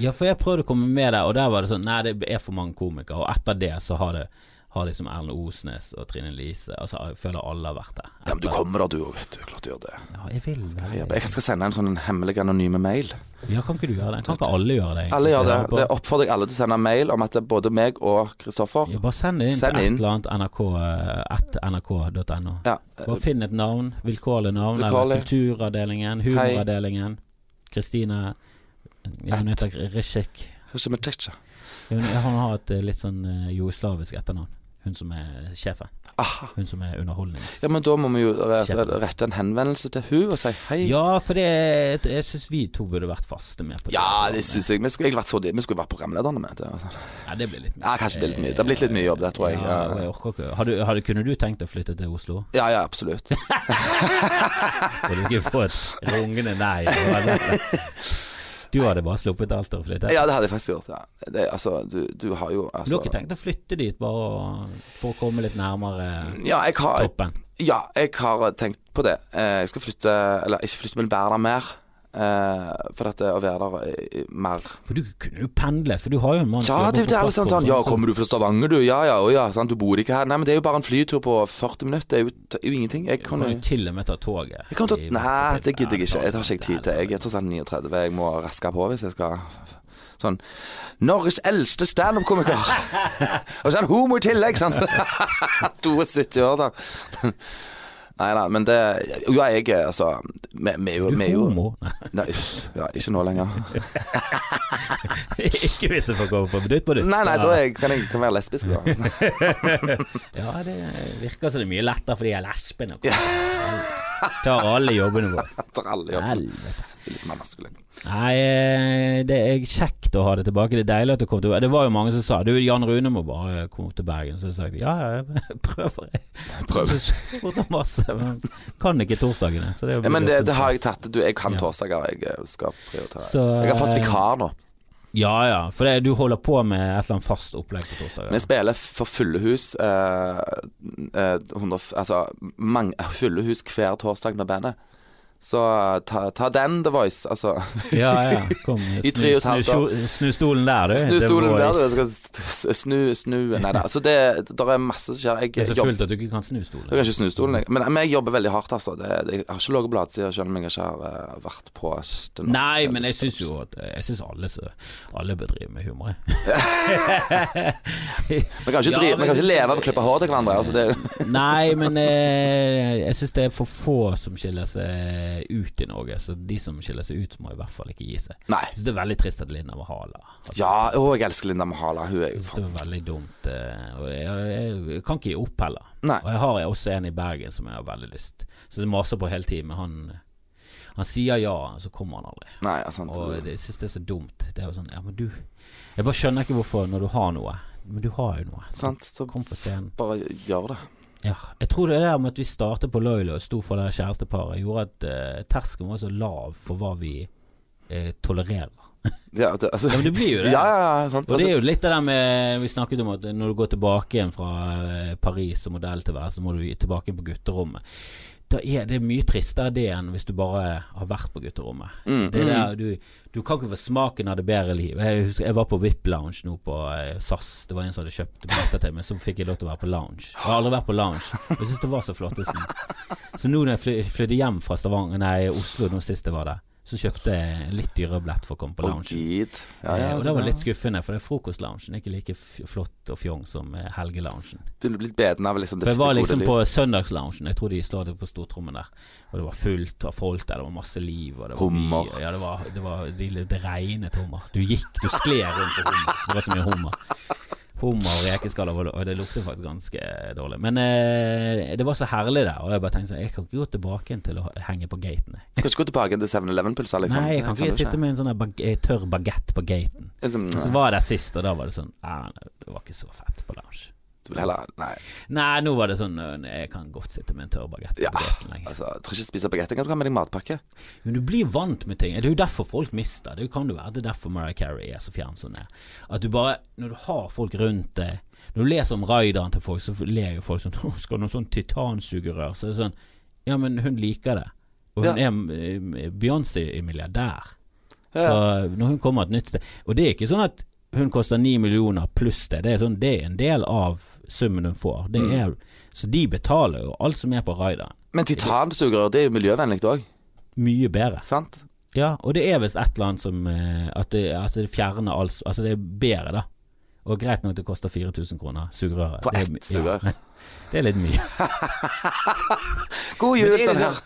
S1: Ja, for jeg prøvde å komme med der, og der var det sånn Nei, det er for mange komikere. Og etter det så har det har liksom Erlend Osnes og Trine Lise Altså, jeg føler alle har vært der.
S2: ja. Men du kommer da, du òg, vet du. Klart du gjør det.
S1: Ja, jeg vil
S2: Ja,
S1: det.
S2: Jeg skal sende en sånn hemmelig anonyme mail.
S1: Ja, kan ikke du gjøre det? Kan ikke alle gjøre det? egentlig?
S2: Alle gjør det.
S1: Bare-
S2: Det oppfordrer jeg alle til å sende mail om at det er både meg og Kristoffer
S1: Ja, bare send det inn
S2: Send
S1: til
S2: inn.
S1: et eller annet NRK, eh, at nrk.no.
S2: Ja.
S1: Bare finn et navn, vilkårlig navn, eller
S2: Eh, Vilkårlig.
S1: kulturavdelingen, humoravdelingen. Kristine ja, Hun heter Rizhik.
S2: Høres ut som et tjekk.
S1: Hun, hun har et eh, litt sånn eh, jugoslavisk etternavn. Hun som er sjefen.
S2: Aha.
S1: Hun som er underholdnings...
S2: Ja, men da må vi jo re- rette en henvendelse til hun og si hei.
S1: Ja, for det er, jeg syns vi to burde vært faste med på det.
S2: Ja, det syns jeg. Vi skulle egentlig vært så Vi skulle vært programlederne med. Det, altså.
S1: Ja, det blir litt mye.
S2: Ja, kanskje det blir litt mye. Det har blitt litt mye jobb der, tror jeg.
S1: Ja,
S2: Ja.
S1: jeg orker ikke. Har du, har du, kunne du tenkt deg å flytte til Oslo?
S2: Ja, ja, absolutt.
S1: Og du skulle få et rungende nei. det var lett. Du hadde bare sluppet alt og flyttet.
S2: Ja, det hadde jeg faktisk gjort. Ja. Det, altså, du, du har jo
S1: Du
S2: altså,
S1: har ikke tenkt å flytte dit bare å- for å komme litt nærmere
S2: ja, jeg har,
S1: toppen?
S2: ja, jeg har tenkt på det. Eh, Jeg skal flytte Eller ikke flytte, men være der mer. eh, for dette å være der eh, mer.
S1: For du kunne jo pendlet, for du har jo en mann som
S2: Ja,
S1: jobber
S2: det, det
S1: på
S2: er jo sånn,
S1: plattform,
S2: sånn Ja,
S1: sant?
S2: kommer du fra Stavanger, du? Ja ja, å ja. Sant, du bor ikke her. Nei, men det er jo bare en flytur på 40 minutter. Det er jo, det er jo ingenting. Jeg
S1: Du
S2: kan
S1: kan
S2: jo
S1: jo til og med ta toget.
S2: jeg kan ta,
S1: i beste
S2: nei, det
S1: tilfelle.
S2: gidder jeg ikke.
S1: Ja,
S2: Jeg tar ikke tid til. Jeg er tross alt 39. Jeg må raske på hvis jeg skal Sånn Norges eldste
S1: [LAUGHS]
S2: standup-komiker! Og så er han homo i tillegg, sant! 72 år, da. Nei da, men det Jo, jeg er altså Vi vi er jo
S1: Du
S2: vi
S1: er
S2: er jo-
S1: homo? [LAUGHS] Nei,
S2: Nei, uff, ja, ikke nå lenger.
S1: ikke hvis jeg får gå på dytt på dytt.
S2: Nei, nei, da er jeg, kan jeg kan være lesbisk,
S1: [LAUGHS]
S2: da.
S1: Ja, det virker som det er mye lettere for de her lesbene. Tar alle jobbene
S2: [LAUGHS]
S1: våre.
S2: Etter alle jobb.
S1: Helvete.
S2: Litt mer maskulin.
S1: Nei, eh, det er kjekt å ha det tilbake. Det er deilig at du kom til Det var jo mange som sa Du, Jan Rune må bare komme til Bergen. Så jeg sa ja, ja, [LAUGHS] jeg
S2: [LAUGHS]
S1: prøver.
S2: Prøv.
S1: Så spurte han masse, men kan ikke torsdagene. Så det er jo
S2: Ja, men det, det har jeg
S1: tatt.
S2: tatt. Du, jeg kan
S1: Ja.
S2: torsdager. Jeg eh, skal prioritere.
S1: Så,
S2: Jeg har fått
S1: eh,
S2: vikar nå.
S1: Ja ja, for det, du holder på med et eller annet fast opplegg på torsdager.
S2: Vi spiller for fulle hus eh, eh, 100, f- Altså mange, [LAUGHS] fulle hus hver torsdag med bandet. Så eh, ta, ta den, The Voice. Altså, [LAUGHS]
S1: Ja, ja. Kom, snu,
S2: tre og et halvt
S1: snu, snu, snu stolen der, du.
S2: snu
S1: The
S2: stolen der, du.
S1: Voice.
S2: Skal s- s- snu, snu Nei da. Altså, det der er masse som skjer.
S1: Det er
S2: Jeg
S1: så
S2: jobber
S1: fullt at du ikke kan snu stolen.
S2: jeg kan ikke snu stolen, jeg. Men, men jeg jobber veldig hardt, altså. Det, det, jeg har ikke ligget på bladsida selv om jeg ikke har eh, vært på den
S1: Nei, men jeg
S2: offisielle
S1: syns jo at eh, Jeg syns alle, så- alle bør drive med humor. jeg.
S2: Vi kan ikke,
S1: Ja,
S2: drive,
S1: men-
S2: vi kan ikke leve av å klippe hår til hverandre. Altså, det,
S1: [LAUGHS] Nei, men eh, jeg syns det er for få som skiller seg ut i Norge. Så de som skiller seg ut, må i hvert fall ikke gi seg.
S2: [LAUGHS] nei.
S1: Jeg syns det er veldig trist at Linda var hala. Altså,
S2: Ja, å, jeg elsker Linda Mahala. Hun er
S1: Jeg
S2: jo
S1: synes
S2: faen
S1: det var veldig dumt. eh, Og jeg, jeg kan ikke gi opp heller.
S2: Nei.
S1: Og jeg har også en i Bergen som jeg har veldig lyst Så jeg maser på hele tiden, men han Han sier ja, så kommer han aldri.
S2: Nei, sant.
S1: Og det- jeg syns det er så dumt. Det er jo sånn Ja, men du Jeg bare skjønner ikke hvorfor, når du har noe Men du har jo noe. Så
S2: sant. Så
S1: kom på scenen.
S2: bare gjør det.
S1: Ja. Jeg tror det der med at vi startet på Loilo og sto for det der kjæresteparet, gjorde at eh, terskelen var så lav for hva vi eh, tolererer.
S2: Ja, det, altså,
S1: Ja, men det blir jo det.
S2: [LAUGHS] Ja, ja, ja, sant.
S1: Og det
S2: Altså,
S1: er jo litt det der med Vi snakket om at når du går tilbake igjen fra eh, Paris og modell til verden, så må du tilbake igjen på gutterommet. Da er det mye tristere det enn hvis du bare har vært på gutterommet.
S2: Mm,
S1: det der, du, du kan ikke få smaken av det bedre liv. Jeg husker jeg var på VIP Lounge nå på eh, SAS. Det var en som hadde kjøpt billetter til meg, så fikk jeg lov til å være på lounge. Jeg har aldri vært på lounge. Jeg syns det var så flottesen. Så nå når jeg fly, flydde hjem fra Stavanger, nei, Oslo nå sist jeg var der, så kjøpte jeg en litt dyrere billett for å komme på
S2: og
S1: lounge.
S2: gid. Ja, altså
S1: Eh,
S2: ja,
S1: og det var litt skuffende, for det er frokostloungen ikke like f flott og fjong som eh, helgeloungen.
S2: Begynner å bli beten av liksom det,
S1: For jeg var
S2: det gode
S1: liksom
S2: liv.
S1: på søndagsloungen, jeg tror de står det på stortrommen der, og det var fullt, det var folk der, det var masse liv, og det var
S2: Hummer.
S1: mye Ja, det var, det, var det, det regnet hummer. Du gikk, du skled rundt på hummer. Det var så mye hummer. Hummer og rekeskaller, var det- og det lukter faktisk ganske dårlig. Men eh, det var så herlig der, og jeg bare tenkte sånn, jeg kan ikke gå tilbake igjen til å henge på gaten. jeg.
S2: Du kan ikke gå tilbake til 7-Eleven-pølser, liksom.
S1: Nei, jeg kan
S2: Det
S1: ikke
S2: du
S1: sitte med Altså, en sånn der bag eh, tørr bagett på gaten.
S2: Liksom,
S1: Så
S2: nei,
S1: var jeg der sist, og da var det sånn «Nei, nei, Det var ikke så fett på lounge.
S2: du vil heller Nei,
S1: Nei, nå var det sånn «Nei, Jeg kan godt sitte med en tørr bagett
S2: Ja.
S1: på gaten lenger.
S2: altså, jeg tror ikke jeg spiser baguette. Kan du ha med deg matpakke?
S1: Men du blir vant med ting. Det er jo derfor folk mister. Det kan jo være det er derfor Mariah Carey er så fjern som hun er. At du bare Når du har folk rundt deg Når du leser om raideren til folk, så ler jo folk sånn [LAUGHS] Nå skal du ha noe sånn titansugerør. Så er det sånn Ja, men hun liker det. Og hun
S2: Ja.
S1: er eh, Beyoncé-milliardær.
S2: Ja.
S1: Så når hun kommer et nytt sted Og det er ikke sånn at hun koster ni millioner pluss det. Det er, sånn, det er en del av summen hun får.
S2: Mm.
S1: Det er, Så de betaler jo alt som er på raideren.
S2: Men titansugerør, det er jo miljøvennlig òg,
S1: Mye bedre.
S2: sant?
S1: Ja, og det er visst et eller annet som eh, At det, at det fjerner alt Altså det er bedre, da. Og greit nok det koster 4000 kroner, sugerøret.
S2: For
S1: Det er-
S2: ett sugerør.
S1: Ja, det er litt
S2: [LAUGHS]
S1: mye.
S2: God jul,
S1: Men er det
S2: den her.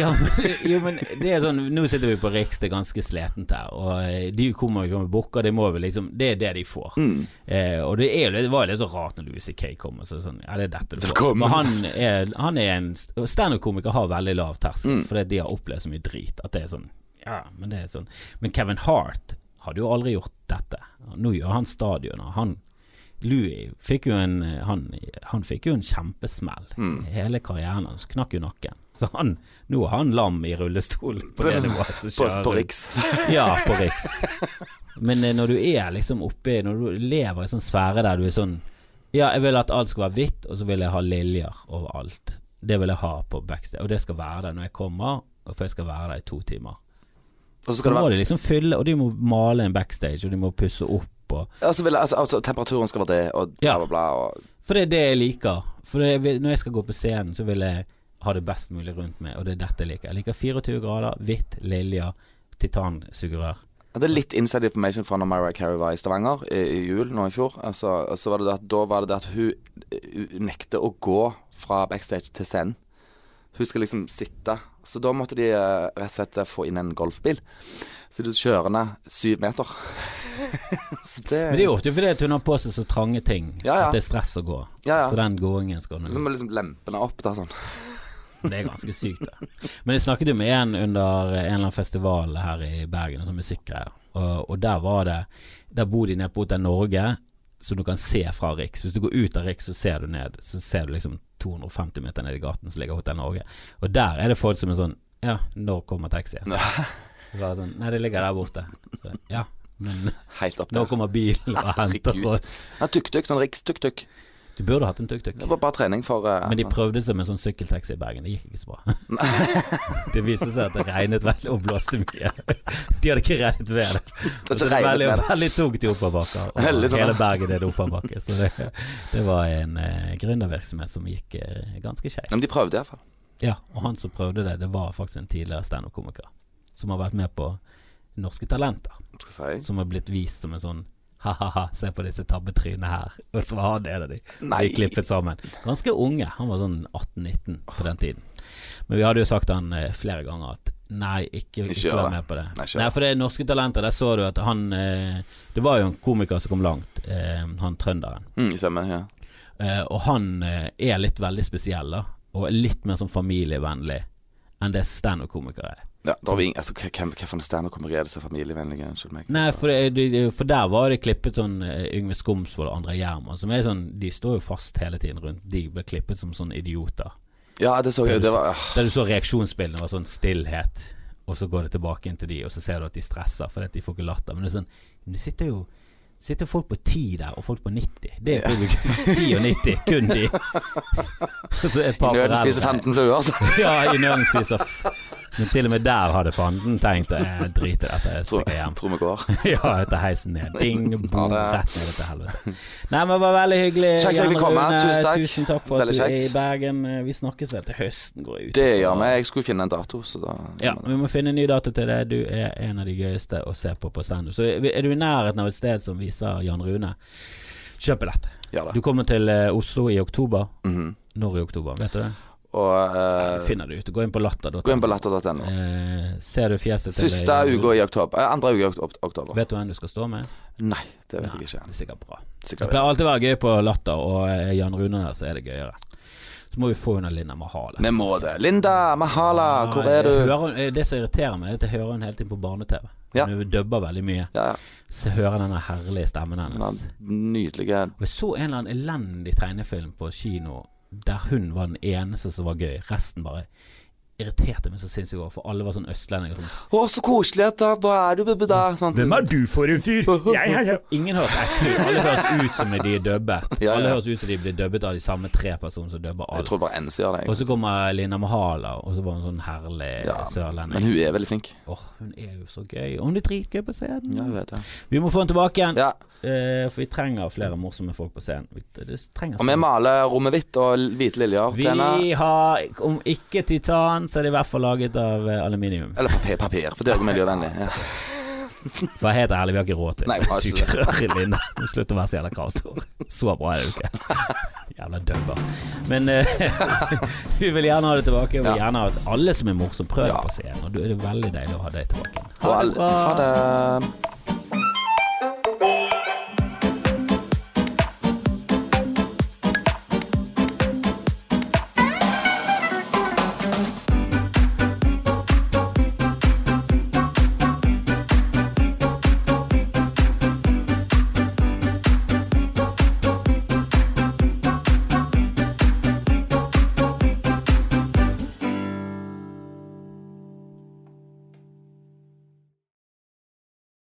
S1: Ja, men, jo, men det er sånn Nå sitter vi på Riks, det er ganske sletent her. Og eh, de kommer jo med bukker, det må vel liksom Det er det de får.
S2: Mm.
S1: Eh, og det, er, jo- det var jo litt så rart når Louis C.K. kom og så sånn Ja, det er dette du får.
S2: Velkommen.
S1: Men han er, han er en st- Standup-komiker har veldig lav terskel,
S2: Mm.
S1: fordi de har opplevd så mye drit at det er sånn Ja, men det er sånn Men Kevin Hart hadde jo aldri gjort dette. Nå gjør han stadioner. Han Louis fikk jo en Han, han fikk jo en kjempesmell.
S2: Mm.
S1: Hele karrieren hans knakk jo nakken. Så han Nå er han lam i rullestol på det nivået. som
S2: [LAUGHS] På,
S1: kjører
S2: på
S1: rundt.
S2: Riks.
S1: Ja, på Riks. Men eh, når du er liksom oppe Når du lever i sånn sfære der du er sånn Ja, jeg vil at alt skal være hvitt, og så vil jeg ha liljer overalt. Det vil jeg ha på backstage, og det skal være der når jeg kommer, og for jeg skal være der i to timer.
S2: Og så
S1: Så
S2: skal det
S1: må
S2: være
S1: de liksom fylle, og de må male en backstage, og de må pusse opp og
S2: og så vil, jeg- altså, altså, Temperaturen skal være det, og bla,
S1: Ja.
S2: bla, bla. Og,
S1: For det er det jeg liker. For det, vil- når jeg skal gå på scenen, så vil jeg ha det best mulig rundt meg, og det er dette jeg liker. Jeg liker 24 grader, hvitt, lilja, titansugerør.
S2: Jeg hadde litt inside information fra når Mariah Carey var i Stavanger i, i jul nå i fjor. Altså, og så var det det at, da var det det at hun eh, nekter å gå fra backstage til scenen. Hun skal liksom sitte. Så da måtte de eh, rett og slett få inn en golfbil. Så de kjører ned syv meter. [LAUGHS] så det,
S1: Men det er jo ofte fordi at hun har på seg så trange ting
S2: Ja, ja.
S1: at det er stress å gå.
S2: Ja, ja.
S1: Så den gåingen skal hun
S2: Så må du liksom lempe henne opp der sånn.
S1: Det er ganske sykt, det. Men jeg snakket jo med en under en eller annen festival her i Bergen, som musikkgreier. Og, og der var det Der bor de nede på Hotell Norge, som du kan se fra Riks. Hvis du går ut av Riks, så ser du ned. Så ser du liksom 250 meter ned i gaten, så ligger Hotell Norge. Og der er det folk som er sånn Ja, når kommer taxien? Så Bare sånn Nei, det ligger der borte. Så, ja, men
S2: Helt opp
S1: nå
S2: der.
S1: kommer bilen og henter
S2: Herregud.
S1: oss.
S2: Ja, tuk-tuk, sånn riks-tuk-tuk.
S1: Du burde hatt en tuk-tuk.
S2: Det var bare trening for eh,
S1: Men de prøvde seg med sånn sykkeltaxi i Bergen. Det gikk ikke så bra. [LAUGHS] det viste seg at det regnet veldig og blåste mye. De hadde ikke regnet ved det.
S2: Det
S1: Og
S2: er
S1: så er
S2: ikke
S1: det veldig,
S2: regnet med det.
S1: veldig tungt i oppoverbakker.
S2: Veldig
S1: Og
S2: sånn,
S1: hele
S2: ja.
S1: Bergen er det oppoverbakke. Så det, det var en eh, gründervirksomhet som gikk eh, ganske skeis.
S2: Men de prøvde iallfall.
S1: Ja, og han som prøvde det, det var faktisk en tidligere standup-komiker. Som har vært med på Norske Talenter.
S2: Skal jeg si.
S1: Som har blitt vist som en sånn ha-ha-ha, se på disse tabbetrynene her. Og så var han en av de.
S2: Nei.
S1: Vi klippet sammen. Ganske unge. Han var sånn 18-19 på den tiden. Men vi hadde jo sagt han eh, flere ganger at nei, ikke, ikke,
S2: gjør
S1: vær
S2: det.
S1: med på det.
S2: Nei,
S1: Nei,
S2: ikke gjør det.
S1: for det er norske talenter. Der så du at han eh, Det var jo en komiker som kom langt, eh, han trønderen.
S2: Mm, stemmer. Ja.
S1: Eh, og han eh, er litt veldig spesiell, da. Og er litt mer sånn familievennlig enn det standup-komikere er.
S2: Ja, da har vi ingen, altså, hvem- hvem hvem faen standup-komikere er det som er familievennlige? Unnskyld meg.
S1: Nei, for, det, det- det- for der var det klippet sånn eh, Yngve Skomsvold og André Gjerman, som er sånn De står jo fast hele tiden rundt. De ble klippet som sånne idioter.
S2: Ja, det så jeg. Det var
S1: Der du så reaksjonsbildene var sånn stillhet, og så går det tilbake inn til de, og så ser du at de stresser fordi at de får ikke latter. Men det er sånn Men det sitter jo Sitter folk på 10 der, og folk på 90. Det er publikum. 10 og 90, kun
S2: [LAUGHS]
S1: de. Og så et par
S2: Nøden spiser
S1: foreldre-
S2: 15 fluer, altså.
S1: Ja, i nøden spiser f- Men til og med der hadde fanden tenkt å drite i dette, jeg
S2: Tror,
S1: stikker hjem. [LAUGHS]
S2: tror vi går.
S1: Ja, etter heisen ned. Ding,
S2: [LAUGHS] Ja,
S1: bom,
S2: det er-
S1: rett ned til helvete. Nei, men det var veldig hyggelig.
S2: Kjekt at jeg
S1: Jan
S2: fikk komme.
S1: Rune.
S2: Tusen takk.
S1: Tusen takk for
S2: Veldig
S1: at du er i
S2: kjekt.
S1: Bergen. Vi snakkes vel til høsten, går jeg ut
S2: Det
S1: ifra.
S2: gjør vi. Jeg skulle finne en dato, så da
S1: Ja, vi må finne en ny dato til det. Du er en av de gøyeste å se på på standup. Så er du i nærheten av et sted som viser Jan Rune, kjøp billett.
S2: Gjør
S1: Du
S2: det.
S1: kommer til eh, Oslo i oktober.
S2: Mhm.
S1: Når i oktober, vet du det?
S2: Og
S1: Det
S2: eh,
S1: finner du ut. Gå inn på latter.no.
S2: gå inn på latter.no.
S1: Eh, ser du fjeset til
S2: Første
S1: Jan Rune?
S2: uka i oktober. eh, Andre uka i okt- oktober.
S1: Vet du hvem du skal stå med?
S2: Nei, det vet jeg ikke.
S1: Det er sikkert bra. Det
S2: Sikkert.
S1: pleier alltid å være gøy på Latter, og eh, Jan Rune der, så er det gøyere. Så må vi få henne Linda Mahal.
S2: Vi må det. Linda Mahala, hvor er
S1: Jeg
S2: du?
S1: hører hun- eh, det som irriterer meg, er at jeg hører henne hele tiden på barne-TV.
S2: Ja.
S1: Hun dubber veldig mye.
S2: Ja,
S1: Så jeg hører denne herlige stemmen hennes.
S2: den nydelige
S1: Og jeg så en eller annen elendig tegnefilm på kino der hun var den eneste som var gøy. Resten bare irriterte meg så sinnssykt over, for alle var sånn østlendinger. Som,
S2: Å, så koselig at da Hva er du, bubbe, da? Sånn.
S1: er du for en fyr? Ingen høres ekte ut. Alle høres ut som de er dubbet.
S2: [LAUGHS] Ja, ja.
S1: Alle høres ut som de blir dubbet av de samme tre personene som dubber
S2: Jeg
S1: alle.
S2: tror det bare NC gjør det.
S1: Og
S2: Jeg.
S1: så kommer Lina Mahala, og så var hun sånn herlig
S2: Ja, Men
S1: sørlending.
S2: hun er veldig flink.
S1: Åh, hun er jo så gøy. Og hun er dritgøy på scenen.
S2: Ja, hun er det.
S1: Vi må få henne tilbake igjen,
S2: Ja.
S1: eh, for vi trenger flere morsomme folk på scenen. Vi, det trenger
S2: Og vi maler rommet hvitt og hvite liljer.
S1: Vi
S2: Denne-
S1: har, om ikke titan, så er det i hvert fall laget av eh, aluminium.
S2: Eller papir, papir, for det er jo miljøvennlig. Ja.
S1: For helt ærlig, vi har ikke råd til
S2: Nei, vi har ikke det.
S1: Sugerør i Linda. Nå slutter å være så jævla kravstor. Så bra er det jo ikke. Jævla dubber. Men eh, [LAUGHS] vi vil gjerne ha det tilbake. Og vi vil
S2: Ja.
S1: gjerne at alle som er morsomme, prøver
S2: Ja.
S1: på scenen. Og da er det veldig deilig å ha deg tilbake.
S2: Og alle-
S1: bra.
S2: Ha det.